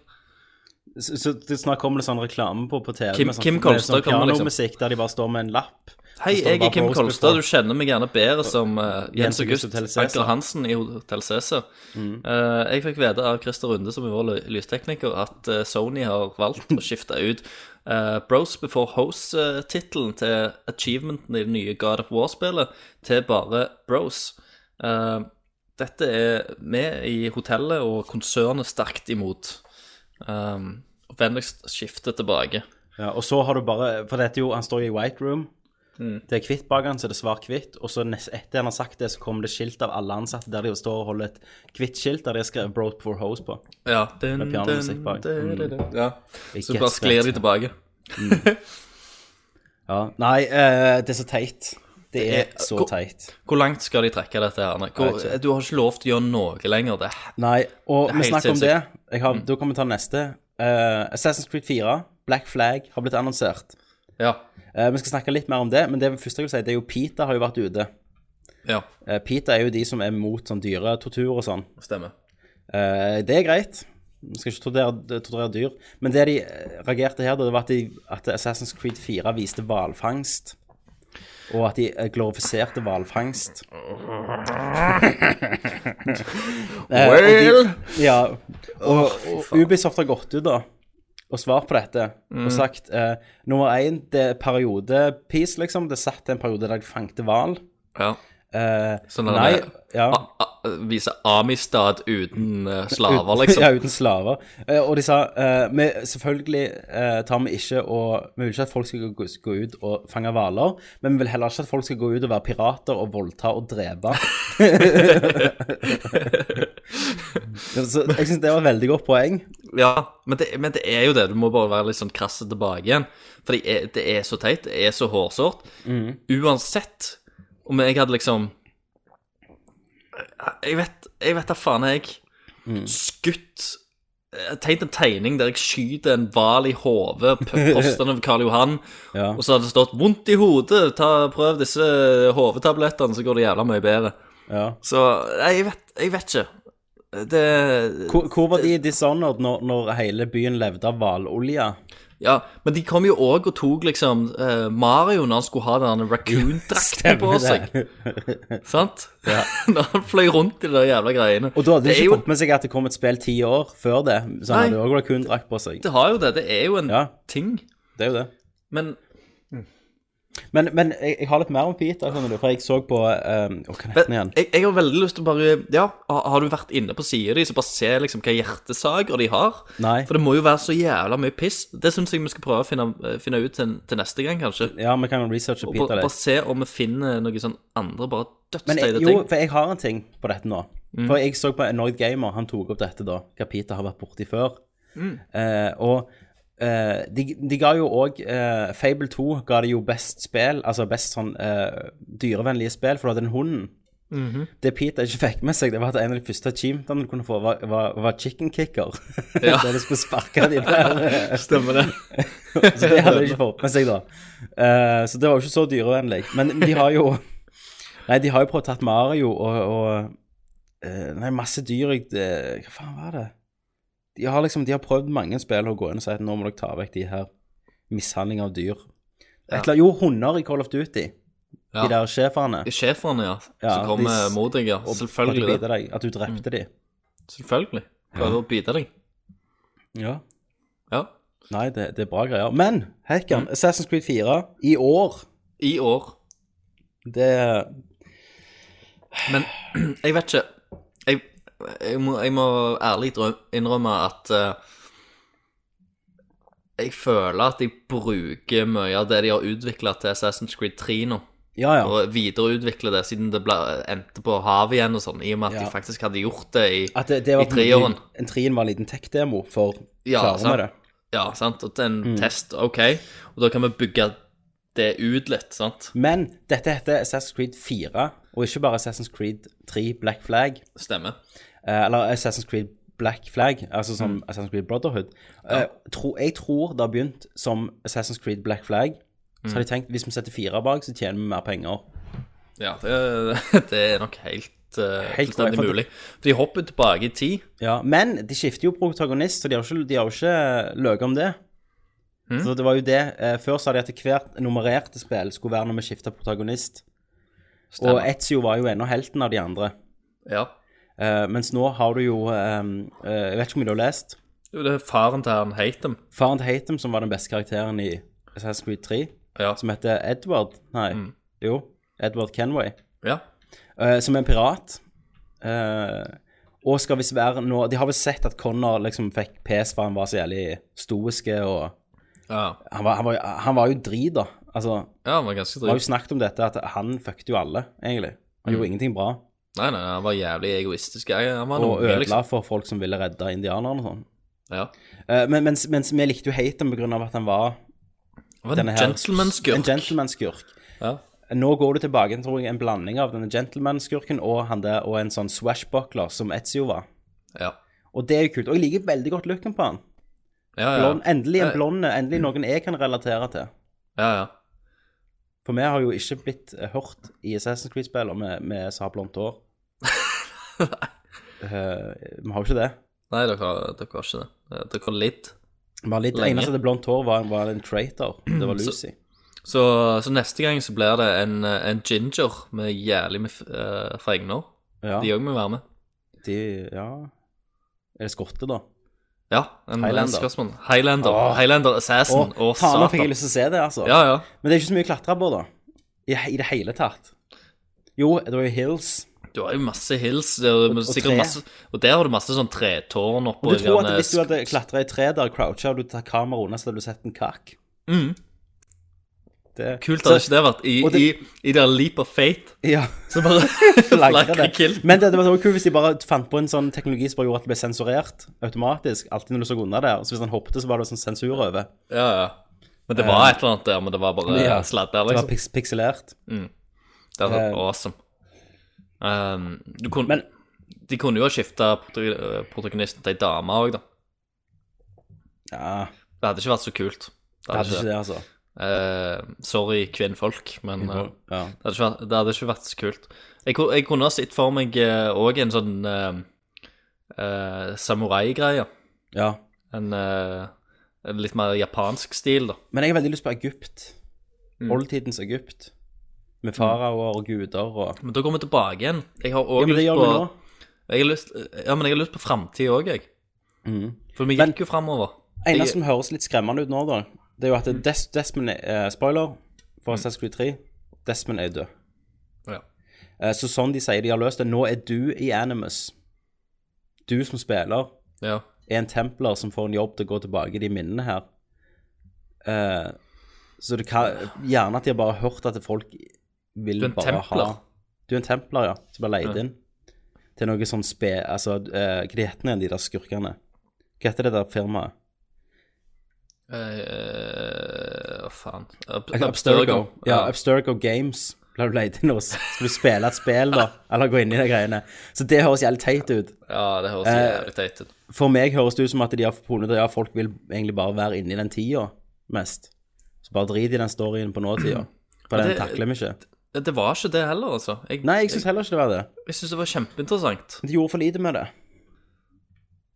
D: Så, så det snart kommer det sånn reklame på, på TV
E: Kim-
D: med sånn,
E: Kim
D: med
E: Kolstad
D: sånn
E: kommer, liksom.
D: pianomusikk der de bare står med en lapp.
E: Hei,
D: Så står det
E: jeg er
D: bare
E: Kim
D: Rose
E: Kolstad.
D: before.
E: Du kjenner meg gjerne bedre som eh, Jens
D: Jens August
E: August
D: Hotel Cæsar. Mm.
E: Anker Hansen i Hotell Cæsar. Eh, jeg fikk vite av Christer Runde, som er vår ly- lystekniker, at eh, Sony har valgt å skifte ut eh, Bros Before Hose-tittelen til achievementene i det nye God of War-spillet til bare Bros. Eh, dette er vi i hotellet og konsernet sterkt imot. Um, Vennligst skifte tilbake.
D: Ja, og så har du bare For dette er jo, han står jo i White Room. Det er hvitt bak han, så det er svart-hvitt. Og så nes- etter han har sagt det, så kommer det skilt av alle ansatte der de jo står og holder et hvitt skilt der de har skrevet 'Broad for Hose' på.
E: Ja, den,
D: Med pianomusikk bak.
E: den- den- den- ja.
D: Jeg
E: Så bare
D: guess
E: sklir de
D: det.
E: tilbake.
D: Ja. Nei, eh, det er så teit. Det er
E: Det er-
D: så
E: hvor-
D: teit.
E: Hvor langt skal de trekke dette her? Anne? Hvor,
D: Jeg vet
E: du har ikke lov til å gjøre noe lenger. Det.
D: Nei, og
E: Det er
D: vi
E: helt
D: snakker om det.
E: sinnssykt.
D: Jeg har, Da kan vi ta neste. Eh, Assassin's Creed 4, Black Flag, har blitt annonsert.
E: Ja.
D: Eh, vi skal snakke litt mer om det, men det første jeg vil si, det er jo PETA har jo vært ute.
E: ja,
D: Eh, PETA er jo de som er mot sånn dyretortur og sånn.
E: stemmer.
D: Eh, det er greit. Vi skal ikke torturere, torturere dyr. Men det de eh, reagerte her, da, det var at, de, at Assassin's Creed 4 viste hvalfangst. Og at de eh, glorifiserte hvalfangst. Eh, og de- Ja. Og, og Ubisoft har gått ut da og svart på dette
E: Mm.
D: og sagt eh, nummer én, det er periode-piece, liksom. Det satt en periode der jeg fangte hval.
E: Ja.
D: Eh,
E: Sånn der-
D: nei, ja.
E: A, a, vise Amistad uten eh, slaver,
D: Uten-
E: liksom.
D: Ja, uten slaver. Eh, og de sa eh, vi selvfølgelig eh, tar vi ikke og Vi vil ikke at folk skal gå, gå ut og fange hvaler, men vi vil heller ikke at folk skal gå ut og være pirater og voldta og drepe. Så jeg syns det var et veldig godt poeng.
E: Ja, men det, men det er jo det. Du må bare være litt sånn krass tilbake igjen. For det er, det er så teit. Det er så hårsårt. Uansett om jeg hadde liksom Jeg vet jeg vet da faen, jeg. Skutt jeg har Tegnet en tegning der jeg skyter en hval i hodet, p- postene ved Karl Johan,
D: Ja.
E: og så hadde det stått 'vondt i hodet', ta, prøv disse hodetablettene, så går det jævla mye bedre.
D: ja.
E: Så nei, jeg vet, jeg vet ikke. Det
D: Hvor, hvor var de i Dishonored når, når hele byen levde av hvalolje?
E: Ja, men de kom jo òg og tok liksom eh, Mario når han skulle ha den raccoon-drakten på seg. Sant? når han fløy rundt i de der jævla greiene.
D: Og da hadde de
E: det,
D: ikke
E: er jo,
D: fått med seg at det kom et spill ti år før det. Så
E: Nei.
D: han hadde òg lakundrakt på seg.
E: det har jo det. Det er jo en
D: Ja.
E: ting.
D: Det er jo det.
E: Men
D: Men, men jeg, jeg har litt mer om Peter, skjønner du, for jeg så på um, Å, hva heter den igjen?
E: jeg, jeg har veldig lyst til å bare Ja, har har du vært inne på sida di, så bare se liksom hva hjertesaker de har?
D: Nei.
E: For det må jo være så jævla mye piss. Det syns jeg vi skal prøve å finne, eh, finne ut til, til neste gang, kanskje.
D: Ja, vi kan jo researche
E: Og
D: Peter
E: bare, bare
D: litt.
E: se om vi finner noen sånn andre bare
D: Men jeg,
E: dødsteite
D: jo,
E: ting.
D: for jeg har en ting på dette nå. For jeg så på Annoyed Gamer, han tok opp dette da, hva Peter har vært borti før. Eh, og eh, de, de ga jo òg Fable 2 ga det jo best spill, altså best sånn eh, dyrevennlige spill, for du hadde den hunden.
E: Mhm.
D: Det Peter ikke fikk med seg, det var at en av de første achievements du kunne få, var, var, var chicken kicker.
E: Ja.
D: Der du skulle sparke de der.
E: Stemmer det.
D: Så det hadde de ikke fått med seg, da. Eh, så det var jo ikke så dyrevennlig. Men de har jo Nei, de har jo prøvd å tatt Mario og, og eh, Nei, masse dyr jeg det- Hva faen var det? De har liksom, de har prøvd mange spill å gå inn og si at nå må dere ta vekk de her mishandling av dyr. Et eller annet- jo, hunder i Call of Duty.
E: Ja.
D: De der sjeferne.
E: Sjefene, ja.
D: Ja,
E: som kommer
D: de-
E: mot deg, ja.
D: At de
E: Selvfølgelig.
D: biter
E: det. Mm.
D: deg, at du drepte de.
E: Selvfølgelig. Prøver å bite deg.
D: Ja.
E: Ja.
D: Nei, det, det er bra greier. Men
E: Mm.
D: Hackan, Assassin's Creed 4 i år,
E: I år.
D: det
E: Men jeg vet ikke. Jeg, jeg, må, jeg må ærlig drø- innrømme at eh, jeg føler at jeg bruker mye av det de har utvikla til Assassin's Creed 3 nå.
D: Ja, ja.
E: Og videreutvikle det, siden det ble, endte på havet igjen og sånn, i og med at
D: Ja.
E: de faktisk hadde gjort det i
D: At det, det var
E: I treeren.
D: En treeren var en liten tech-demo for
E: Ja,
D: klarer
E: sant.
D: vi det.
E: Ja, sant. Og til en
D: Mm.
E: test, OK. Og da kan vi bygge det ut litt, sant.
D: Men dette heter Assassin's Creed 4, og ikke bare Assassin's Creed 3 Black Flag.
E: Stemmer.
D: eh, Eller Assassin's Creed Black Flag, altså som
E: Mm.
D: Assassin's Creed Brotherhood. Eh, tro, jeg tror det har begynt som Assassin's Creed Black Flag. Så har de
E: Mm.
D: tenkt hvis vi setter fire bak, så tjener vi mer penger.
E: Ja, det, det er nok helt, eh,
D: Helt
E: fullstendig
D: korrekt.
E: mulig. For de hopper tilbake i tid.
D: Ja, Men de skifter jo protagonist, så de har jo ikke, de har jo ikke løyet om det. Så det var jo det. eh, Før sa de at hvert nummererte spill skulle være når vi skifta protagonist. Og
E: Stemmer.
D: Ezio var jo ennå helten av de andre.
E: Ja.
D: Eh, mens nå har du jo ehm, eh, Jeg vet ikke hvor mye du har lest.
E: Jo, Det er faren til han Hatem.
D: Faren til Hatem, som var den beste karakteren i Assassin's Creed 3,
E: Ja.
D: som heter Edward Nei, jo. Edward Kenway.
E: ja.
D: eh, som er en pirat. Eh, og skal visst være nå De har vel sett at Connor liksom fikk pes for han var så jævlig stoiske og
E: Ja,
D: Han var, han var, han var jo drit, da. Altså,
E: ja han var ganske
D: vi har jo
E: drit. Mm.
D: snakket om dette, at han fucket jo alle, egentlig. Han gjorde ingenting bra.
E: Nei, nei, nei, han var jævlig egoistisk. Jeg- Han var en
D: Og
E: unge,
D: ødela
E: liksom.
D: for folk som ville redde indianerne og sånn.
E: Ja.
D: Eh, men mens, mens vi likte jo haten på grunn av at han var
E: Han var en
D: denne her- En
E: gentleman-skurk.
D: gentleman-skurk.
E: Ja.
D: Nå går du tilbake tror jeg, en blanding av denne gentleman-skurken og han der, og en sånn swashbuckler som Etzio var.
E: Ja.
D: Og det er jo kult. Og jeg liker veldig godt looken på han.
E: Ja, ja. Eh, mm.
D: Blond, endelig en
E: Ja.
D: blonde, endelig noen jeg kan relatere til.
E: ja, ja.
D: For vi har jo ikke blitt eh, hørt i Assassin's Creed-spiller med, med som har blondt hår. Eh, vi har jo ikke det.
E: Nei, dere har, dere har ikke det. Eh, Dere har lidd.
D: Vi har litt, det
E: Lenge.
D: eneste som hadde blondt hår, var, var en traitor. Det var
E: Så-
D: Lucy.
E: Så, så neste gang så blir det en, eh, en ginger med jævlig med f- eh, fregner.
D: Ja,
E: De òg må være med.
D: de, ja. Er det skotte, da?
E: Ja, en, en
D: Highlander.
E: skotsmann. Highlander.
D: Åh.
E: Highlander Assassin.
D: Å,
E: Å,
D: faen, nå fikk jeg
E: satan.
D: lyst til å se det, altså.
E: Ja, ja.
D: Men det er ikke så mye å klatre på, da. I, he- i det hele tatt. Jo, det var jo Hills.
E: Du har jo masse hills. Det er, jo
D: og
E: sikkert
D: tre.
E: masse, og der har du masse sånn tretårn oppå
D: Og du tror at
E: gjerne
D: hvis du
E: sk-
D: hadde klatra i tre der, croucha, og du tar kameraet unna, så hadde du sett en kakk.
E: Mm.
D: Det-
E: Kult
D: Så-
E: hadde ikke det vært. I,
D: og det-
E: i, i der Leap of Fate.
D: Ja.
E: Så bare
D: Lagre
E: flagrer
D: det.
E: kilt.
D: Men det, det var så kult hvis de bare fant på en sånn teknologi som bare gjorde at det ble sensurert automatisk. Alltid når du så unna der. Så hvis han hoppet, så var det sånn sensur over.
E: Ja, ja. Men det var et eller annet der, men det var bare
D: Ja.
E: sladder,
D: Det var
E: liksom.
D: piks pikselert.
E: Det hadde vært
D: Eh.
E: awesome. Ehm, du kunne,
D: Men-
E: de kunne jo ha skifta protagonisten til ei dame òg, da.
D: Ja,
E: Det hadde ikke vært så kult. Det
D: det hadde
E: hadde
D: ikke
E: ikke det.
D: det, altså.
E: Eh, sorry, kvinnfolk, men eh,
D: Ja.
E: det, hadde ikke vært, det hadde ikke vært så kult. Jeg, ku- jeg kunne ha sett for meg òg en sånn eh, eh, samurai-greie.
D: ja.
E: En eh, en litt mer japansk stil, da.
D: Men jeg har veldig lyst på Egypt.
E: Mm.
D: Oldtidens Egypt. Med faraoer og guder og
E: Men da går vi tilbake igjen. Jeg har
D: Ja,
E: òg
D: men det
E: lyst
D: gjør
E: på
D: vi nå.
E: jeg har lyst, eh, Ja, men jeg har lyst på framtid òg, jeg.
D: Mhm.
E: For vi
D: Men-
E: gikk jo framover.
D: eneste som høres litt skremmende ut nå, da, det er jo at
E: Mm.
D: Des Desmond eh, Spoiler for Assassin's Creed 3. Desmond er død.
E: Ja.
D: Eh, så sånn de sier de har løst det, nå er du i Animus. Du som spiller
E: Ja.
D: er en templer som får en jobb til å gå tilbake i de minnene her. Eh, så det kan gjerne at de har bare hørt at folk vil
E: Du er en
D: bare
E: templer?
D: ha Du er en templer, ja, som blir leid
E: Ja.
D: inn til noe sånn spe... Altså, eh, hva heter de der skurkene? Hva heter det der firmaet?
E: Eh, Hva faen. Up,
D: Abstergo.
E: Ja.
D: Ja, Abstergo Games blir du leid inn hos. Skal du spille et spill, da? Eller gå inn i de greiene? Så det høres jævlig teit ut.
E: ja, det høres
D: Eh,
E: jævlig teit ut.
D: For meg høres det ut som at de har funnet ut at ja, folk vil egentlig bare være inni den tida mest. Så bare drit i den storyen på nåtida. For
E: Men
D: den
E: det-
D: takler vi ikke.
E: Det det var ikke det heller, altså. Jeg,
D: Nei, jeg syns heller ikke det var det.
E: jeg, jeg synes det var kjempeinteressant.
D: Men de gjorde for lite med det.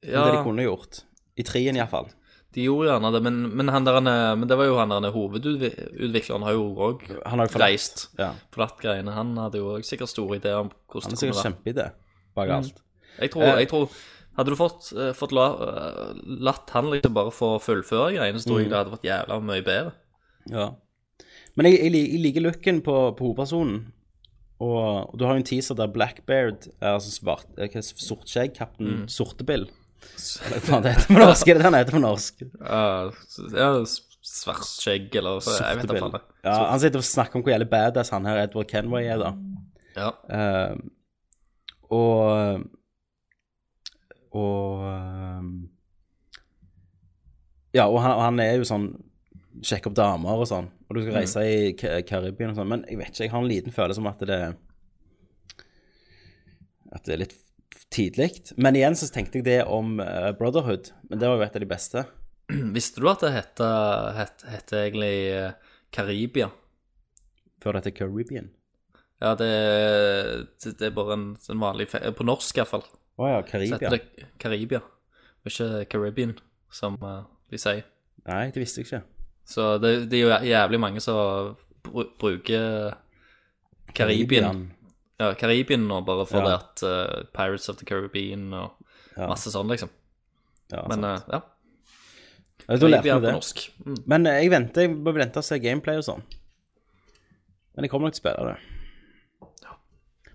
E: Ja,
D: Det de kunne gjort. I trien iallfall.
E: de gjorde gjerne det, men, men, han der, men det var jo han der hovedutvikleren har jo òg
D: Han har jo forlatt-
E: reist
D: Ja.
E: forlatt greiene. Han hadde jo også sikkert store ideer om hvordan
D: Han
E: det
D: er
E: kunne
D: sikkert
E: være.
D: kjempeidé
E: Mm.
D: bak alt.
E: Jeg tror, jeg tror Hadde du fått, eh, fått la, eh, latt han liksom bare få fullføre greiene, så tror jeg det hadde vært jævla mye bedre.
D: Ja. Men jeg, jeg, lik- jeg liker looken på, på hovedpersonen. Og, og du har jo en teaser der Blackbeard er altså svart, eh, hva- sortskjegg, kaptein
E: Mm.
D: Sortebill. Eller hva faen det heter på norsk? Er det det han heter på norsk?
E: Ja, s- ja, s- Svartskjegg eller Jeg vet da
D: Sortebill.
E: faen.
D: Ja, han sitter og snakker om hvor jævlig badass han her Edward Kenway er, da.
E: Ja.
D: Eh, og Og eh, Ja, og han, og han er jo sånn Sjekke opp damer og sånn. Og du skal reise i Ka- Karibien og sånn. Men jeg vet ikke, jeg har en liten følelse om at det At det er litt tidlig. Men igjen så tenkte jeg det om eh, Brotherhood. Men det var jo et av de beste.
E: Visste du at det heter, het, heter egentlig eh, Karibia?
D: Før dette Caribbean.
E: Ja, det, det, det er bare en, en vanlig fe På norsk iallfall
D: Å ja,
E: så
D: Karibia.
E: heter det Karibia, og ikke Caribbean, som eh, de sier.
D: Nei, det visste jeg ikke.
E: Så det, det er jo jævlig mange som bru- bruker Karibien ja, Karibien nå, bare for
D: Ja.
E: det at eh, Pirates of the Caribbean og
D: Ja.
E: masse sånn, liksom.
D: Ja, altså.
E: Men eh,
D: sant.
E: ja,
D: Ja, da lærte
E: Karibia
D: vi
E: på
D: det.
E: norsk. Mm.
D: Men eh, jeg venter, jeg må vente og se gameplay og sånn. Men jeg kommer nok til å spille det.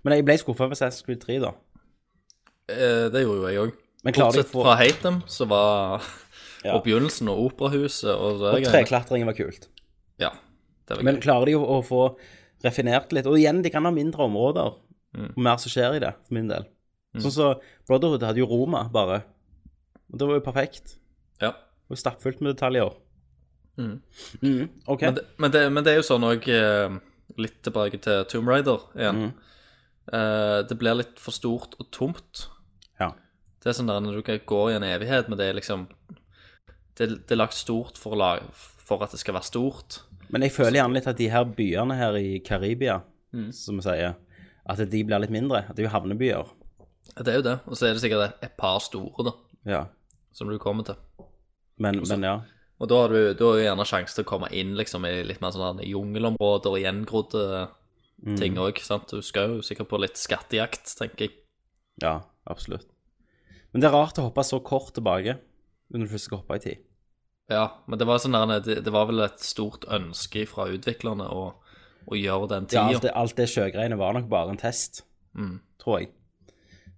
D: Men jeg ble skuffa med Assassin's Creed 3, da.
E: Eh, det gjorde jo jeg òg.
D: Men klarer de
E: Bortsett
D: for
E: fra Hatem, så var
D: Ja.
E: Oppbegynnelsen og Operahuset og det
D: Og treklatringen var kult.
E: Ja, det var
D: Men
E: gøy.
D: klarer de å, å få refinert litt? Og igjen, de kan ha mindre områder
E: Mm.
D: og mer som skjer i det, for min del. Sånn som Brotherhood hadde jo Roma, bare. Og det var jo perfekt.
E: Ja.
D: Og stappfullt med detaljer.
E: Mm.
D: Mm, OK.
E: Men, det, men, det, men det er jo sånn òg Litt tilbake til Tomb Raider
D: Mm.
E: igjen. Eh, det blir litt for stort og tomt.
D: Ja.
E: Det er sånn der når du kan- går i en evighet, men det er liksom Det, det er lagt stort for, å lage, for at det skal være stort.
D: Men jeg føler gjerne litt at de her byene her i Karibia, som vi sier, at de blir litt mindre. At det er jo havnebyer.
E: Det er jo det. Og så er det sikkert et par store, da,
D: Ja.
E: som du kommer til.
D: Men, men ja.
E: Og da har du, da har du gjerne sjanse til å komme inn liksom, i litt mer sånn der jungelområder og gjengrodde
D: Mm.
E: ting òg. sant? Du skal jo sikkert på litt skattejakt, tenker jeg.
D: Ja, absolutt. Men det er rart å hoppe så kort tilbake når du først skal hoppe i tid.
E: Ja, men det var, sånn der, det, det var vel et stort ønske fra utviklerne å, å gjøre den
D: Ja, altså,
E: tida.
D: alt det, alt det sjøgreiene var nok bare en test,
E: Mm.
D: tror jeg.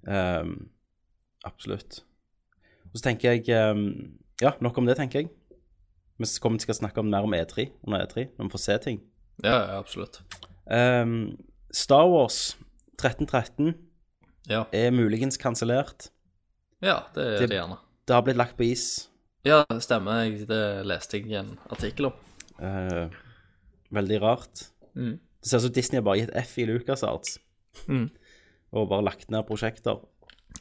D: Ehm, absolutt. Og så tenker jeg ehm, Ja, nok om det, tenker jeg. Vi kommer til å snakke om mer om E3 under E3, når vi får se ting.
E: Ja, ja, absolutt.
D: Ehm, Star Wars 1313
E: Ja,
D: er muligens kansellert.
E: ja det er
D: Det-
E: det gjerne.
D: Det har blitt lagt på is.
E: Ja, det stemmer. Jeg, det leste jeg i en artikkel om.
D: Eh, veldig rart.
E: Mm.
D: Det ser ut som Disney har bare gitt F i LucasArts.
E: Mm.
D: Og bare lagt ned prosjekter.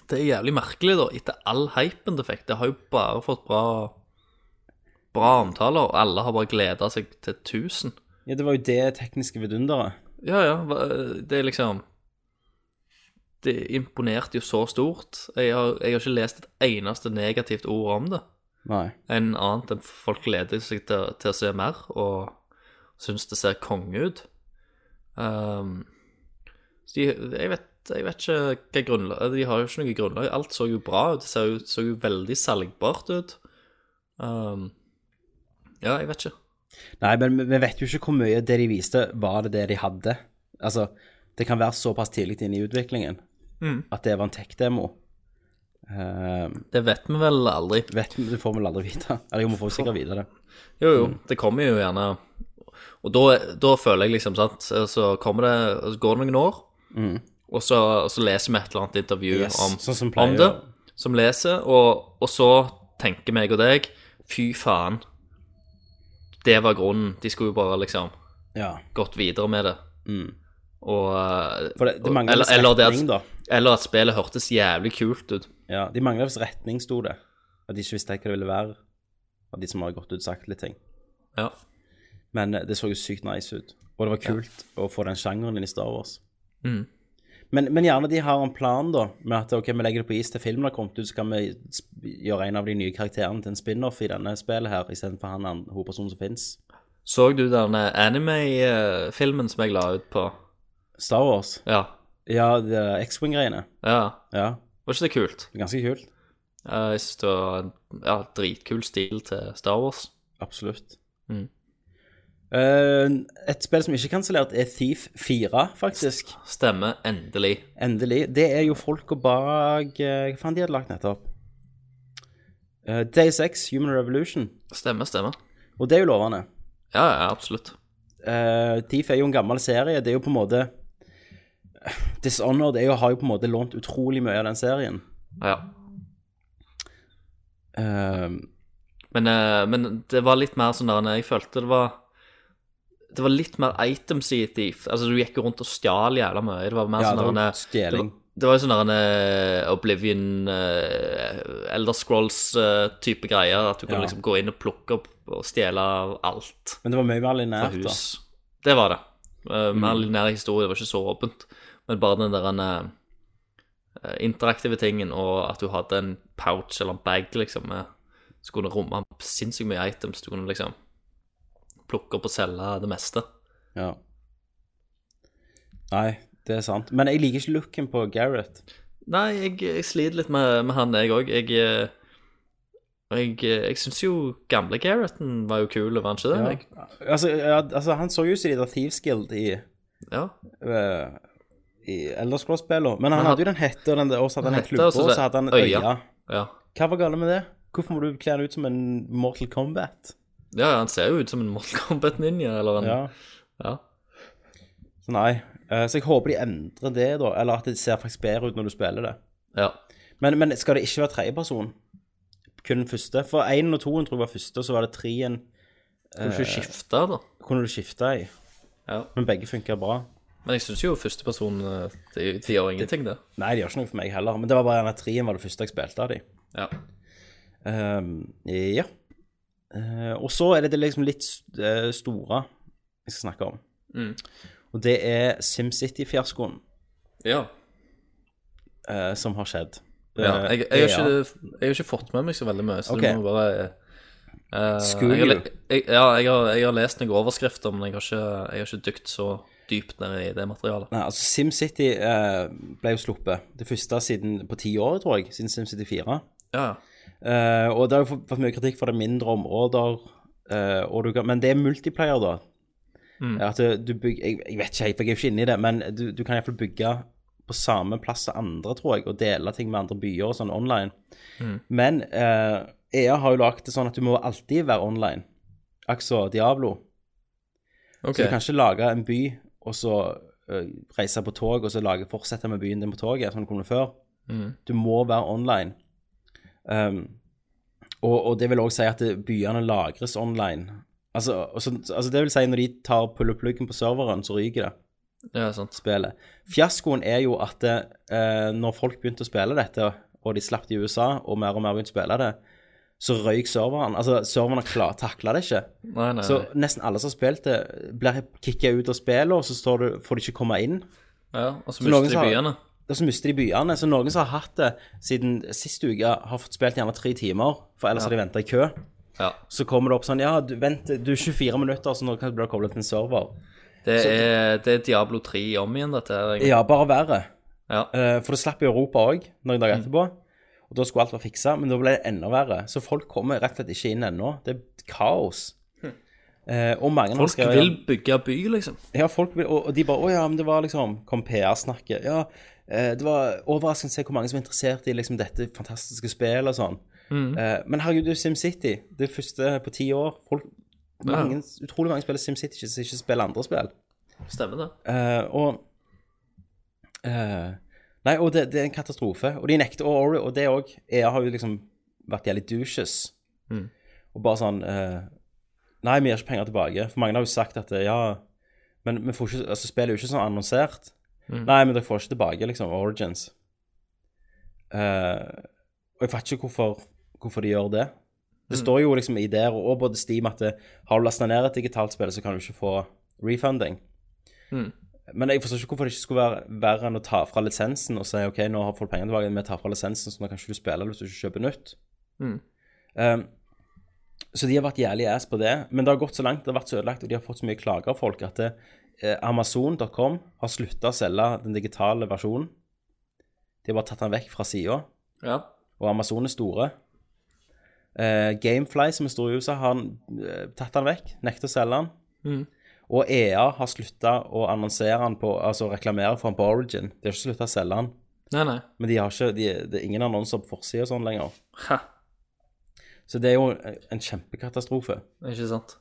E: Det er jævlig merkelig, da, etter all hypen det fikk. Det har jo bare fått bra Bra omtaler, og alle har bare gleda seg til 1000.
D: Ja, det var jo det tekniske vidunderet.
E: Ja, ja, hva- det er liksom Det imponerte jo så stort. Jeg har, jeg har ikke lest et eneste negativt ord om det.
D: Nei.
E: enn annet enn folk gleder seg til, til å se mer og syns det ser konge ut. Ehm, så de, jeg, vet, jeg vet ikke hva grunnlag De har jo ikke noe grunnlag. Alt så jo bra ut. Det ser jo, så jo veldig selgbart ut. Ehm, ja, jeg vet ikke.
D: Nei, men vi- vi vet jo ikke hvor mye det de viste, var det det de hadde. Altså, det kan være såpass tidlig inne i utviklingen
E: Mm.
D: at det var en tech-demo. Eh,
E: Det vet vi vel aldri.
D: vet vi, det får vi vel aldri vite. Eller jo, vi får sikkert vite det.
E: Jo, jo,
D: Mm.
E: det kommer jo gjerne Og da, da føler jeg liksom, sant Så kommer det, så går det noen år og, så, og så leser vi et eller annet intervju
D: Mm. Yes,
E: om,
D: sånn som
E: om
D: pleier.
E: det Som leser, og, og så tenker meg og deg Fy faen Det var grunnen De skulle jo bare liksom
D: Ja.
E: gått videre med det Og eh,
D: Mm. For det, det
E: og-
D: mangler
E: eller,
D: visst
E: eller, det
D: retning,
E: at,
D: da.
E: eller at spillet hørtes jævlig kult ut
D: Ja, de mangler visst retning, sto det. At de ikke visste hva det ville være. Av de som har gått ut og sagt litt ting.
E: Ja,
D: Men eh, det så jo sykt nice ut. Og det var kult å få den sjangeren inn i Star Wars.
E: Mhm.
D: Men, men gjerne de har en plan da, med at ok, vi legger det på is til filmen har kommet ut, så kan vi sp- gjøre en av de nye karakterene til en spin-off i denne spillet her, istedenfor han an- hovedpersonen som fins.
E: så du eh, denne anime-filmen eh, som jeg la ut på?
D: Star Wars.
E: Ja,
D: Ja, det er X-Wing-greiene.
E: ja
D: Ja,
E: Var ikke det kult?
D: ganske kult.
E: Eh, Jeg synes det var en ja, dritkul stil til Star Wars.
D: Absolutt.
E: Mhm.
D: Eh, et spill som ikke er kansellert, er Thief 4, faktisk.
E: Stemmer endelig.
D: Endelig. Det er jo folka bak eh, Hva faen de hadde lagt nettopp? Uh, Day 6, Human Revolution.
E: Stemmer, stemmer.
D: Og det er jo lovende.
E: Ja, ja, absolutt.
D: Eh, Thief er jo en gammel serie. Det er jo på en måte eh, Dishonored er jo, har jo på en måte lånt utrolig mye av den serien.
E: Ja.
D: Eh,
E: Men, eh, men det var litt mer sånn der Jeg følte det var Det var litt mer items i Thief. Altså, du gikk jo rundt og stjal jævla mye. Det var mer
D: ja, det
E: sånn
D: var
E: der
D: stjeling.
E: Det var jo sånn der en eh, Oblivion, eh, Elder Scrolls-type greier. At du kunne
D: Ja.
E: liksom gå inn og plukke opp og stjele alt.
D: Men det var mye mer
E: fra
D: linært, da.
E: hus. Det var det. Uh, Mer lineær historie, det var ikke så åpent. Men bare den der eh, eh, interaktive tingen, og at du hadde en pouch eller en bag, liksom, med, som kunne romme sinnssykt mye items. Du kunne liksom plukke opp og selge det meste.
D: Ja. Nei, det er sant. Men jeg liker ikke looken på Gareth.
E: Nei, jeg, jeg sliter litt med, med han, jeg òg. Jeg, eh, jeg, eh, jeg syns jo gamle Garrethen var jo kul, var han ikke det?
D: Ja.
E: Jeg,
D: Altså, ja, altså, han så jo ut som de der Thieves Guild i
E: ja.
D: eh, i Elder Scrolls-spillene. Men han
E: han-
D: hadde jo den hette og den der, og så hadde han en
E: Hette,
D: klubbe,
E: og
D: og
E: så
D: så
E: det-
D: hadde han et
E: øya.
D: øye.
E: Ja.
D: Hva var galt med det? Hvorfor må du kle han ut som en Mortal Kombat?
E: ja, ja, han ser jo ut som en Mortal Kombat Ninja, eller en
D: Ja.
E: Ja.
D: Så nei. Eh, Så jeg håper de endrer det, da. Eller at det ser faktisk bedre ut når du spiller det.
E: ja.
D: Men, men skal det ikke være tredjeperson? Kun den første? For én og toen tror jeg var første, og så var det treen
E: Kan du ikke skifte, da?
D: kunne du skifte i.
E: Ja.
D: Men begge funker bra.
E: Men jeg syns jo førsteperson eh, Det det gjør ingenting, det.
D: Nei, det gjør ikke noe for meg heller. Men det var bare gjerne at treen var det første jeg spilte av de.
E: Ja.
D: Ehm, ja. Eh, og så er det det liksom litt eh, store jeg skal snakke om.
E: Mm.
D: Og det er SimCity-fiaskoen
E: ja.
D: eh, som har skjedd.
E: ja.
D: Eh,
E: Jeg, jeg,
D: ja.
E: har ikke, jeg har ikke fått med meg så veldig mye, så
D: Ok.
E: du må bare eh,
D: School
E: jeg, har
D: you.
E: le- jeg, ja, jeg, har, jeg har lest noen overskrifter, men jeg har ikke, jeg har ikke dykt så dypt ned i det materialet.
D: Nei, altså SimCity eh, ble jo sluppet. Det første siden på ti år, tror jeg. Siden SimCity 4.
E: Ja,
D: Eh, og det har jo fått fått mye kritikk for det er mindre områder, eh, og du kan, men det er multiplayer, da. At du, du bygger, jeg, jeg vet ikke helt, for jeg er jo ikke inne i det, men du, du kan iallfall bygge på samme plass som andre, tror jeg, og dele ting med andre byer og sånn online. Men eh, EA har jo lagd det sånn at du må alltid være online. Altså Diablo.
E: ok.
D: Så du kan ikke lage en by, og så eh, reise på tog, og så lage, fortsette med byen din på toget, sånn som du kunne før.
E: Mm.
D: Du må være online. Um, og, og det vil òg si at det- byene lagres online. Altså, og så- altså, det vil si når de tar pullepluggen på serveren, så ryker det
E: Ja, sant.
D: spillet. Fiaskoen er jo at eh, når folk begynte å spille dette, og de slapp det i USA, og mer og mer begynte å spille det, så røyk serveren. Altså, serveren klar- takla det ikke.
E: Nei, nei.
D: Så nesten alle som har spilt det, blir kicka ut av spillet, og så står du, får de ikke komme inn.
E: ja, og så
D: noen
E: mister
D: sa-
E: de byene.
D: Og så mister de byene. Så noen som har hatt det siden sist uke, har fått spilt gjerne tre timer, for ellers har de venta i kø.
E: Ja.
D: Så kommer det opp sånn Ja, du, vent, du er 24 minutter, så nå kan du bli koblet til en server.
E: Det er, det er Diablo 3 om igjen, dette her. egentlig.
D: Ja, bare verre.
E: Ja.
D: Eh, For det slapp i Europa òg, noen dager
E: Mm.
D: etterpå. Og da skulle alt være fiksa, men da ble det enda verre. Så folk kommer rett og slett ikke inn ennå. Det er kaos. Eh, og mange har
E: Hm. Folk
D: skrevet-
E: vil bygge by, liksom.
D: Ja, folk vil, og og de bare 'Å ja, men det var liksom Kom PR-snakket. Ja, eh, det var overraskende å se hvor mange som er interessert i liksom dette fantastiske spillet og sånn.
E: Mm.
D: Eh, men herregud, det er jo SimCity. Det første på ti år. Folk, mange, Utrolig mange spiller SimCity ikke- som ikke spiller andre spill.
E: Stemmer det.
D: Eh, og eh, Nei, og det, det er en katastrofe. Og de nekter og, Ori- og det òg. EA har jo liksom vært jævlig douches. Og bare sånn eh, Nei, vi gir ikke penger tilbake. For mange har jo sagt at eh, ja, men vi får ikke, altså, spillet er jo ikke sånn annonsert. Nei, men dere får ikke tilbake, liksom, Origins. Eh, og jeg fatter ikke hvorfor, hvorfor de gjør det. Det står jo liksom i der og både Steam at det, har du lasta ned et digitalt spill, så kan du ikke få refunding.
E: Mm.
D: Men jeg forstår ikke hvorfor det ikke skulle være verre enn å ta fra lisensen og si ok, nå har folk penger tilbake, vi tar fra lisensen, så nå kan ikke du spille hvis du ikke kjøper nytt.
E: Mm.
D: Um, så de har vært jævlig ass på det, men det har gått så langt, det har vært så ødelagt, og de har fått så mye klager av folk at det, eh, Amazon.com har slutta å selge den digitale versjonen. De har bare tatt den vekk fra sida,
E: Ja.
D: og Amazon er store. Eh, Gamefly, som er stor i USA, har eh, tatt den vekk, nekter å selge den.
E: Mhm.
D: Og EA har slutta å annonsere den på, altså reklamere for den på Origin. De har ikke slutta å selge den,
E: Nei, nei.
D: men de har ikke, de, det er ingen annonser på forsida og sånn lenger.
E: Ha.
D: Så det er jo en kjempekatastrofe.
E: Ikke sant.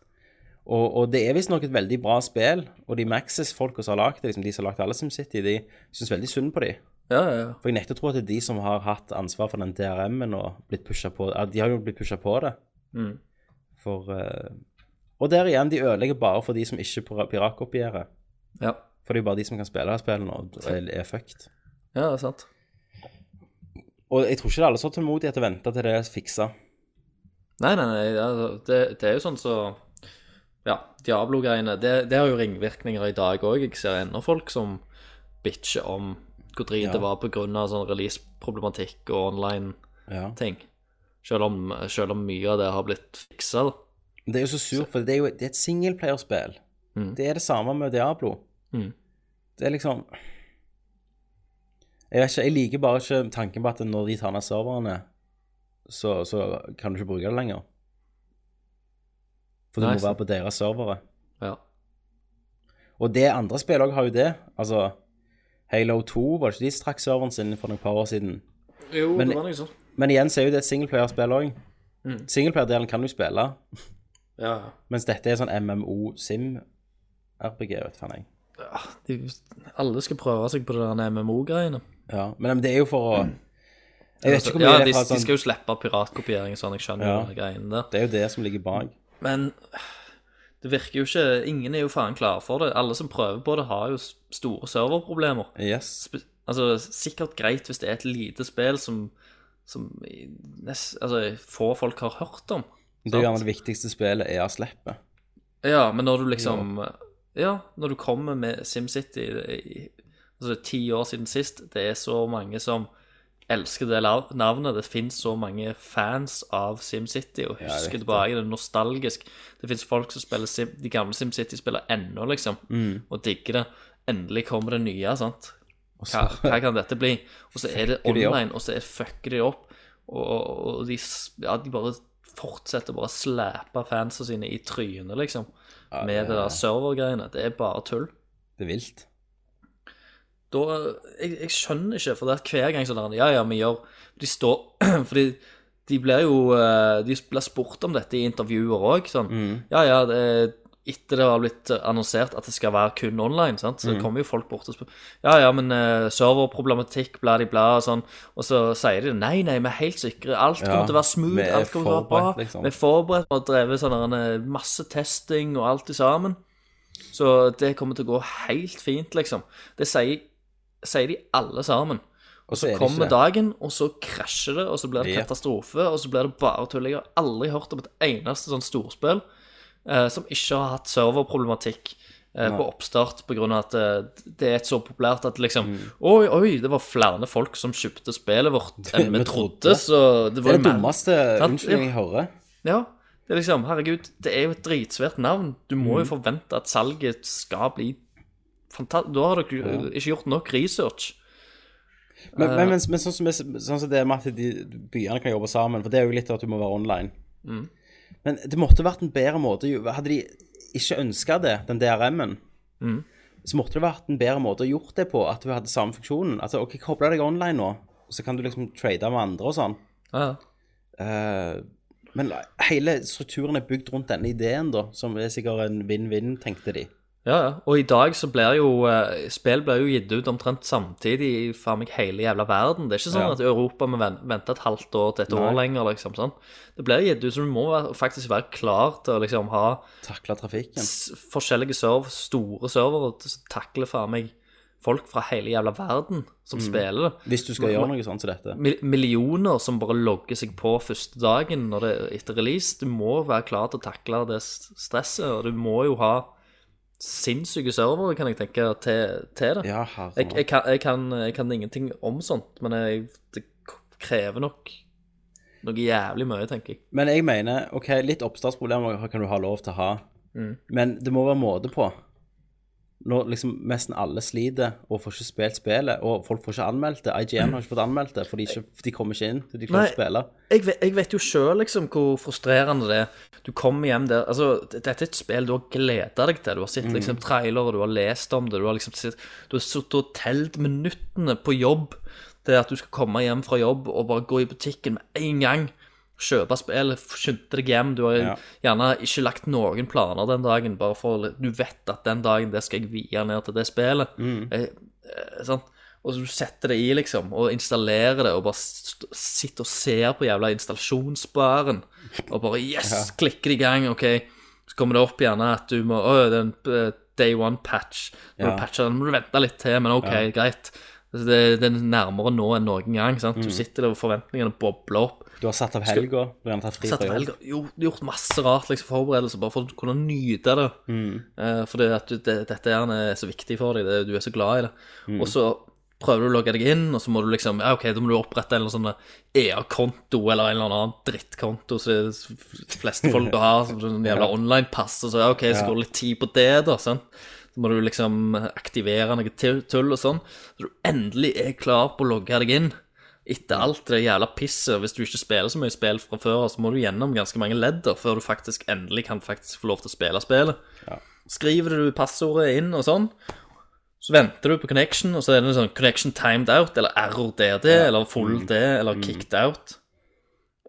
D: Og, og det er visstnok et veldig bra spill, og de Maxis-folka som har lagd det, liksom de som har lagd alle SimCity, de syns veldig synd på de.
E: Ja, ja, ja.
D: For jeg nekter å tro at det er de som har hatt ansvar for den DRM-en og blitt pusha på ja, De har jo blitt pusha på det.
E: Mm.
D: For eh, Og der igjen, de ødelegger bare for de som ikke pir- piratkopierer.
E: ja.
D: For det er jo bare de som kan spille disse spillene, og er, er fucked.
E: Ja, det er sant.
D: Og jeg tror ikke det er alle som har tålmodighet til å vente til det er fiksa.
E: Nei, nei, nei, altså, det, det er jo sånn så Ja, Diablo-greiene, det, det har jo ringvirkninger i dag òg. Jeg ser ennå folk som bitcher om hvor drit det
D: Ja.
E: var pga. sånn release-problematikk og online-ting.
D: Ja.
E: Selv, om- selv om mye av det har blitt fiksa, da.
D: Men det er jo så surt, for det er jo det er et singelplayerspill.
E: Mm.
D: Det er det samme med Diablo.
E: Mm.
D: Det er liksom Jeg vet ikke, jeg liker bare ikke tanken på at når de tar ned serverne, så, så kan du ikke bruke det lenger. For du
E: Nei,
D: må være
E: sant.
D: på deres servere.
E: Ja.
D: Og det andre spillet òg har jo det. Altså Halo 2, var det ikke de som trakk serveren sin for noen par år siden?
E: Jo,
D: Men-
E: det var noe sånt.
D: Men igjen så er jo det et singleplayerspill òg. Singleplayer-delen kan du spille,
E: Ja,
D: mens dette er sånn MMO-sim-RPG, vet faen jeg.
E: de, alle skal prøve seg på det der MMO-greiene.
D: Ja, men men det er jo for å Jeg vet ikke hvor mye
E: Ja,
D: det
E: de,
D: er fra
E: de
D: sånn
E: skal jo slippe piratkopiering og sånn, jeg skjønner jo
D: Ja.
E: de greiene der.
D: Det er jo det som ligger bak.
E: Men det virker jo ikke Ingen er jo faen klar for det. Alle som prøver på det, har jo s- store serverproblemer.
D: Yes.
E: Spe- Altså, sikkert greit hvis det er et lite spill som, som i- nest, altså, få folk har hørt om.
D: Det er
E: sant?
D: jo gjerne det viktigste spillet er å slippe.
E: Ja, men når du liksom Ja, når du kommer med SimCity i- Altså, ti år siden sist, det er så mange som elsker det lav- navnet. Det fins så mange fans av SimCity og
D: jeg
E: husker
D: vet
E: tilbake. Det er nostalgisk. Det fins folk som spiller Sim, de gamle SimCity-spiller ennå, liksom, og digger det. Endelig kommer det nye, sant. Hva, hva kan dette bli? Og så er det
D: Fucker de opp.
E: online, og så er- fucker de opp. Og, og og de, s- ja, de bare fortsetter bare å slæpe fansa sine i trynet, liksom. med det, der servergreiene. Det er bare tull.
D: Det er vilt.
E: Da, jeg, jeg skjønner ikke, for det er hver gang sånn der, Ja, ja, vi gjør De står Fordi de blir jo eh, De blir spurt om dette i intervjuer òg. Sånn Ja, ja, det etter det har blitt annonsert at det skal være kun online, sant?
D: Mm.
E: så kommer jo folk bort og spør Ja, ja, men eh, serverproblematikk, bla, de, bla, og sånn. Og så sier de nei, nei, vi er helt sikre. Alt
D: Ja,
E: kommer til å være smooth,
D: vi er
E: alt kommer til å være bra.
D: forberedt, liksom.
E: Vi er forberedt og har drevet sånn der, eh, masse testing og alt i sammen. Så det kommer til å gå helt fint, liksom. Det sier, sier de alle sammen.
D: Og
E: Så
D: er det
E: kommer
D: ikke det.
E: dagen, og så krasjer det, og så blir det
D: Ja.
E: katastrofe, og så blir det bare tull. Jeg har aldri hørt om et eneste sånn storspill eh, som ikke har hatt serverproblematikk eh, på oppstart pga. at eh, det er et så populært at liksom
D: Mm.
E: Oi, oi, det var flere folk som kjøpte spillet vårt enn vi
D: vi
E: trodde,
D: trodde.
E: så det
D: Det
E: var
D: er
E: jo
D: det
E: mer-
D: dummeste
E: Sant?
D: unnskyldningen jeg hører.
E: Ja. Det er liksom, herregud, det er jo et dritsvært navn. Du må jo
D: Mm.
E: forvente at salget skal bli fantastisk. Da har dere jo ikke gjort nok research.
D: Men,
E: Eh,
D: men, men, men sånn som jeg- sånn som det med at de byene kan jobbe sammen, for det er jo litt av at du må være online.
E: Mm.
D: Men det måtte vært en bedre måte jo- Hadde de ikke ønska det, den DRM-en,
E: Mm.
D: så måtte det vært en bedre måte å gjort det på, at du hadde samme funksjonen. At OK, koble deg online nå, så kan du liksom trade med andre og sånn.
E: Ja, ja.
D: Eh, men hele strukturen er bygd rundt denne ideen, da, som er sikkert en vinn-vinn, tenkte de.
E: Ja, ja. Og i dag så blir jo eh, Spill blir jo gitt ut omtrent samtidig i faen meg hele jævla verden. Det er ikke sånn
D: Ja.
E: at i Europa må ven- vente et halvt år til et år lenger, liksom. sånn. Det blir gitt ut, så du må være, faktisk være klar til å liksom ha
D: Takla trafikken.
E: s forskjellige serv, store servere som takler faen meg folk fra hele jævla verden som spiller det.
D: Hvis du skal gjøre noe sånt som dette.
E: Mil- Millioner som bare logger seg på første dagen når det, etter release. Du må være klar til å takle det s- stresset, og du må jo ha sinnssyke servere, kan jeg tenke, til, til det.
D: Ja,
E: jeg, jeg,
D: herre.
E: kan, jeg, kan, jeg kan ingenting om sånt, men jeg, det k- krever nok noe jævlig mye, tenker jeg.
D: Men jeg mener, OK, litt oppstartsproblemer kan du ha lov til å ha,
E: Mm.
D: men det må være måte på. Når liksom nesten alle sliter og får ikke spilt spillet, og folk får ikke anmeldt det. IGN har ikke fått anmeldt det, for de, ikke, de kommer ikke inn. så De klarer
E: Nei.
D: ikke å spille.
E: Jeg vet, jeg vet jo sjøl liksom hvor frustrerende det er. Du kommer hjem der Altså, dette er et spill du har gleda deg til. Du har sett liksom trailere, du har lest om det, du har liksom sett Du har sittet og telt minuttene på jobb. Det at du skal komme hjem fra jobb og bare gå i butikken med en gang. Kjøpe spillet, skynde deg hjem. Du har
D: Ja.
E: gjerne ikke lagt noen planer den dagen, bare for Du vet at den dagen det skal jeg vie ned til det spillet. Eh, eh, sant? Og så du setter det i, liksom, og installerer det, og bare st- sitter og ser på jævla installasjonsbaren, og bare yes, klikker i gang, ok. Så kommer det opp gjerne at du må, å, det er en eh, day one patch. Når
D: Ja.
E: du patcher den, må du vente litt til, men ok, greit. Altså, Det, det er nærmere nå enn noen gang, sant? Du sitter der og forventningene bobler opp.
D: Du har satt av helga. Du har gjerne tatt fri
E: Satt
D: fra
E: vel,
D: jobb.
E: gjort, gjort masse rart liksom, forberedelser bare for å kunne nyte det. Eh, fordi at du, det, dette her er så viktig for deg, det, du er så glad i det. Og så prøver du å logge deg inn, og så må du liksom ja, ok, da må du opprette en eller annen sånn EA-konto eller en eller annen drittkonto som de f- fleste folk har, som sånn jævla online-pass, og så ja, ok, så går det litt tid på det, da. sant? Så må du liksom aktivere noe tu- tull og sånn. Så du endelig er klar på å logge deg inn. Etter alt det jævla pisset, hvis du ikke spiller så mye spill fra før, så må du gjennom ganske mange ledder før du faktisk endelig kan faktisk få lov til å spille spillet. Skriver du passordet inn og sånn, Så venter du på connection, og så er det en sånn connection timed out, eller error DD, eller full D, eller kicked out.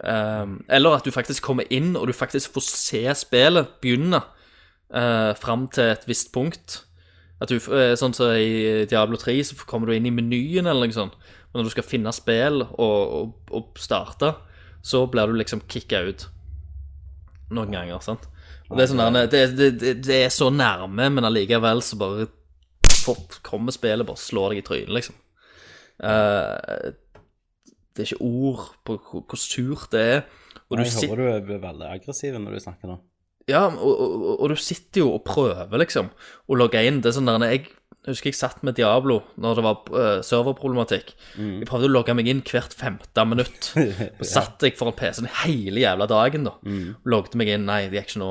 E: Um, eller at du faktisk kommer inn, og du faktisk får se spillet begynne uh, fram til et visst punkt. At du, eh, sånn som I Diablo 3 så kommer du inn i menyen, eller noe sånt. Men når du skal finne spill og, og, og starte, så blir du liksom kicka ut noen ganger. sant? Og det, er sånn, der, det, det, det, det er så nærme, men allikevel så bare fort kommer spillet, bare slår deg i trynet, liksom. Eh, det er ikke ord på hvor, hvor surt det er. Og du
D: Nei, jeg
E: sit-
D: håper du er veldig aggressiv når du snakker nå.
E: ja, og, og, og du sitter jo og prøver, liksom, å logge inn. Det er sånn der, Jeg husker jeg satt med Diablo når det var eh, serverproblematikk. Jeg prøvde å logge meg inn hvert femte minutt. Og satt jeg foran PC-en hele jævla dagen, da. Logget meg inn. Nei, det gikk ikke nå.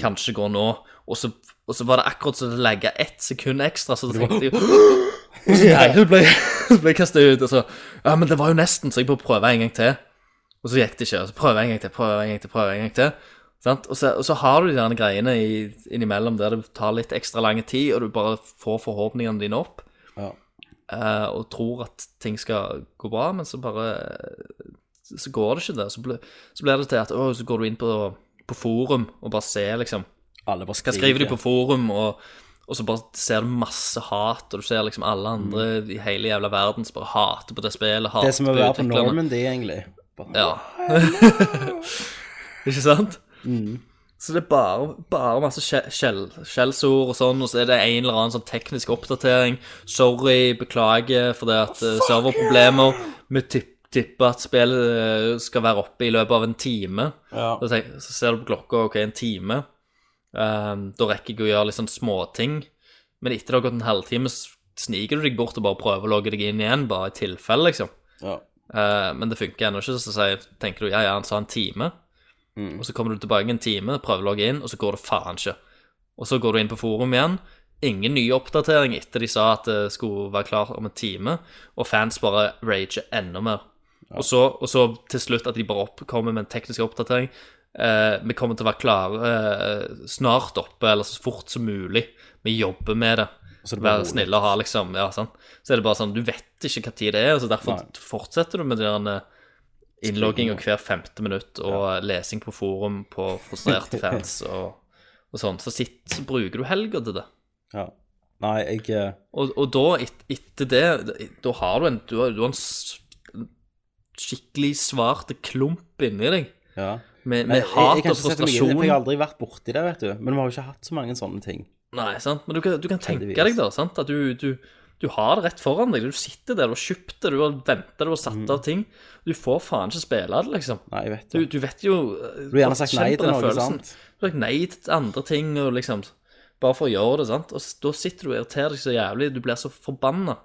E: Kanskje det går nå. Og så, og så var det akkurat som det legga ett sekund ekstra, så da tenkte jeg og så, Nei, så ble så ble jeg kasta ut. Og så Ja, men det var jo nesten, så jeg bør prøve en gang til. Og så gikk det ikke. Og så prøve en gang til, prøve en gang til, prøve en gang til. Sant? Og, så, og så har du de der greiene i, innimellom der det tar litt ekstra lang tid, og du bare får forhåpningene dine opp
D: Ja.
E: eh, og tror at ting skal gå bra, men så bare Så går det ikke det. Så, ble, så blir det til at å, så går du inn på, på forum og bare ser, liksom.
D: Alle bare
E: Hva skriver de på forum, og, og så bare ser du masse hat, og du ser liksom alle andre i hele jævla verden som bare hater på det spillet, hater
D: Mm. Det som er verre på
E: utviklerne.
D: Normandy, egentlig. Bare,
E: eh, Ja. Ikke sant?
D: Mm.
E: Så det er bare, bare masse skje- skjell, skjellsord og sånn, og så er det en eller annen sånn teknisk oppdatering. Sorry, beklager for det at eh, serverproblemer. Vi tipp, tipper at spillet eh, skal være oppe i løpet av en time.
D: Ja.
E: Så, tenk, så ser du på klokka, ok, en time. Ehm, da rekker jeg å gjøre litt sånn småting. Men etter det har gått en halvtime, så sniker du deg bort og bare prøver å logge deg inn igjen, bare i tilfelle, liksom.
D: Ja.
E: Eh, men det funker ennå ikke, så sier, tenker du ja, ja, han sa en time. Og så kommer du tilbake en time, prøver å logge inn, og så går det faen ikke. Og så går du inn på forum igjen. Ingen ny oppdatering etter de sa at det skulle være klart om en time, og fans bare rager enda mer. Og, så, og så til slutt at de bare opp, kommer med en teknisk oppdatering. Eh, vi kommer til å være klare eh, snart oppe, eller så fort som mulig. Vi jobber med det.
D: så er det bare
E: Vær
D: rolig.
E: snill å ha, liksom. Ja, sant? Så er det bare sånn, du vet ikke hva tid det er, og så derfor
D: Nei.
E: fortsetter du med den eh, innlogging og hver femte minutt, og eh, lesing på forum på frustrerte fans og, og sånn. Så, sitt, så bruker du helga til det.
D: Ja. Nei, jeg eh,
E: Og, og da, et, etter det, da har du en, du har, du har en s- en skikkelig svart klump inni deg.
D: Ja.
E: Med,
D: Nei,
E: med
D: jeg, jeg
E: hat
D: kan
E: og
D: ikke sette meg inn i det,
E: frustrasjon.
D: for jeg har aldri vært borti det, vet du. Men vi har jo ikke hatt så mange sånne ting.
E: Nei, sant? men du kan, du kan tenke
D: Heldigvis.
E: deg da, sant? at du, du, du har det rett foran deg. Du sitter der, du har kjøpt det, du har ventet, du har satt
D: Mm.
E: av ting. Du får faen ikke spille det, liksom.
D: Nei, jeg vet
E: Du,
D: det.
E: du vet jo eh, Du
D: har gjerne sagt nei til noe, sant?
E: Du har sagt nei til andre ting, og liksom Bare for å gjøre det, sant? Og s- da sitter du og irriterer deg så jævlig, du blir så forbanna.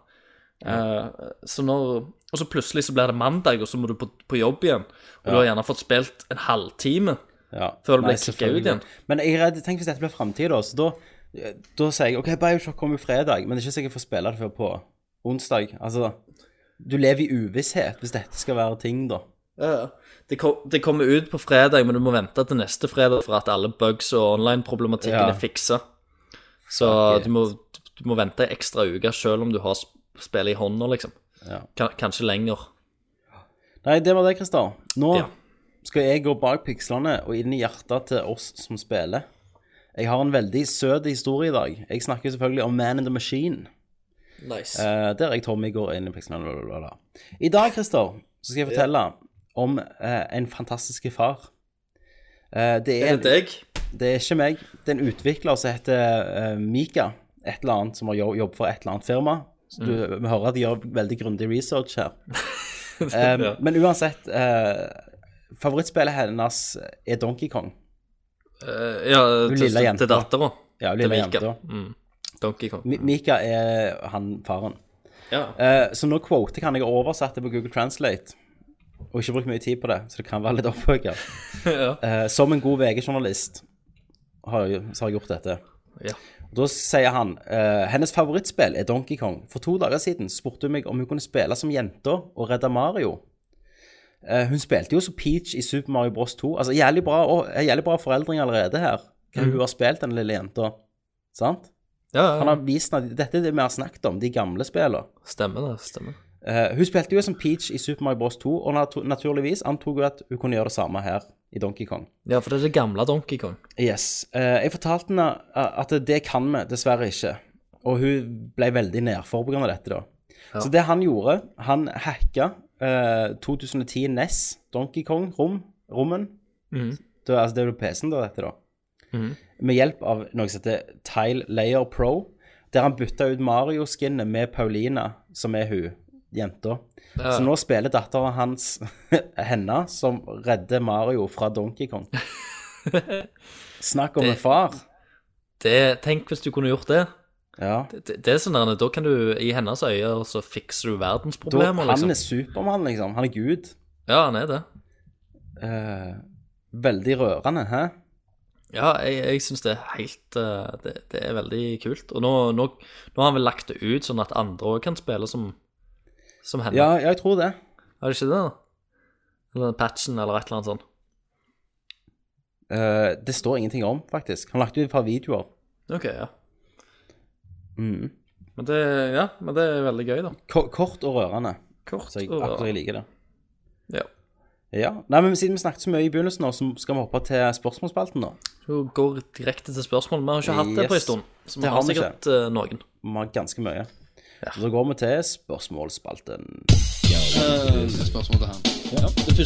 E: Eh, så når Og så plutselig så blir det mandag, og så må du på, på jobb igjen. Og du har gjerne fått spilt en halvtime.
D: Ja.
E: Før du ble kicka
D: Nei,
E: ut
D: selvfølgelig.
E: igjen.
D: Men jeg er redd, tenk hvis dette blir framtida, så da, da sier jeg OK, Bioshock kommer jo fredag, men det er ikke sikkert jeg får spille det før på onsdag. Altså, du lever i uvisshet hvis dette skal være ting, da.
E: Det, kom, det kommer ut på fredag, men du må vente til neste fredag for at alle bugs og online-problematikken
D: Ja.
E: er fiksa. Så
D: Fuck it.
E: du, må, du må vente ei ekstra uke selv om du har sp- spillet i hånda, liksom.
D: Ja.
E: Ka- Kanskje lenger.
D: Nei, det var det, Christer. Nå
E: Ja.
D: skal jeg gå bak pikslene og inn i hjertet til oss som spiller. Jeg har en veldig søt historie i dag. Jeg snakker selvfølgelig om Man in the Machine.
E: Nice.
D: Eh, der jeg Tommy går inn i pikslene. bla, bla, bla, bla. I dag, Christer, så skal jeg fortelle om eh, en fantastisk far. Eh, det, er,
E: er det deg?
D: det er ikke meg. Det er en utvikler som heter eh, Mika, et eller annet, som har jobb, jobb for et eller annet firma. Så du,
E: Mm.
D: Vi hører at de gjør veldig grundig research her. Eh,
E: Ja.
D: Men uansett, eh, favorittspillet hennes er Donkey Kong.
E: Eh, ja,
D: Hun
E: til,
D: lille jenta.
E: til dattera.
D: Ja,
E: Til
D: lille
E: Mika.
D: jenta.
E: Mm. Donkey Kong.
D: Mi- Mika er han faren.
E: Ja.
D: Eh, så nå quote kan jeg oversette på Google Translate, og ikke brukt mye tid på det, så det kan være litt opphøyet.
E: Ja.
D: Eh, som en god VG-journalist har, jeg- så har jeg gjort dette.
E: Ja.
D: Og Da sier han eh, hennes favorittspill er Donkey Kong. For to dager siden spurte hun meg om hun kunne spille som jente og redde Mario. Eh, hun spilte jo som Peach i Super Mario Bros 2. Altså,
E: Mm.
D: jævlig bra, og, eh, jævlig bra foreldring allerede her. Hva hun har spilt, den lille jenta. Sant?
E: Ja,
D: Han har vist at dette er det vi har snakket om, de gamle spillene.
E: Stemmer det. stemmer
D: Eh, hun spilte jo som Peach i Super Mario Bros. 2, og natu naturligvis antok hun at hun kunne gjøre det samme her i Donkey Kong.
E: Ja, for det er det gamle Donkey Kong.
D: Yes. Eh, jeg fortalte henne eh, at det kan vi dessverre ikke, og hun ble veldig nedfor pga. dette, da. Så det han gjorde, han hacka eh, 2010 NES, Donkey Kong-rommen.
E: Mm.
D: Det, altså det er jo PC-en da, dette, da. Med hjelp av noe som heter Tile Layer Pro, der han bytta ut Mario-skinnet med Paulina, som er hun jenta. Så nå spiller datteren hans henne, som redder Mario fra Donkey Kong. Snakk om en far.
E: Det, tenk hvis du kunne gjort det.
D: Ja.
E: Det, det er sånn der, Da kan du i hennes øye og så fikser du
D: Da,
E: verdensproblemer,
D: han
E: liksom.
D: er Supermann, liksom. Han er Gud.
E: Ja, han er det.
D: Eh, veldig rørende, hæ?
E: Ja, jeg, jeg syns det er helt eh, det, det er veldig kult. Og nå, nå, nå har han vel lagt det ut sånn at andre òg kan spille som, som henne.
D: Ja, ja, jeg tror det.
E: Er det ikke det? da? Eller den patchen eller et eller annet sånt.
D: Eh, det står ingenting om, faktisk. Han lagt ut et par videoer.
E: Ok, ja.
D: Mm.
E: Men det, ja, men det er veldig gøy, da.
D: Ko- Kort og rørende.
E: Kort
D: Så jeg
E: og
D: akkurat jeg liker det.
E: Ja.
D: Ja. Nei, men Siden vi snakket så mye i begynnelsen, nå, så skal vi hoppe til spørsmålsspalten. nå.
E: Hun går direkte til spørsmål. Vi har jo ikke hatt det på en
D: Yes.
E: stund. Så vi
D: Det
E: har,
D: har vi
E: sikkert eh, noen.
D: Vi har ganske mye. Så da går vi til spørsmålsspalten.
H: Det første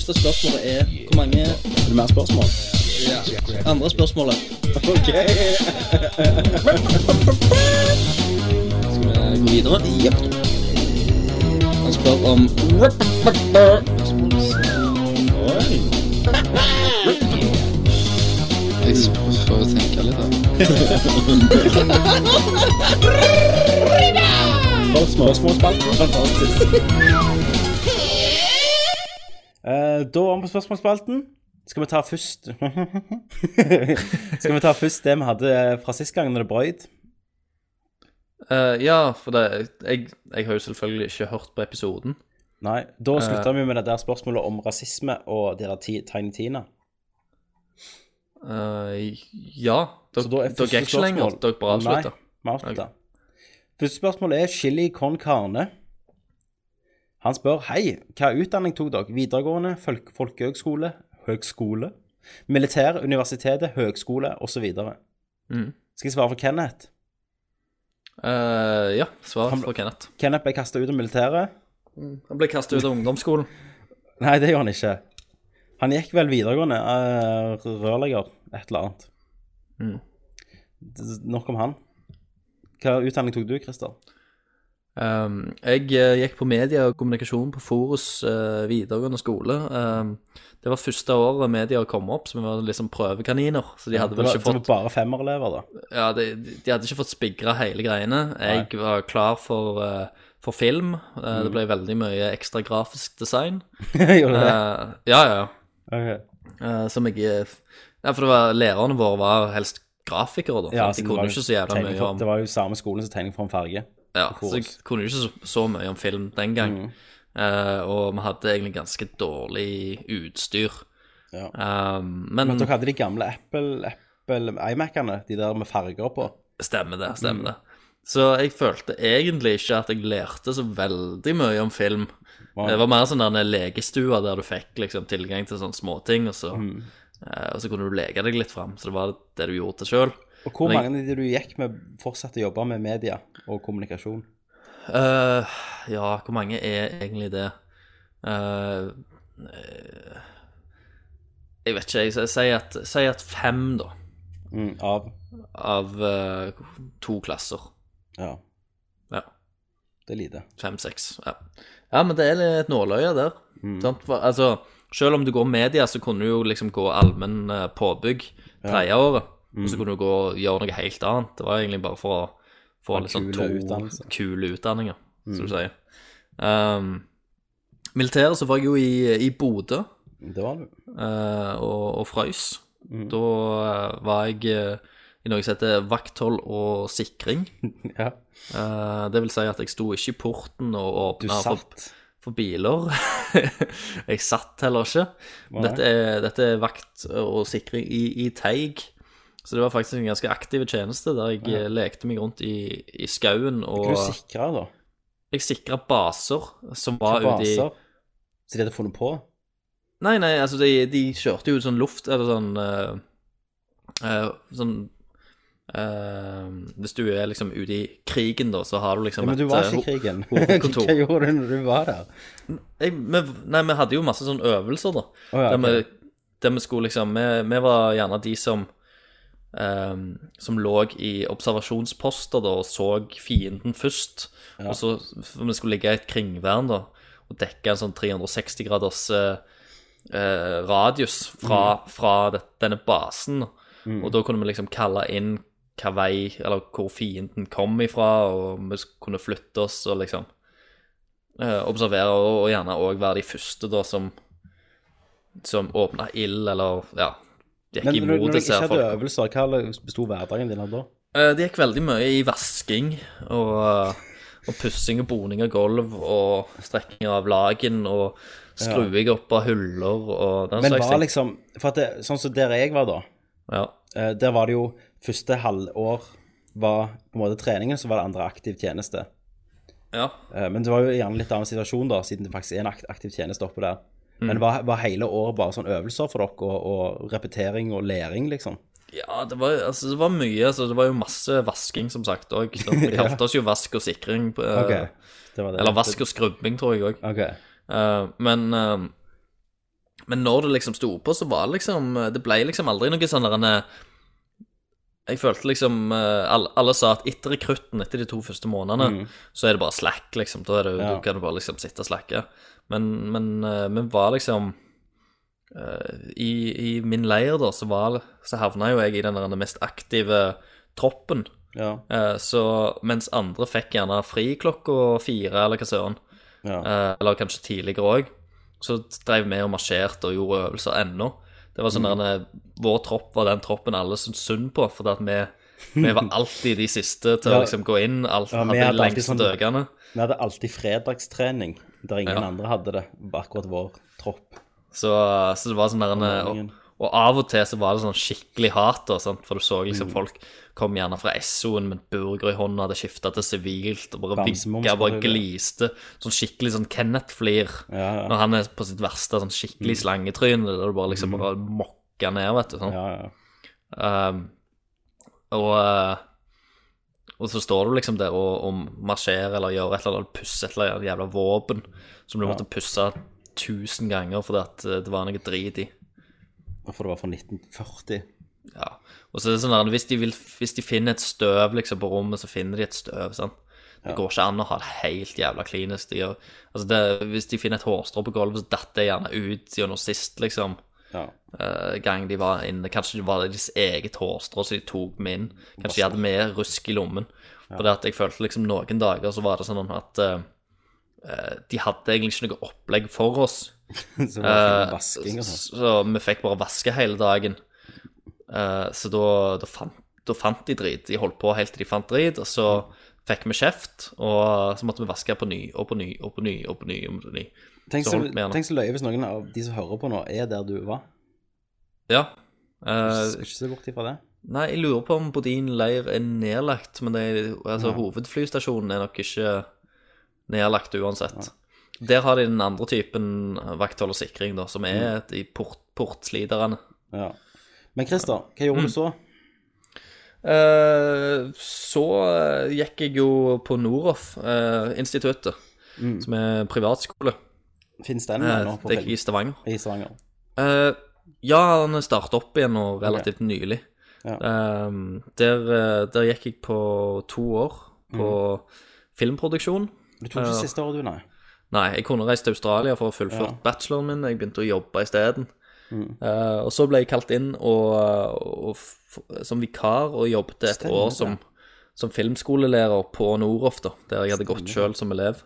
H: spørsmålet er hvor mange Er det mer spørsmål? Ja. Andre spørsmålet. OK. Skal vi gå videre? Jepp. Han spør om Oi. Jeg får jo tenke litt, da. Spørsmålsspalten. Fantastisk.
D: Eh, da om på spørsmålsspalten. Skal vi ta først Skal vi ta først det vi hadde eh, fra sist gang, når det brøyt?
E: Eh, ja, for det, jeg, jeg har jo selvfølgelig ikke hørt på episoden.
D: Nei. Da slutta vi med det der spørsmålet om rasisme og det der ti- Tiny Tina.
E: Eh, ja,
D: Så da
E: dere
D: er
E: dere
D: første
E: er ikke lenger.
D: spørsmål-
E: Dere bare avslutter.
D: Nei, vi avslutter. Første spørsmål er chili con carne. Han spør hei, hva utdanning tok dere? Videregående, folk folkehøgskole, høgskole, militær, universitetet, høgskole osv.
E: Mhm.
D: Skal jeg svare for Kenneth?
E: Eh, ja, svar
D: Han ble-
E: fra Kenneth.
D: Kenneth ble kasta ut av militæret.
E: Mm, Han ble kastet ut av ungdomsskolen.
D: Nei, det gjorde han ikke. Han gikk vel videregående, eh, rørlegger, et eller annet.
E: Mhm.
D: D- Nok om han. Hva utdanning tok du, Christer?
E: Um, jeg eh, gikk på media og kommunikasjon på Forus eh, videregående skole. Um, det var første året media kom opp, så vi var liksom prøvekaniner. Så de hadde
D: det
E: vel
D: var, liksom-
E: ikke fått
D: det var bare femmerelever, da.
E: Ja, de, de hadde ikke fått spigra hele greiene. Jeg var klar for, eh, for film. Eh, Det ble veldig mye ekstra grafisk design.
D: Gjorde Mm. det?
E: Eh, ja, ja.
D: Ok.
E: Eh, som jeg Ja, for det var, lærerne våre var helst grafikere, da.
D: Ja,
E: sant?
D: så
E: de
D: det
E: kunne
D: var
E: jo
D: jo
E: ikke så jævla
D: tegning
E: mye
D: for-
E: om
D: Det var jo samme skolen som tegning for en farge.
E: Ja,
D: på
E: så jeg
D: Forus.
E: kunne jo ikke så, så mye om film den gang. Eh, og vi hadde egentlig ganske dårlig utstyr.
D: Ja.
E: Eh, men
D: Men dere hadde de gamle Apple, Apple iMac-ene, de der med farger på.
E: Stemmer det, stemmer det. Så jeg følte egentlig ikke at jeg lærte så veldig mye om film.
D: Wow.
E: Det var mer sånn denne lekestua der du fikk liksom, tilgang til sånne småting, og, så,
D: Mm.
E: eh, og så kunne du leke deg litt fram. Så det var det du gjorde sjøl.
D: Og hvor
E: Men jeg-
D: mange av de du gikk med, fortsatte å jobbe med media og kommunikasjon?
E: Eh, ja, hvor mange er egentlig det? Eh, eh, jeg vet ikke, jeg s- sier at, sier at fem, da,
D: Mm, av
E: av eh, to klasser.
D: Ja,
E: Ja.
D: det er lite.
E: Fem-seks, ja. Ja, men det er et nåløye der.
D: Mm.
E: Sant? For, altså, selv om du går media, så kunne du jo liksom gå allmenn eh, påbygg tredje året. Og
D: Mm.
E: så kunne du gå og gjøre noe helt annet. Det var egentlig bare for å få litt sånn
D: kule
E: to
D: utdannelser. Mm.
E: kule utdanninger, som du sier. Um, militæret så var jeg jo i, i Bodø
D: Det var mm. det.
E: eh, og, og frøys. Da eh, var jeg eh, i noe som heter vakthold og sikring.
D: Ja.
E: Eh, det vil si at jeg sto ikke i porten og
D: Du
E: åpna for,
D: satt.
E: for biler. jeg satt heller ikke. Dette er, dette er vakt og sikring i, i Teig. Så det var faktisk en ganske aktiv tjeneste der jeg eh, lekte meg rundt i, i skauen og
D: Hva du sikra, da?
E: Jeg sikra baser som var ute i
D: Baser? Så de hadde funnet på?
E: Nei, nei, altså de, de kjørte jo ut sånn luft Eller sånn eh, eh, Sånn eh, Hvis du er liksom ute i krigen da Så har du
D: Ja,
E: liksom
D: men du var
E: eh,
D: ikke i krigen.
E: ho- hovedkontor.
D: Hva gjorde du når du var der?
E: jeg, vi, Nei, vi hadde jo masse sånne øvelser da
D: Å, ja,
E: der,
D: ok.
E: vi, der vi skulle liksom Vi, vi var gjerne de som eh, Som lå i observasjonsposter da Og så fienden først Og så for vi skulle ligge i et kringvern da Og dekke en sånn 360 graders eh, eh, radius fra,
D: Mm.
E: fra det, denne basen. Og da kunne vi liksom kalle inn hva vei, eller hvor fienden kom ifra, og vi sk- kunne flytte oss og liksom eh, observere, og, og gjerne òg være de første da som som åpna ild, eller ja, gikk
D: Men når,
E: imot
D: når du
E: disse
D: ikke
E: her
D: hadde
E: folk.
D: øvelser, hva besto hverdagen din av da?
E: Eh, det gikk veldig mye i vasking og, eh, og pussing og boning av gulv og strekking av lagen og skruing opp av huller og den
D: Men
E: slags
D: var
E: ting.
D: liksom For at det, sånn som der jeg var, da,
E: Ja.
D: eh, der var det jo første halvår var på en måte treningen, så var det andre aktiv tjeneste.
E: Ja.
D: Eh, Men det var jo gjerne litt annen situasjon, da, siden det faktisk er en akt- aktiv tjeneste oppe der.
E: Mm.
D: Men var, var hele året bare sånn øvelser for dere, og, og repetering og læring, liksom?
E: ja, det var, altså, det var mye. Altså, det var jo masse vasking, som sagt òg. Vi kalte oss jo vask og sikring. eh,
D: Ok, det var det.
E: Eller vask og skrubbing, tror jeg òg.
D: Ok,
E: men eh, Men når det liksom sto på, så var det liksom Det ble liksom aldri noe sånn der en eh, Jeg følte liksom eh, alle, alle sa at etter rekrutten, etter de to første månedene, så er det bare slack, liksom. Da er det,
D: Ja.
E: du kan du bare liksom sitte og slacke. Men, men, eh, men var liksom eh, i, I min leir, da, så, var, så havna jo jeg i den der mest aktive troppen.
D: ja.
E: Eh, Så mens andre fikk gjerne fri klokka fire, eller hva søren,
D: Ja.
E: eh, eller kanskje tidligere òg, så drev vi og marsjerte og gjorde øvelser ennå. Det var
D: Mm.
E: sånn der, eh, Vår tropp var den troppen alle syntes synd på, fordi at vi, vi var alltid de siste til
D: Ja.
E: å liksom gå inn. Alt,
D: Ja, vi
E: hadde
D: hadde
E: de
D: alltid
E: lengste
D: sånn-
E: døgene.
D: Vi hadde alltid fredagstrening, der ingen
E: Ja.
D: andre hadde det, bare akkurat vår tropp.
E: Så, så det var sånn der en,
D: morgenen.
E: og, og av og til så var det sånn skikkelig hat, da, sant? for du så
D: Mm.
E: liksom folk kom gjerne fra SO-en med en burger i hånda, hadde skifta til sivilt, og bare
D: Bamsemums
E: vinka, bare
D: på høyre.
E: gliste. Sånn skikkelig sånn Kenneth-flir
D: Ja, Mm. ja.
E: når han er på sitt verste, sånn skikkelig slangetryne, der du bare liksom bare mokker ned, vet du. Sånn.
D: Ja, Mm. ja.
E: Um, og, eh, og så står du liksom der og, og marsjerer eller gjør et eller annet, pusser et eller annet jævla våpen som du måtte pusse tusen ganger fordi at eh, det var noe drit i.
D: For det var fra 1940.
E: Ja. Og så er det sånn der, hvis de, vil, hvis de finner et støv liksom på rommet, så finner de et støv. sant? Det går ikke an å ha det helt jævla klinisk. De, gjør- altså det, hvis de finner et hårstrå på gulvet, så datt det gjerne ut gjennom sist, liksom.
D: Ja.
E: eh, gang de var inne. Kanskje det var deres eget hårstrå som de tok med inn. Kanskje de hadde mer rusk i lommen. For det at jeg følte liksom noen dager så var det sånn at eh, eh, de hadde egentlig ikke noe opplegg for oss.
D: Så var det
E: Eh,
D: sånn vasking og sånn.
E: Så, så vi fikk bare vaske hele dagen. Eh, så da, da, fant, da fant de drit. De holdt på helt til de fant drit, og så fikk vi kjeft, og så måtte vi vaske på ny og på ny og på ny og på ny. Og på ny.
D: Tenk
E: så
D: så,
E: holdt vi igjen.
D: tenk så løye hvis noen av de som hører på nå, er der du var.
E: Ja. eh,
D: Skal ikke se bort ifra det.
E: Nei, jeg lurer på om Bodin leir er nedlagt, men det er, altså, hovedflystasjonen er nok ikke nedlagt uansett. Der har de den andre typen vakthold og sikring, da, som er
D: Mm.
E: de port, portsliterne.
D: Ja. Men Christer, hva gjorde du
E: Mm.
D: så?
E: Eh, så eh, gikk jeg jo på Noroff eh, instituttet, som er privatskole.
D: Mm. Finnes den
E: Mm. Eh,
D: nå på
E: det er
D: film?
E: i Stavanger.
D: I Stavanger.
E: Eh, ja, han starta opp igjen nå relativt nylig.
D: Ja.
E: Ehm, der, eh, der gikk jeg på to år på
D: Mhm.
E: filmproduksjon.
D: Du tok
E: Eh.
D: ikke siste året, du, nei?
E: Nei, jeg kunne reist til Australia for å fullføre
D: Ja.
E: bacheloren min. Jeg begynte å jobbe isteden.
D: Mm.
E: Eh, og så ble jeg kalt inn og, eh, og, f- som vikar og jobbet et
D: Stemmer
E: år
D: det.
E: som, som filmskolelærer på Noroff, da, der jeg hadde gått sjøl som elev.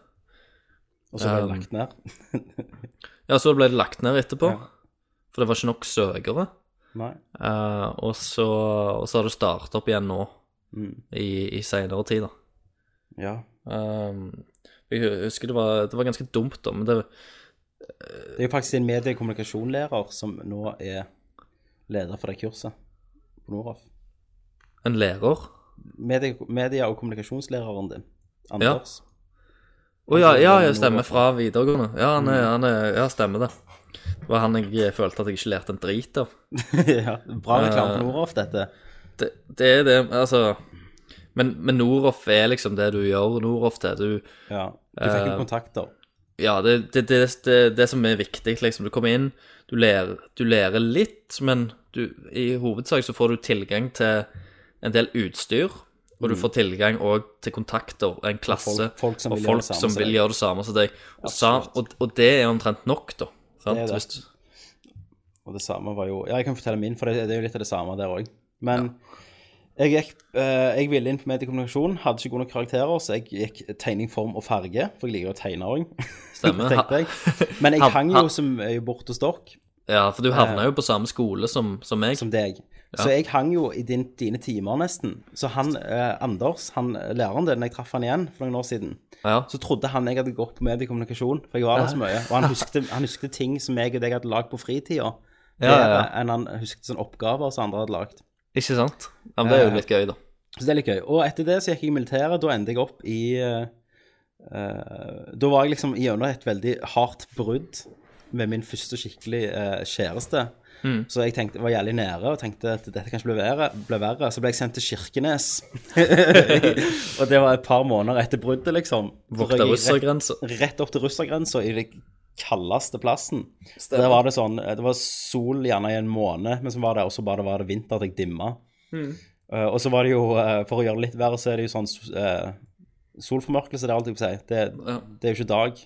D: Og så ble
E: Um,
D: det lagt ned?
E: Ja, så ble det lagt ned etterpå,
D: Ja.
E: for det var ikke nok søkere.
D: Nei.
E: Eh, og, så, og så har det startet opp igjen nå,
D: Mm.
E: i, i senere tid, da.
D: Ja.
E: Ehm, jeg husker det var, det var ganske dumt, da, men det
D: Det er jo faktisk en medie- og kommunikasjonlærer som nå er leder for det kurset på Noroff.
E: En lærer?
D: Medie, media- og kommunikasjonslæreren din, Anders.
E: Å ja, ja, jeg stemmer fra videregående. Ja, han er, han er, ja, stemmer det. Det var han jeg følte at jeg ikke lærte en drit av.
D: Ja. Bra reklame
E: Eh,
D: for Noroff, dette.
E: det, det er det, altså Men, men Noroff er liksom det du gjør Noroff til. Du,
D: Ja. Du fikk jo
E: Eh,
D: kontakter.
E: ja, det det, det, det det som er viktig, liksom. Du kommer inn, du lærer, du lærer litt, men du, i hovedsak så får du tilgang til en del utstyr. Og du får tilgang òg til kontakter, en klasse,
D: Mm. folk- folk som
E: og
D: vil gjøre
E: folk
D: det samme
E: som
D: som
E: vil
D: deg.
E: gjøre det samme som deg. Og, sa, og, og det er omtrent nok, da. Sant?
D: Det er det.
E: Hvis,
D: Og det samme var jo Ja, jeg kan fortelle min, for det, det er jo litt av det samme der òg. Men jeg gikk eh, Jeg ville inn på mediekommunikasjon, hadde ikke gode nok karakterer, så jeg gikk tegning, form og farge, for jeg liker å tegne òg.
E: Stemmer.
D: tenkte jeg. Men jeg
E: Han-
D: hang
E: han-
D: jo som øye bort hos dere,
E: ja, for du havna jo på samme skole som, som meg.
D: som deg. Så jeg hang jo i din, dine timer, nesten. Så han eh, Anders, han læreren din, når jeg traff han igjen for noen år siden,
E: Ja.
D: så trodde han jeg hadde gått på mediekommunikasjon, for jeg var der så mye. Og han husket, han husket ting som jeg og deg hadde lagd på fritida,
E: Ja, ja, ja.
D: bedre enn han husket sånne oppgaver som andre hadde lagd.
E: Ikke sant? Ja, men det er jo litt gøy, da.
D: Så det er litt gøy. Og etter det så gikk jeg i militæret. Da endte jeg opp i eh, eh, Da var jeg liksom gjennom et veldig hardt brudd med min første skikkelig eh, kjæreste.
E: Mm.
D: Så jeg tenkte, var jævlig nære og tenkte at dette kanskje ble verre. Ble verre. Så ble jeg sendt til Kirkenes. og det var et par måneder etter bruddet, liksom. Så røk
E: Vokta
D: jeg rett-
E: russergrensa.
D: rett opp til russergrensa i den kaldeste plassen. Der var det sånn Det var sol gjerne i en måned, men så var det også bare det var det vinter at jeg dimma.
E: Mm.
D: Eh, og så var det jo, eh, for å gjøre det litt verre, så er det jo sånn eh, solformørkelse, det er alt jeg vil si. Det,
E: Ja.
D: det er jo ikke dag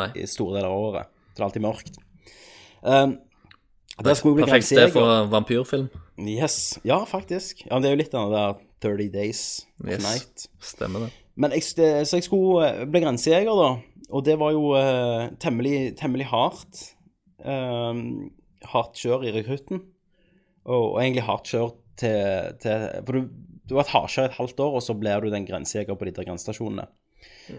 E: Nei.
D: i store deler av året. Så det er alltid mørkt. Um, der skulle jeg bli
E: Perfekt sted
D: grensejeg.
E: for en vampyrfilm.
D: Yes. Ja, faktisk. Ja, men det er jo litt den der 30 days of
E: Yes.
D: night.
E: Stemmer det.
D: Men jeg, det- så jeg skulle eh, bli grensejeger, da. Og det var jo eh, temmelig, temmelig hardt. Um, hardt kjør i rekrutten. Og, og egentlig hardt kjør til, til For du, du har vært hardkjør i et halvt år, og så blir du den grensejeger på de der grensestasjonene.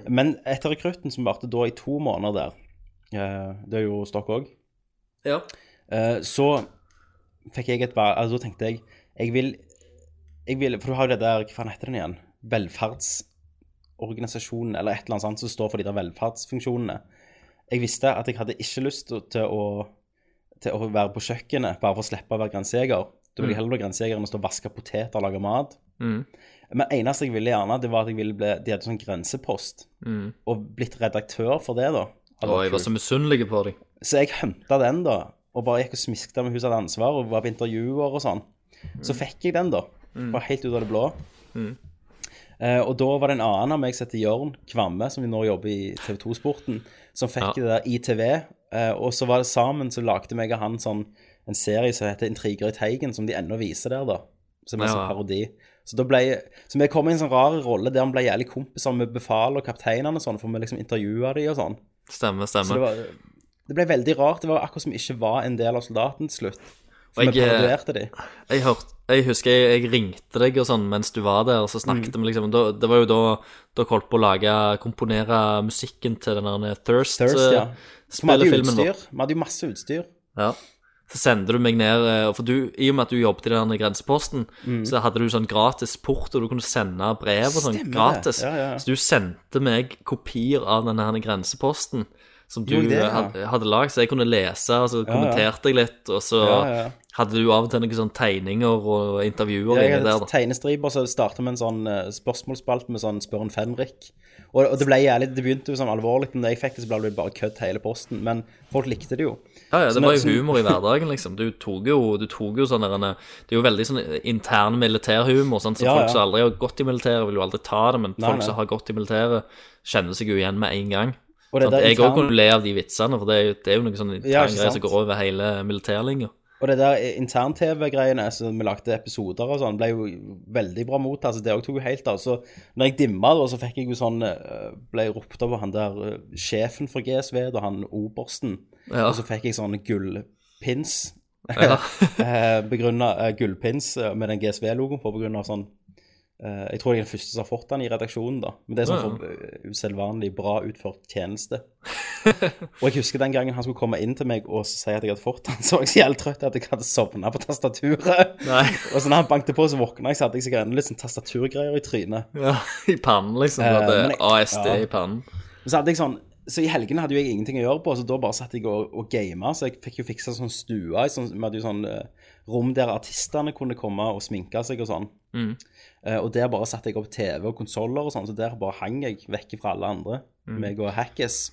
D: Men etter rekrutten, som varte da i to måneder der eh, Det er jo Stokk òg.
E: Ja.
D: Eh, så fikk jeg et valg altså, Da tenkte jeg jeg vil, jeg vil For du har jo det der Hva faen heter den igjen? Velferdsorganisasjonen, eller et eller annet sånt som står for de der velferdsfunksjonene. Jeg visste at jeg hadde ikke lyst til, til, å, til å være på kjøkkenet bare for å slippe å være grensejeger. Da ville jeg heller bli grensejeger enn å stå og vaske poteter og lage mat.
E: Mm.
D: Men eneste jeg ville gjerne, det var at jeg ville bli De hadde sånn grensepost.
E: Mm.
D: Og blitt redaktør for det, da. Hadde
E: Og
D: vært
E: jeg var
D: kult.
E: så misunnelig på deg.
D: Så jeg henta den, da, og bare gikk og smiskta med Hun som hadde ansvar, og var på intervjuer og sånn. Så fikk jeg den, da. Bare helt ut av det blå. Eh, og da var det en annen av meg som heter Jørn Kvamme, som nå jobber i TV 2-sporten, som fikk det der ITV. Eh, og så var det sammen så lagde meg og han sånn en serie som heter 'Intriger i Teigen', som de ennå viser der, da. Som er en
E: Ja.
D: sånn parodi. Så da ble Så vi kom i en sånn rar rolle der vi ble jævlig kompiser med befal og kapteinene og sånn, for vi liksom intervjua de og sånn.
E: Stemmer,
D: Så det,
E: stemmer.
D: var, det ble veldig rart. Det var akkurat som vi ikke var en del av soldaten til slutt. For
E: Og
D: vi
E: jeg, eh,
D: parodierte de.
E: jeg, hørte, jeg husker jeg, jeg ringte deg og sånn mens du var der, og
D: Mm.
E: så snakket vi liksom da, Det var jo da dere holdt på å lage komponere musikken til den eh, der
D: Thirst, ja. Så vi hadde jo
E: Thirst-spillefilmen
D: utstyr. Vi hadde jo masse utstyr.
E: Ja. Så sender du meg ned eh, For du, i og med at du jobbet i den grenseposten,
D: Mm.
E: så hadde du sånn gratis port, og du kunne sende brev og sånn
D: Stemmer det.
E: gratis.
D: Ja, ja, ja.
E: Så du sendte meg kopier av denne her grenseposten som du
D: Gjorde jeg det,
E: eh,
D: ja?
E: hadde, hadde lagd, så jeg kunne lese, og så kommenterte jeg litt, og så
D: Ja, ja.
E: hadde du av og til noen sånne tegninger og intervjuer
D: Jeg
E: inni
D: hadde
E: der, da.
D: tegnestriper, så starta vi en sånn eh, spørsmålsspalt med sånn 'Spør en fenrik'. Og, og det ble jævlig, det begynte jo sånn alvorlig, men da jeg fikk det, så ble det bare kødd hele posten. Men folk likte det jo.
E: Ja, ja,
D: Så
E: det var
D: vi-
E: jo
D: så-
E: humor i hverdagen, liksom. Du tok jo, du tok jo sånne derne- Det er jo veldig sånn intern militærhumor, sånn, så
D: Ja,
E: folk
D: ja.
E: som aldri har gått i militæret, vil jo aldri ta det, men
D: Nei,
E: folk
D: nei.
E: som har gått i militæret, kjenner seg jo igjen med en gang.
D: Og det
E: Sånn,
D: der
E: jeg òg
D: intern-
E: kunne le av de vitsene, for det er jo, det er jo noen sånne interne
D: Ja, ikke
E: greier
D: sant?
E: som går over hele militærlinja.
D: Og det der intern-TV-greiene som vi lagde episoder og sånn, ble jo veldig bra mottatt. Altså, det òg tok jo helt av. Så når jeg dimma, da, så fikk jeg jo sånn eh, Ble ropt over han der eh, sjefen for GSV, da han obersten.
E: Ja.
D: Og så fikk jeg sånn gullpins.
E: Ja.
D: eh, begrunna eh, gullpins eh, med den GSV-logoen på pga. sånn eh, Jeg tror jeg er den første som har fått den i redaksjonen, da. Men det er sånn for eh, usedvanlig bra utført tjeneste. Og jeg husker den gangen han skulle komme inn til meg og si at jeg hadde fått han, så var jeg så jævlig trøtt at jeg hadde sovna på tastaturet.
E: Nei.
D: Og så når han banket på, så våkna jeg, så hadde jeg sikkert enda litt sånn tastaturgreier i trynet.
E: Ja, I pannen, liksom. Du
D: Eh,
E: hadde
D: men jeg-
E: ASD
D: ja.
E: i pannen.
D: Men så hadde jeg sånn så i helgene hadde jo jeg ingenting å gjøre på, så da bare satt jeg og, og gama. Så jeg fikk jo fiksa sånn stue. i Sånn, vi hadde jo sånn eh, rom der artistene kunne komme og sminke seg og sånn.
E: Mhm.
D: Eh, og der bare satte jeg opp TV og konsoller og sånn, så der bare hang jeg vekk fra alle andre. Meg og Hackes.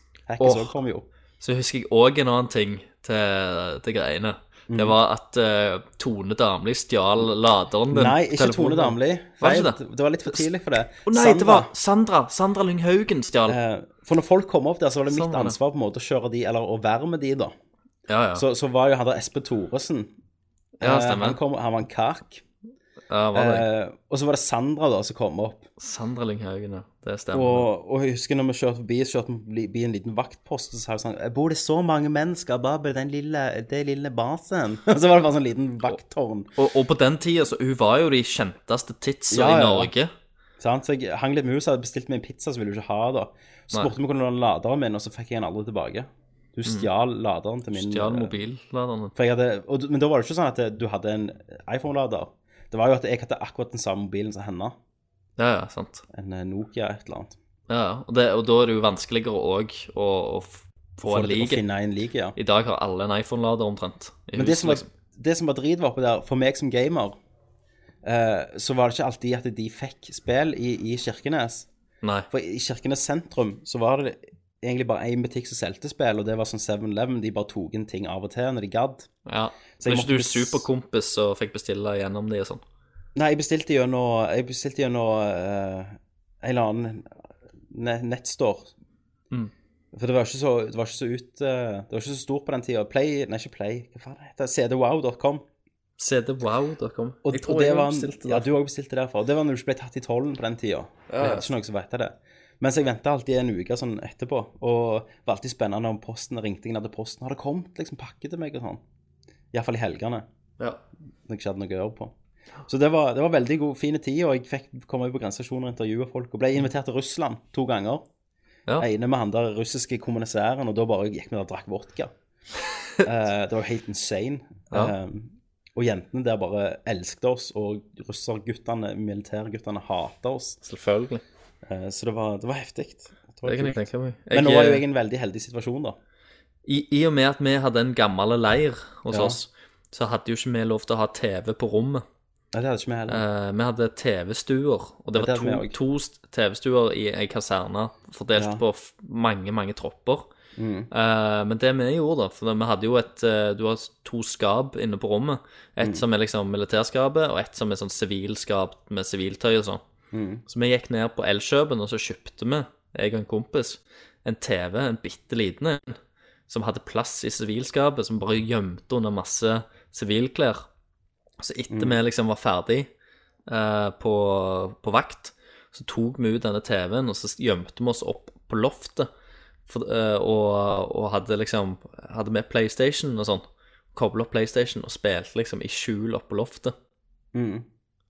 E: Mm.
D: Hackes
E: Åh.
D: òg kom jo.
E: Så husker jeg òg en annen ting til, til greiene.
D: Mm.
E: Det var at eh, Tone Damli stjal laderen din.
D: Nei,
E: på
D: ikke
E: telefonen.
D: Tone Damli.
E: Var det
D: Feil.
E: ikke
D: Det
E: det?
D: var litt for tidlig for det.
E: Å nei, det var Sandra. Sandra Lynghaugen stjal.
D: Sandra, eh, For når folk kom opp der, så var det
E: Sånn
D: mitt
E: var det.
D: ansvar på en måte å kjøre de, eller å være med de, da.
E: Ja, ja.
D: Så, så var jo han der Espen Thoresen.
E: ja,
D: Eh,
E: stemmer.
D: han, kom, han var en kark.
E: Ja, var det.
D: Eh, og så var det Sandra da som kom opp.
E: Sandra Lynghaugen, ja. Det stemmer.
D: Og, og jeg husker når vi kjørte forbi, så kjørte vi forbi en liten vaktpost, og så sa hun sånn «Eh, Bor det så mange mennesker bare på den lille, det lille basen? Og så var det bare sånn liten vakttårn.
E: Og, og på den tida, så hun var jo de kjenteste tidsa
D: Ja, ja,
E: i
D: ja.
E: Norge.
D: Sant? Så jeg hang litt med henne, så hadde jeg bestilt meg en pizza, så ville hun ikke ha det.
E: Nei.
D: Så
E: Mm.
D: spurte vi hvordan det var laderen min, og så fikk jeg den aldri tilbake. Du stjal laderen til min
E: Stjal
D: eh,
E: mobilladeren.
D: For jeg hadde, og, du- men da var det ikke sånn at eh, du hadde en iPhone-lader. Det var jo at jeg hadde akkurat den samme mobilen som henne.
E: Ja, ja, sant.
D: En eh, Nokia et eller annet.
E: Ja, ja. Og, det, og da er det jo vanskeligere òg å, å f- få
D: For
E: en
D: det- å
E: lik.
D: finne en like, ja.
E: I dag har alle en iPhone-lader omtrent. i
D: Men
E: huset,
D: det som, var,
E: liksom.
D: det som var drit var oppe der, for meg som gamer, eh, så var det ikke alltid at de fikk spill i, i Kirkenes.
E: Nei.
D: For i Kirkenes sentrum så var det egentlig bare én butikk som solgte spill, og det var sånn 7-Eleven. De bare tok inn ting av og til når de gadd.
E: Ja.
D: Så
E: Så
D: jeg
E: er ikke
D: måtte
E: du
D: bes-
E: superkompis og fikk bestille gjennom de og sånn?
D: Nei, jeg bestilte gjennom Jeg bestilte gjennom eh, en eller annen ne- nettstore.
E: Mm.
D: For det var ikke så, det var ikke så ut eh, Det var ikke så stort på den tida. Play Nei, ikke Play. Hva faen heter det? CDwow.com.
E: cdwow.com.
D: Og,
E: Jeg tror
D: og det
E: jeg
D: var,
E: bestilte det.
D: Ja, du også bestilte det derfra. Og det var når du ikke ble tatt i tollen på den tida. Det er ikke noen som vet det. Mens jeg venta alltid en uke sånn etterpå, og det var alltid spennende om posten ringte jeg ned til posten. Har det kommet liksom pakke til meg og sånn? Iallfall i helgene,
E: Ja.
D: når jeg ikke hadde noe å gjøre på. Så det var, det var veldig god, fin tid, og jeg fikk komme ut på grensestasjoner og intervjue folk. Og ble invitert til Russland to ganger.
E: Ja.
D: Den ene med han der russiske kommunisæren, og da bare gikk vi der og drakk vodka. Eh, det var jo helt insane.
E: Ja.
D: Eh, og jentene der bare elsket oss, og russerguttene, militærguttene, hatet oss.
E: Selvfølgelig.
D: Eh, så det var, det var heftig. Det var
E: Det kan jeg
D: kult.
E: tenke meg.
D: Men nå var jo
E: eh,
D: jeg i en veldig heldig situasjon, da.
E: I, I og med at vi hadde en gammel leir hos
D: Ja.
E: oss, så hadde jo ikke vi lov til å ha TV på rommet.
D: Nei, det hadde ikke vi heller.
E: Eh, vi hadde TV-stuer, og det
D: Ja,
E: var
D: det hadde
E: to,
D: vi også.
E: to st- TV-stuer i ei kaserne fordelt
D: Ja.
E: på f mange, mange tropper.
D: Mm.
E: Eh, men det vi gjorde, da For vi hadde jo et eh, Du har to skap inne på rommet. Et som er liksom militærskapet, og et som er sånn sivilskap med siviltøy og sånn. Så vi gikk ned på Elkjøpen, og så kjøpte vi, jeg og en kompis, en TV, en bitte liten en, som hadde plass i sivilskapet, som bare gjemte under masse sivilklær. Så etter vi liksom var ferdig eh, på, på vakt, så tok vi ut denne TV-en, og så gjemte vi oss opp på loftet. For, eh, og, og hadde liksom Hadde med PlayStation og sånn. Kobla opp PlayStation og spilte liksom i skjul oppe på loftet.
D: Mm.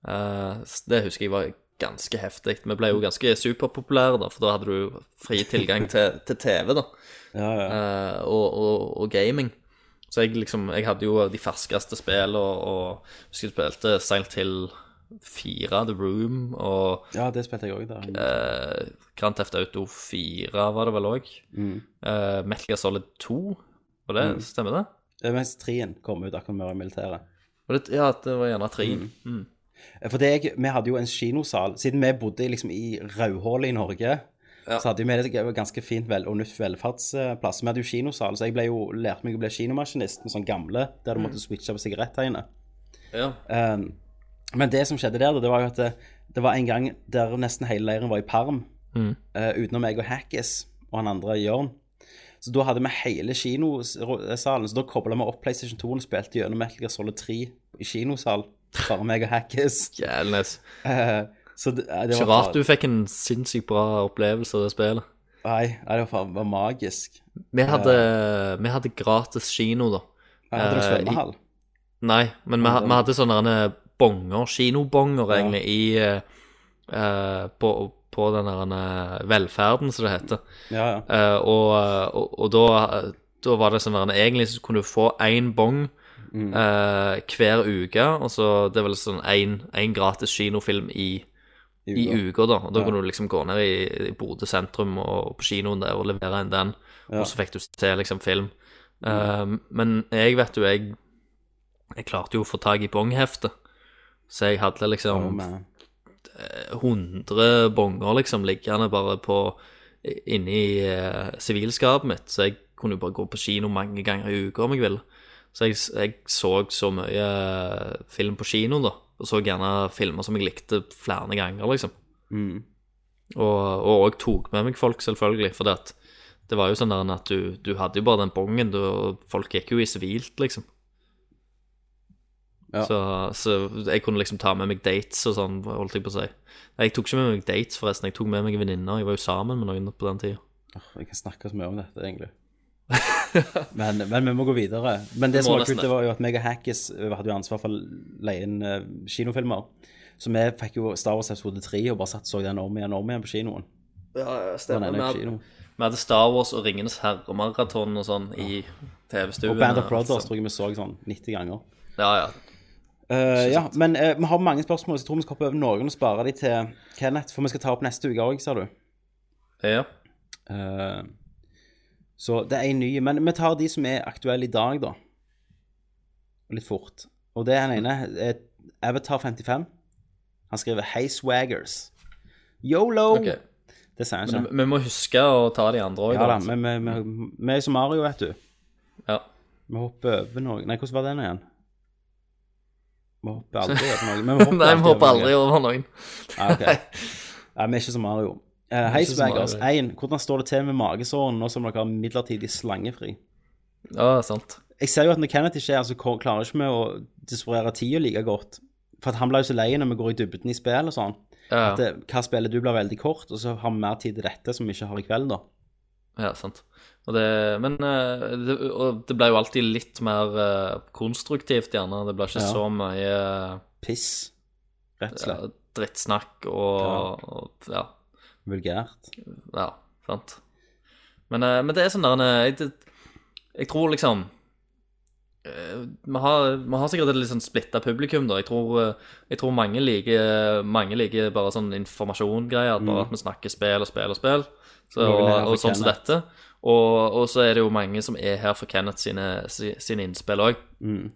E: Eh, s- det husker jeg var ganske heftig. Vi ble jo ganske superpopulære, da, for da hadde du fri tilgang til, til TV da,
D: Ja, ja.
E: eh, og, og, og gaming. Så jeg liksom, jeg hadde jo de ferskeste spillene, og, og husker jeg spilte Silent Hill 4, The Room, og
D: ja, det spilte jeg òg der.
E: eh, Grand Theft Auto 4 var det vel òg.
D: Mm.
E: Eh, Metal Gear Solid 2, var det, stemmer det?
D: Eh, Mens trien kom ut akkurat med militæret. Eh,
E: Var det? Ja, det var gjerne 3. Mm.
D: For det jeg, vi hadde jo en kinosal. Siden vi bodde liksom i rødhålet i Norge, så hadde jo vi det ganske fint vel, og nytt velferdsplass. Vi hadde jo kinosal, så jeg ble jo, lærte meg å bli kinomaskinist med sånn gamle, der du måtte switche på sigarettegnet.
E: Ja.
D: Um, men det som skjedde der, da, det var jo at det, det var en gang der nesten hele leiren var i perm,
E: Mhm.
D: eh, utenom meg og Hackis og han andre Jørn. Så da hadde vi hele kinosalen, så da kobla vi opp PlayStation 2 og spilte gjennom Metal Gear Solid 3 i kinosal. Bare meg og Hackis.
E: Jævlenes.
D: Eh, så det, nei, det
E: Ikke
D: var
E: rart du fikk en sinnssykt bra opplevelse av det spillet.
D: Nei, nei det var, faen- var magisk.
E: Vi hadde, vi hadde gratis kino, da.
D: Nei, Hadde du
E: Eh,
D: svømmehall?
E: Nei, men vi, ha- vi hadde sånne derne bonger, kinobonger, egentlig, i eh, eh, på, på den der eh, velferden, som det heter.
D: Ja, ja.
E: Eh, og, og, og da, da var det sånn at egentlig så kunne du få én bong
D: Mm,
E: eh, hver uke, og så det er vel sånn én gratis kinofilm i, i uka, da. Og da kunne du liksom gå ned i, i Bodø sentrum og på kinoen der og levere inn den, og så fikk du se liksom film. Eh, men jeg vet jo, jeg, jeg klarte jo å få tak i bongheftet, så jeg hadde liksom
D: Å, man.
E: 100 bonger liksom liggende bare på inni eh, sivilskapet mitt, så jeg kunne jo bare gå på kino mange ganger i uka om jeg ville. Så jeg, jeg så så mye eh, film på kino, da, og så gjerne filmer som jeg likte flere ganger, liksom.
D: mm.
E: Og og òg tok med meg folk, selvfølgelig, for det, det var jo sånn der at du, du hadde jo bare den bongen, du- og folk gikk jo i sivilt, liksom.
D: Ja.
E: Så, så jeg kunne liksom ta med meg dates og sånn, holdt jeg på å si. Nei, Jeg tok ikke med meg dates, forresten. Jeg tok med meg venninner. Jeg var jo sammen med noen på den tida.
D: Åh, Jeg kan snakke så mye om dette, egentlig. men, men vi må gå videre. Men det
E: Vi
D: som
E: må
D: var kult,
E: nesten
D: det var jo at meg og Hackis eh, hadde jo ansvar for å leie inn eh, kinofilmer. Så vi fikk jo Star Wars episode 3 og bare satt og så den om igjen og om igjen på kinoen.
E: Ja,
D: Den
E: Vi
D: ene på
E: hadde,
D: kino.
E: vi hadde Star Wars og Ringenes herre-maraton og sånn i TV-stuen.
D: Og Band of Brothers
E: altså.
D: tror jeg vi så sånn 90 ganger.
E: Ja, ja.
D: Eh, ja, men eh, vi har mange spørsmål, så jeg tror vi skal hoppe over noen og spare de til Kenneth, for vi skal ta opp neste uke òg, ser du.
E: ja.
D: Eh, så det er en ny, men vi tar de som er aktuelle i dag, da. Og Litt fort. Og det er den ene. Eh, er Avatar55. Han skriver 'Hei, swaggers'. Yolo!
E: Ok.
D: Det sier han
E: Men
D: ikke.
E: vi må huske å ta de andre òg.
D: Ja da, vi, vi, vi, vi er som Mario, vet du.
E: ja.
D: Vi hopper over noe Nei, hvordan var den igjen? Vi hopper aldri over noe. Men vi
E: Nei, vi hopper
D: hopper, alltid over noe.
E: aldri over noen.
D: Ah, ok. Nei, vi er ikke som Mario. Eh, Hei,
E: ikke som Mario.
D: swaggers. 1. Hvordan står det til med magesåren nå som dere har midlertidig slangefri?
E: Ja, sant.
D: jeg ser jo at når Kenneth ikke er her, så ko- klarer ikke vi å disponere tida like godt. For at han blir jo så lei når vi går i dybden i spill og sånn.
E: Ja,
D: At det, hva spiller du blir veldig kort, og så har vi mer tid til dette som vi ikke har i kveld, da.
E: ja sant. Og det, men eh, det, og det ble jo alltid litt mer eh, konstruktivt, gjerne. Det ble ikke
D: Ja.
E: så mye eh,
D: Piss. Rett
E: ja,
D: og slett.
E: drittsnakk og, og ja.
D: Vulgært.
E: Ja, sant. Men, eh, men det er sånn der eh, jeg, det, jeg tror liksom eh, vi har, vi har sikkert et litt sånn splitta publikum, da. Jeg tror, eh, jeg tror mange, liker, mange liker bare sånn informasjongreier. at Bare at vi snakker spill og spill og spill. Så,
D: Mm. Noen
E: og,
D: er her for
E: og sånn som
D: Kenneth.
E: dette. Og, og så er det jo mange som er her for Kenneth sine, si- sine innspill òg.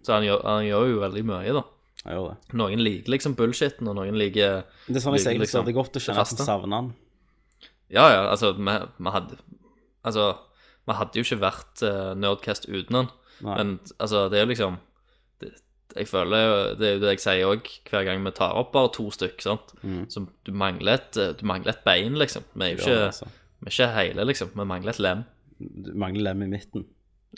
E: Så han gjør, han gjør jo veldig mye, da.
D: Mm, Jeg gjør det.
E: Noen liker liksom bullshiten, og noen liker
D: Det er sånn jeg sier
E: Liker
D: liksom,
E: liksom
D: det er godt å kjenne at
E: det faste.
D: vi savner han.
E: Ja, ja, altså, vi, vi hadde Altså, vi hadde jo ikke vært eh, Nerdcast uten han.
D: Nei.
E: Men altså, det er jo liksom det, Jeg føler jo Det er jo det jeg sier òg hver gang vi tar opp bare to stykk, sant. Så du mangler et eh, Du mangler et bein, liksom. Vi er jo ikke, vi
D: Mm. Ja, altså.
E: er ikke hele, liksom. Vi mangler et lem.
D: Du mangler lem i midten,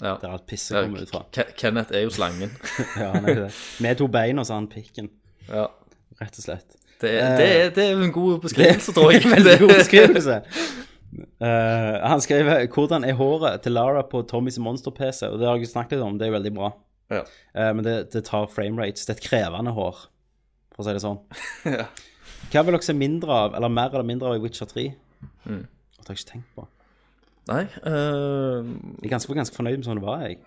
E: Ja.
D: der alt pisset
E: Ja,
D: kommer ut fra.
E: Ke- Kenneth er jo slangen.
D: Ja, han er jo det. Med to bein og så har han pikken,
E: ja.
D: rett og slett.
E: Det, er-
D: Eh,
E: det, er- det er jo en god beskrivelse, tror jeg.
D: Veldig god beskrivelse. Eh, han skriver 'Hvordan er håret til Lara på Tommys monster-PC?' Og det har jeg jo snakket litt om, det er jo veldig bra.
E: Ja.
D: Eh, men det, det tar frame rates. Det er et krevende hår, for å si det sånn. Hva vil dere se mindre av, eller mer eller mindre av i Witcher 3?
E: Mm.
D: Det har jeg ikke tenkt på.
E: Nei eh,
D: Jeg er ganske, ganske fornøyd med sånn det var, jeg.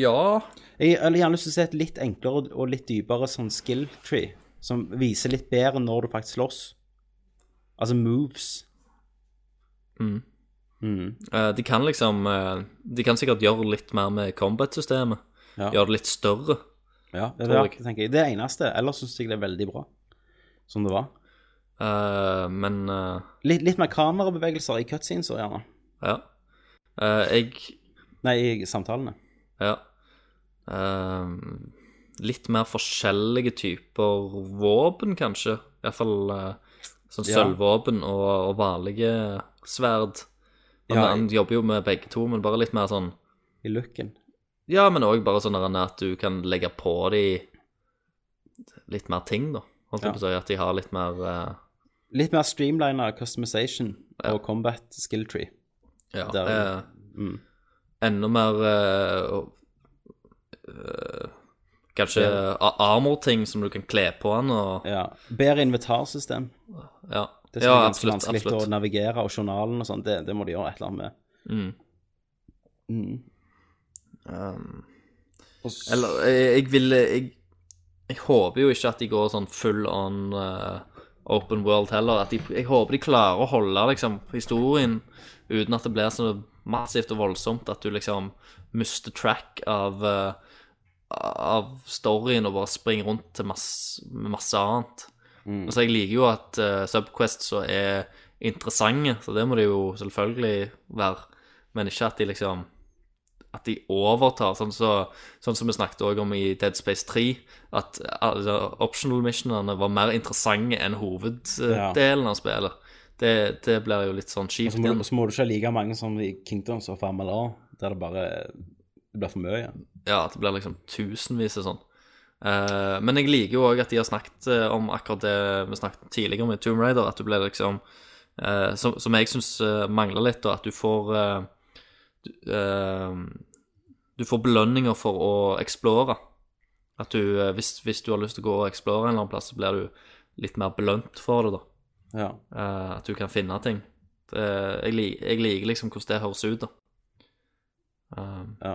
E: Ja
D: Jeg har gjerne lyst til å se et litt enklere og- og litt dypere sånn skill tree, som viser litt bedre når du faktisk slåss. Altså moves.
E: Mm.
D: Mm,
E: Eh, De kan liksom eh, De kan sikkert gjøre litt mer med combat-systemet.
D: Ja.
E: Gjøre det litt større.
D: Ja, det,
E: tror
D: er
E: jeg.
D: det, tenker jeg. det er eneste. Ellers syns jeg det er veldig bra, som det var.
E: Eh, men eh,
D: Litt, litt mer kamerabevegelser i cutscenes og gjerne.
E: ja. Eh, jeg
D: Nei, i samtalene.
E: Ja. Eh, litt mer forskjellige typer våpen, kanskje. Iallfall uh, sånn
D: Ja.
E: sølvvåpen og, og vanlige sverd. Han,
D: Ja,
E: han jobber jo med begge to, men bare litt mer sånn
D: I looken.
E: Ja, men òg bare sånn der at du kan legge på de litt mer ting, da. Holdt jeg på å si. At de har litt mer eh,
D: Litt mer streamlina customization og combat skill tree. Mm.
E: Ja.
D: Der,
E: eh, Enda mer eh, og- eh, Kanskje ja. armor-ting som du kan kle på han og
D: Ja. Bedre inventarsystem.
E: Ja,
D: Det som
E: ja
D: er ganske
E: absolutt.
D: vanskelig å
E: absolutt.
D: navigere, og journalen og sånn, det, det må de gjøre et eller annet med.
E: Eller jeg, jeg vil jeg, jeg håper jo ikke at de går sånn full on eh, open world heller. At de, jeg håper de klarer å holde liksom historien uten at det blir så massivt og voldsomt at du liksom mister track av eh, av storyen og bare springer rundt til masse, med masse annet.
D: Mm.
E: Altså, jeg liker jo at eh, Subquests så er interessante, så det må det jo selvfølgelig være, men ikke at de liksom at de overtar, sånn, så, sånn som vi snakket også om i Dead Space 3, at alle optional missionene var mer interessante enn
D: Ja.
E: hoveddelen av spillet. Det, det blir jo litt sånn
D: Og
E: kjipt
D: så må,
E: igjen.
D: du- så må du ikke ha like mange som i Kingdoms og FMLA, der det bare det blir for mye.
E: Ja, at det blir liksom tusenvis og sånn. Eh, men jeg liker jo òg at de har snakket eh, om akkurat det vi snakket tidligere om i Tomb Raider, at du blir liksom eh, som, som jeg syns mangler litt, da, at du får eh, du, eh, du får belønninger for å eksplore. At du, eh, hvis, hvis du har lyst til å gå og eksplore en eller annen plass, så blir du litt mer belønt for det, da.
D: Ja.
E: Eh, at du kan finne ting. Det, jeg, lik- jeg liker liksom hvordan det høres ut, da. Eh,
D: ja.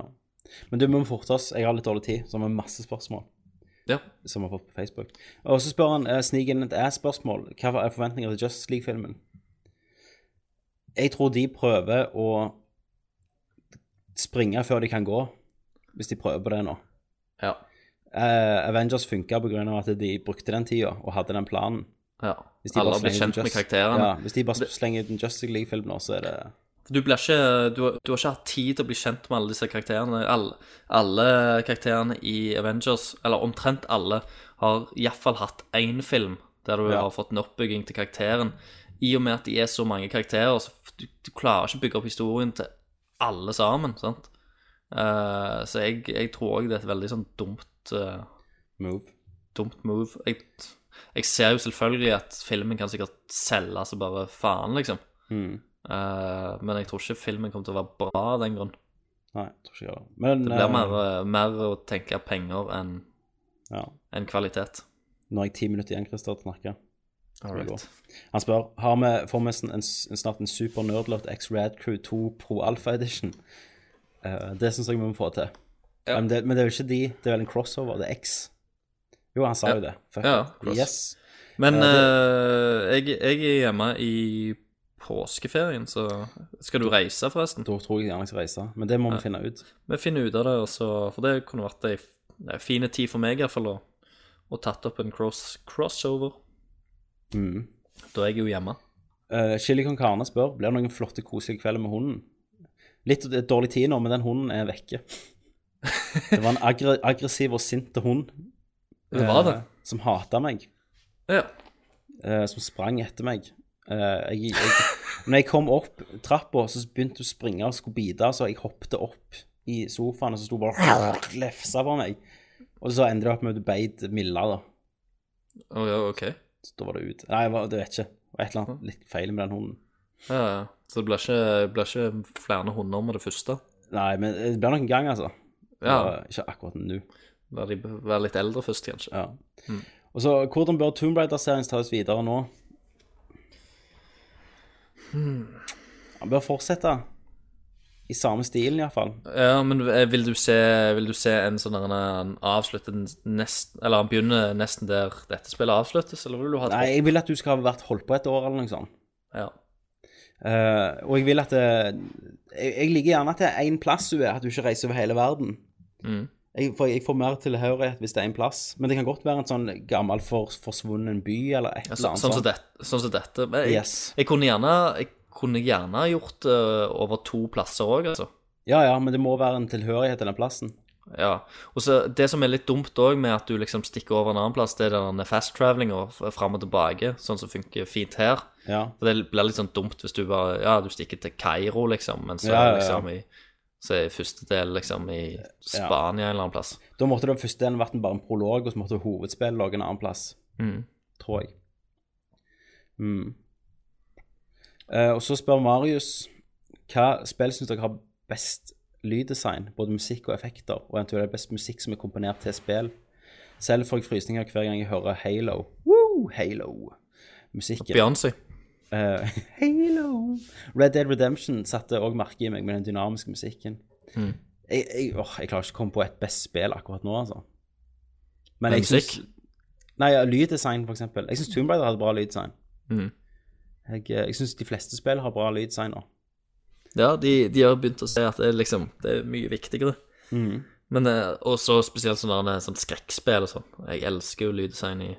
D: Men du, vi må forte oss. Jeg har litt dårlig tid, så vi har masse spørsmål
E: ja.
D: som vi har fått på Facebook. Og så spør han uh, snik inn et ass-spørsmål. Hva er forventningene til Just League-filmen? Jeg tror de prøver å springe før de kan gå, hvis de prøver på det nå.
E: ja.
D: Eh, Avengers funka pga. at de brukte den tida og hadde den planen.
E: Ja.
D: Hvis de
E: Alle
D: bare
E: har blitt
D: slenger ut
E: kjent med
D: Just-
E: karakterene.
D: Ja, hvis de bare slenger ut en Justice League-film nå, så er det
E: Du, blir ikke, du, har- du har ikke hatt tid til å bli kjent med alle disse karakterene. Alle, alle karakterene i Avengers, eller omtrent alle, har iallfall hatt én film der du
D: Ja.
E: har fått en oppbygging til karakteren. I og med at de er så mange karakterer, så f- du, du klarer ikke å bygge opp historien til alle sammen. sant? Eh, så jeg, jeg tror òg det er et veldig sånn dumt eh,
D: move.
E: dumt move. Jeg, jeg ser jo selvfølgelig at filmen kan sikkert selge så bare faen, liksom.
D: Hmm.
E: Eh, men jeg tror ikke filmen kommer til å være bra av den grunn.
D: Nei, jeg tror ikke jeg gjør det. Men
E: Det blir
D: eh,
E: mer, eh, mer å tenke penger enn
D: ja.
E: enn kvalitet.
D: Nå har jeg ti minutter igjen, Christer, til å snakke.
E: All
D: right. Han spør har vi får vi en, en, snart en super nerdlert X Rad Crew 2 Pro Alpha Edition. Eh, det syns jeg vi må få til.
E: Ja.
D: Men, det, men det er jo ikke de, det er vel en crossover, det er X. Jo, han sa
E: Ja.
D: jo det. Fuck
E: Ja,
D: it.
E: cross.
D: Yes.
E: Men
D: Ja,
E: eh, jeg, jeg er hjemme i påskeferien, så skal du reise, forresten?
D: Da tror jeg gjerne jeg skal reise, men det må vi finne ut.
E: Vi finner ut av det, og så- for det kunne vært ei f- ei fin tid for meg, iallfall, å å tatt opp en cross, crossover.
D: Mm.
E: Da er jeg jo hjemme.
D: Eh, Chili Con Carne spør blir det noen flotte, koselige kvelder med hunden. Litt d- dårlig tid nå, men den hunden er vekke. Det var en aggre aggressiv og sint hund
E: Det var
D: eh,
E: det.
D: som hata meg,
E: Ja.
D: eh, som sprang etter meg. Eh, jeg, jeg, når jeg kom opp trappa, så begynte hun å springe og skulle bite, så jeg hoppet opp i sofaen, og så sto hun bare og lefsa på meg. Og så endte det opp med at hun beit Milla, da.
E: Å ja, ok.
D: Så da var det ut. Nei, hva- det vet ikke. Det var et eller annet litt feil med den hunden.
E: Ja, ja. Så det blir ikke, blir ikke flere hunder med det første?
D: Nei, men det blir nok en gang, altså.
E: Ja.
D: Og Ikke akkurat nå.
E: La de b- være litt eldre først, kanskje.
D: Ja. Og så, Hvordan bør Tomb Raider-serien tas videre nå? Han bør fortsette. I samme stilen, iallfall.
E: Ja, men eh, vil du se, vil du se en sånn der han avslutter nesten Eller han begynner nesten der dette spillet avsluttes, eller vil du ha et
D: Nei, jeg vil at du skal ha vært holdt på et år, eller noe sånt.
E: hopp? Ja.
D: Eh, og jeg vil at det, jeg, jeg liker gjerne at det er én plass du er, at du ikke reiser over hele verden.
E: Mm.
D: Jeg, for jeg får mer tilhørighet hvis det er én plass. Men det kan godt være en sånn gammel, for, forsvunnen by, eller et
E: Ja,
D: eller
E: så,
D: annet.
E: sånn som
D: sånt.
E: dette. Sånn som dette. Men jeg,
D: Yes.
E: jeg kunne gjerne jeg kunne gjerne gjort det over to plasser òg, altså.
D: Ja, ja, men det må være en tilhørighet til den plassen.
E: Ja. Og så Det som er litt dumt òg, med at du liksom stikker over en annen plass, det er den fast-travelinga fram og tilbake, sånn som funker fint her.
D: Ja.
E: For det blir litt sånn dumt hvis du bare Ja, du stikker til Kairo, liksom, men så
D: Ja, ja,
E: er
D: ja.
E: liksom i Så er første del liksom i Spania en eller annen plass.
D: Da måtte det første delen vært en- bare en prolog, og så måtte hovedspillet ligge en annen plass,
E: Mm.
D: tror jeg. Mm. Eh, og så spør Marius hva spill syns dere har best lyddesign, både musikk og effekter, og eventuelt best musikk som er komponert til spill. Selv får jeg frysninger hver gang jeg hører Halo. Woo, Halo. Musikken.
E: Beyoncé.
D: Eh, Halo. Red Dead Redemption satte òg merke i meg med den dynamiske musikken.
E: Mm.
D: Jeg, jeg, åh, jeg klarer ikke å komme på et best spill akkurat nå, altså. Men
E: Men
D: jeg syns
E: musikk?
D: Nei, ja, lyddesign, for eksempel. Jeg syns Tomb Raider hadde bra lyddesign.
E: Mhm.
D: Jeg, eh, jeg syns de fleste spill har bra lyddesign nå.
E: Ja, de, de har begynt å se at det er liksom Det er mye viktigere.
D: Mhm.
E: Men eh, også spesielt sånn der, sånn skrekkspill og sånn. Jeg elsker jo lyddesign i,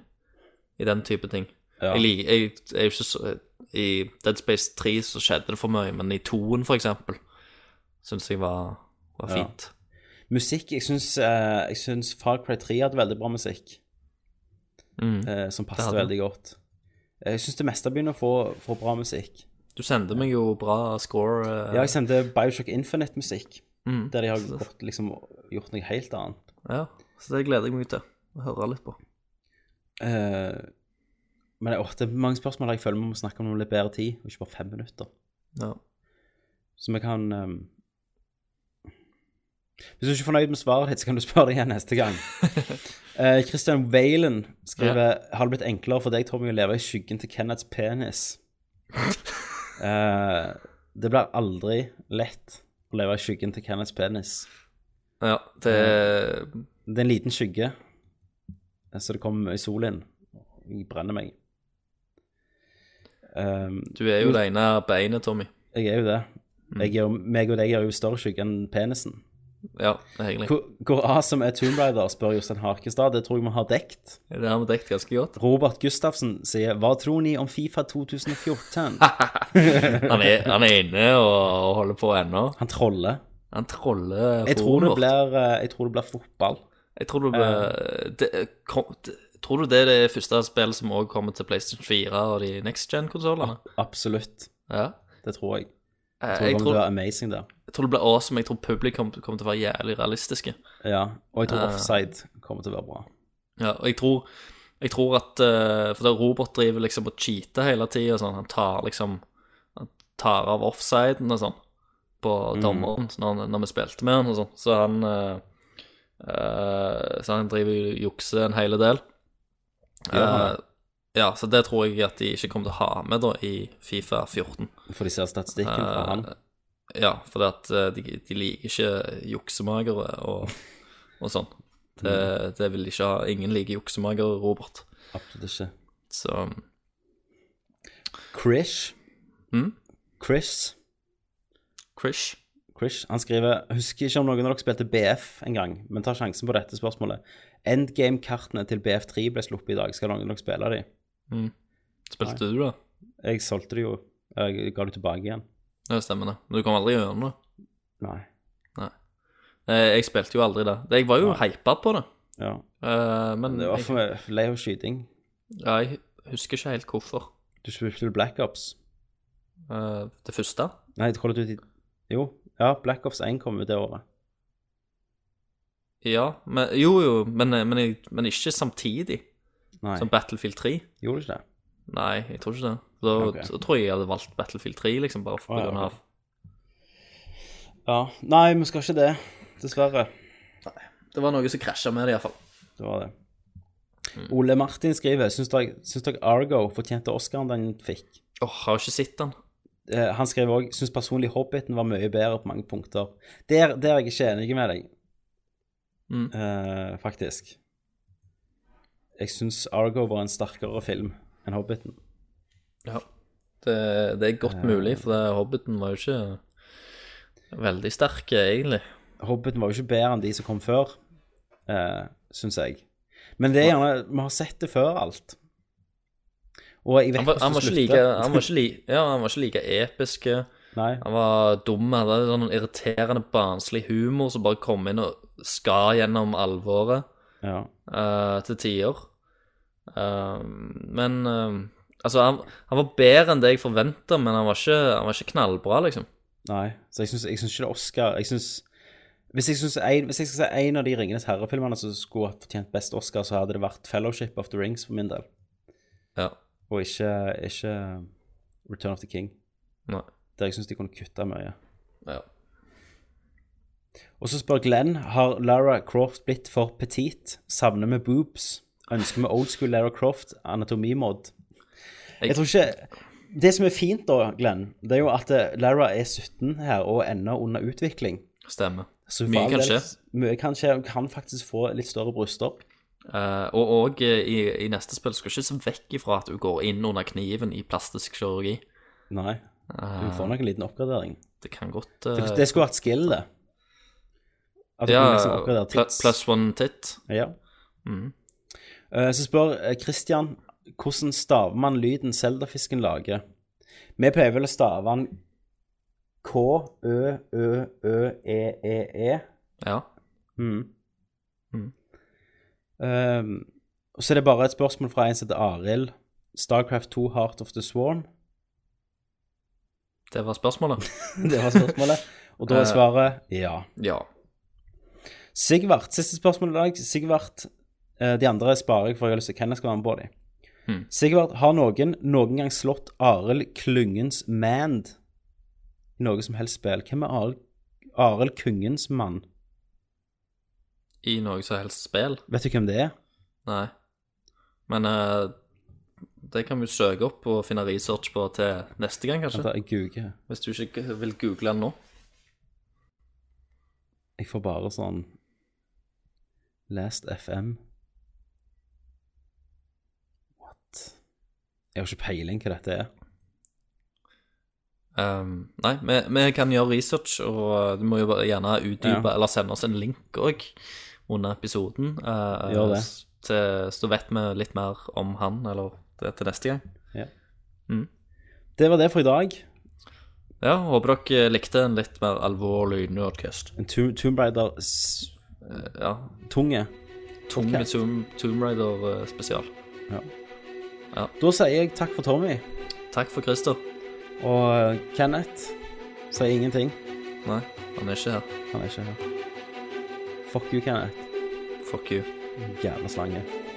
E: i den type ting.
D: Ja.
E: Jeg liker jeg, er jo ikke så I Dead Space 3 så skjedde det for mye, men i 2-en, for eksempel, syns jeg var, var
D: Ja.
E: fint.
D: Musikk Jeg syns, jeg syns Far Cry 3 hadde veldig bra musikk,
E: Mm.
D: eh, som passet
E: hadde det.
D: veldig godt. Eh, Jeg syns det meste begynner å få, få bra musikk.
E: Du sendte meg jo bra score. eh,
D: Ja, jeg sendte Bioshock Infinite-musikk,
E: mm.
D: der de har
E: Så-
D: gått, liksom, gjort noe helt annet.
E: Ja, så det gleder jeg meg til å høre litt på.
D: Eh, men åh, det er mange spørsmål jeg føler vi må snakke om når det blir bedre tid, og ikke bare fem minutter.
E: Ja.
D: Så vi kan ehm, Hvis du ikke er fornøyd med svaret ditt, så kan du spørre deg igjen neste gang. Eh, Christian Valen skriver Har det blitt enklere for deg, Tommy, å leve i skyggen til Kenneths penis? Eh, det blir aldri lett å leve i skyggen til Kenneths penis.
E: ja, det
D: Det er en liten skygge, eh, så det kommer mye sol inn. Jeg brenner meg. Ehm,
E: Du er jo det ene beinet, Tommy.
D: jeg er jo det. Jeg er, jo- meg og deg er jo større skygge enn penisen.
E: Ja, egentlig.
D: Hvor, hvor awesome er Tomb Raider, spør Jostein Hakestad. Det tror jeg vi har dekt.
E: Det har vi dekket ganske godt.
D: Robert Gustafsen sier Hva tror ni om Fifa 2014?
E: Han er, han er inne og, og holder på ennå.
D: Han troller.
E: Han troller
D: Jeg tror,
E: forumet
D: det
E: vårt.
D: blir, eh, jeg tror det blir fotball.
E: Jeg tror det blir det, eh, kom, det, Tror du det er det første spillet som også kommer til PlayStation 4 og de next gen-konsollene?
D: Absolutt.
E: Ja.
D: Det tror jeg.
E: Eh,
D: Jeg
E: Jeg
D: tror det
E: tror,
D: blir amazing der.
E: jeg tror det blir awesome. Jeg tror publikum kommer til å være jævlig realistiske.
D: Ja. Og jeg tror offside kommer til å være bra.
E: Ja, og jeg tror, jeg tror at eh, For da Robert driver liksom og cheater hele tida. Sånn, han tar liksom Han tar av offsiden og sånn på dommeren så når, han- når vi spilte med han og sånn. Så han eh, eh, Så han driver og jukser en hel del.
D: Ja.
E: Eh, ja, så det tror jeg at de ikke kommer til å ha med da i Fifa 14.
D: For de ser statistikken
E: Eh.
D: fra han.
E: Ja, for at eh, de, de liker ikke juksemagere og, og sånn.
D: Mm.
E: Det, det vil de ikke ha. Ingen liker juksemagere, Robert.
D: Absolutt ikke.
E: Så um,
D: Krish.
E: Mm.
D: Chris.
E: Krish.
D: Krish. Han skriver Husker ikke om noen av dere spilte BF en gang, men tar sjansen på dette spørsmålet. Endgame-kartene til BF3 ble sluppet i dag. Skal noen av dere spille de?
E: Spilte du, da?
D: Jeg solgte det jo. Jeg ga det tilbake igjen.
E: Ja, stemmer det. Men du kom aldri gjennom det.
D: Nei.
E: Eh, Jeg spilte jo aldri det. Det- Jeg var jo hypa på det.
D: Ja.
E: Eh, Men
D: Det var
E: jeg,
D: for meg lei av skyting.
E: ja, jeg husker ikke helt hvorfor.
D: Du spilte vel Black Ops?
E: Eh, Det første.
D: Nei, det holdt ut i Jo. Ja, Black Ops 1 kom ut det året.
E: Ja, men, jo jo, men, eh, men, jeg, men ikke samtidig
D: Nei,
E: som Battlefield 3.
D: gjorde det ikke det?
E: Nei, jeg tror ikke det. Da,
D: Ok.
E: da tror jeg jeg hadde valgt Battlefield 3, liksom, bare for
D: Å, ja,
E: grunn
D: ok.
E: av
D: Ja. Nei, vi skal ikke det. Dessverre.
E: Det var noe som krasja med det, iallfall.
D: Det var det.
E: Mm.
D: Ole Martin skriver Syns dere, syns dere Argo fortjente Oscaren den fikk?
E: Åh, har jo ikke sett den.
D: Eh, han skriver òg syns personlig Hobbiten var mye bedre på mange punkter. Der, der er jeg ikke enig med deg,
E: Mm.
D: eh, faktisk. Jeg syns Argo var en sterkere film enn Hobbiten.
E: Ja. Det, det er
D: Eh.
E: godt mulig, for det, Hobbiten var jo ikke veldig sterk, egentlig.
D: Hobbiten var jo ikke bedre enn de som kom før, eh, syns jeg. Men det er gjerne Vi har sett det før alt. Og jeg vet
E: Han var, han
D: hvordan
E: var,
D: det
E: ikke, like,
D: slutter.
E: han var, ikke, li, ja, han var ikke like episk.
D: Nei.
E: Han var dum, hadde sånn irriterende, barnslig humor som bare kom inn og skar gjennom alvoret.
D: Ja.
E: eh, til tider. Eh, men eh, Altså, han, han var bedre enn det jeg forventa, men han var, ikke, han var ikke knallbra, liksom.
D: Nei. Så jeg syns jeg syns ikke det er Oscar Jeg syns hvis jeg, synes en, hvis jeg skal si en av de Ringenes herre-filmene som skulle ha fortjent best Oscar, så hadde det vært Fellowship of the Rings for min del,
E: Ja.
D: og ikke, ikke eh, Return of the King,
E: Nei.
D: der jeg syns de kunne kutta mye.
E: Ja.
D: Og så spør Glenn har Lara Croft blitt for petit. Savner vi boobs? Ønsker vi old school Lara Croft anatomimod? Jeg tror ikke Det som er fint da, Glenn, det er jo at eh, Lara er 17 her og ennå under utvikling.
E: Stemmer.
D: Så for
E: Mye
D: all
E: kan
D: del-
E: skje.
D: Mye kan skje. Hun kan faktisk få litt større bryster.
E: Eh, og og eh, i, i neste spill skal ikke se vekk ifra at hun går inn under kniven i plastisk kirurgi. Eh,
D: Nei. Hun får nok en liten oppgradering.
E: Det kan godt Ah. eh,
D: Det, det skulle vært skill, det. At hun
E: Ja,
D: kunne liksom oppgradere
E: pl-
D: tids.
E: plus one Mm, tit.
D: Ja. Eh, Så spør eh, Christian hvordan staver man lyden Zelda-fisken lager. Vi pleier vel å stave den K-ø-ø-ø-e-e-e.
E: Ja.
D: E, Mm.
E: Mm.
D: Ehm, og så er det bare et spørsmål fra en som heter Arild. Starcraft 2 Heart of the Swarm.
E: Det var spørsmålet.
D: Det var spørsmålet. Og da er svaret ja.
E: Ja.
D: Sigvart, siste spørsmål i dag. Sigvart, eh, de andre sparer jeg for jeg har lyst til Kenneth skal være med på dem.
E: Hmm.
D: Sigvart, har noen noen gang slått Arild Klungens Mand i noe som helst spill? Hvem er Arild- Arild Kungens mann?
E: I noe som helst spill.
D: Vet du hvem det er?
E: Nei. Men eh, det kan vi søke opp og finne research på til neste gang,
D: Vent,
E: kanskje.
D: da, jeg googer.
E: Hvis du ikke vil google den nå.
D: Jeg får bare sånn Last FM. What? Jeg har ikke peiling hva dette er.
E: Ehm, nei, vi, vi kan gjøre research, og eh, du må jo bare gjerne utdype
D: Ja.
E: eller sende oss en link òg under episoden. eh,
D: Gjør det.
E: s- Til, så vet vi litt mer om han eller det til neste gang.
D: Det var det for i dag.
E: Ja, Håper dere likte en litt mer alvorlig nerdcast.
D: En Tomb Tomb Raider s-
E: Ja,
D: tunge.
E: Tung
D: Ok.
E: Tomb, Tomb Raider eh, spesial.
D: Da sier jeg takk for Tommy.
E: Takk for Christer.
D: Og eh, Kenneth sier ingenting.
E: Nei, han er ikke her.
D: Han er ikke her. Fuck you, Kenneth.
E: Fuck you.
D: Jævla slange.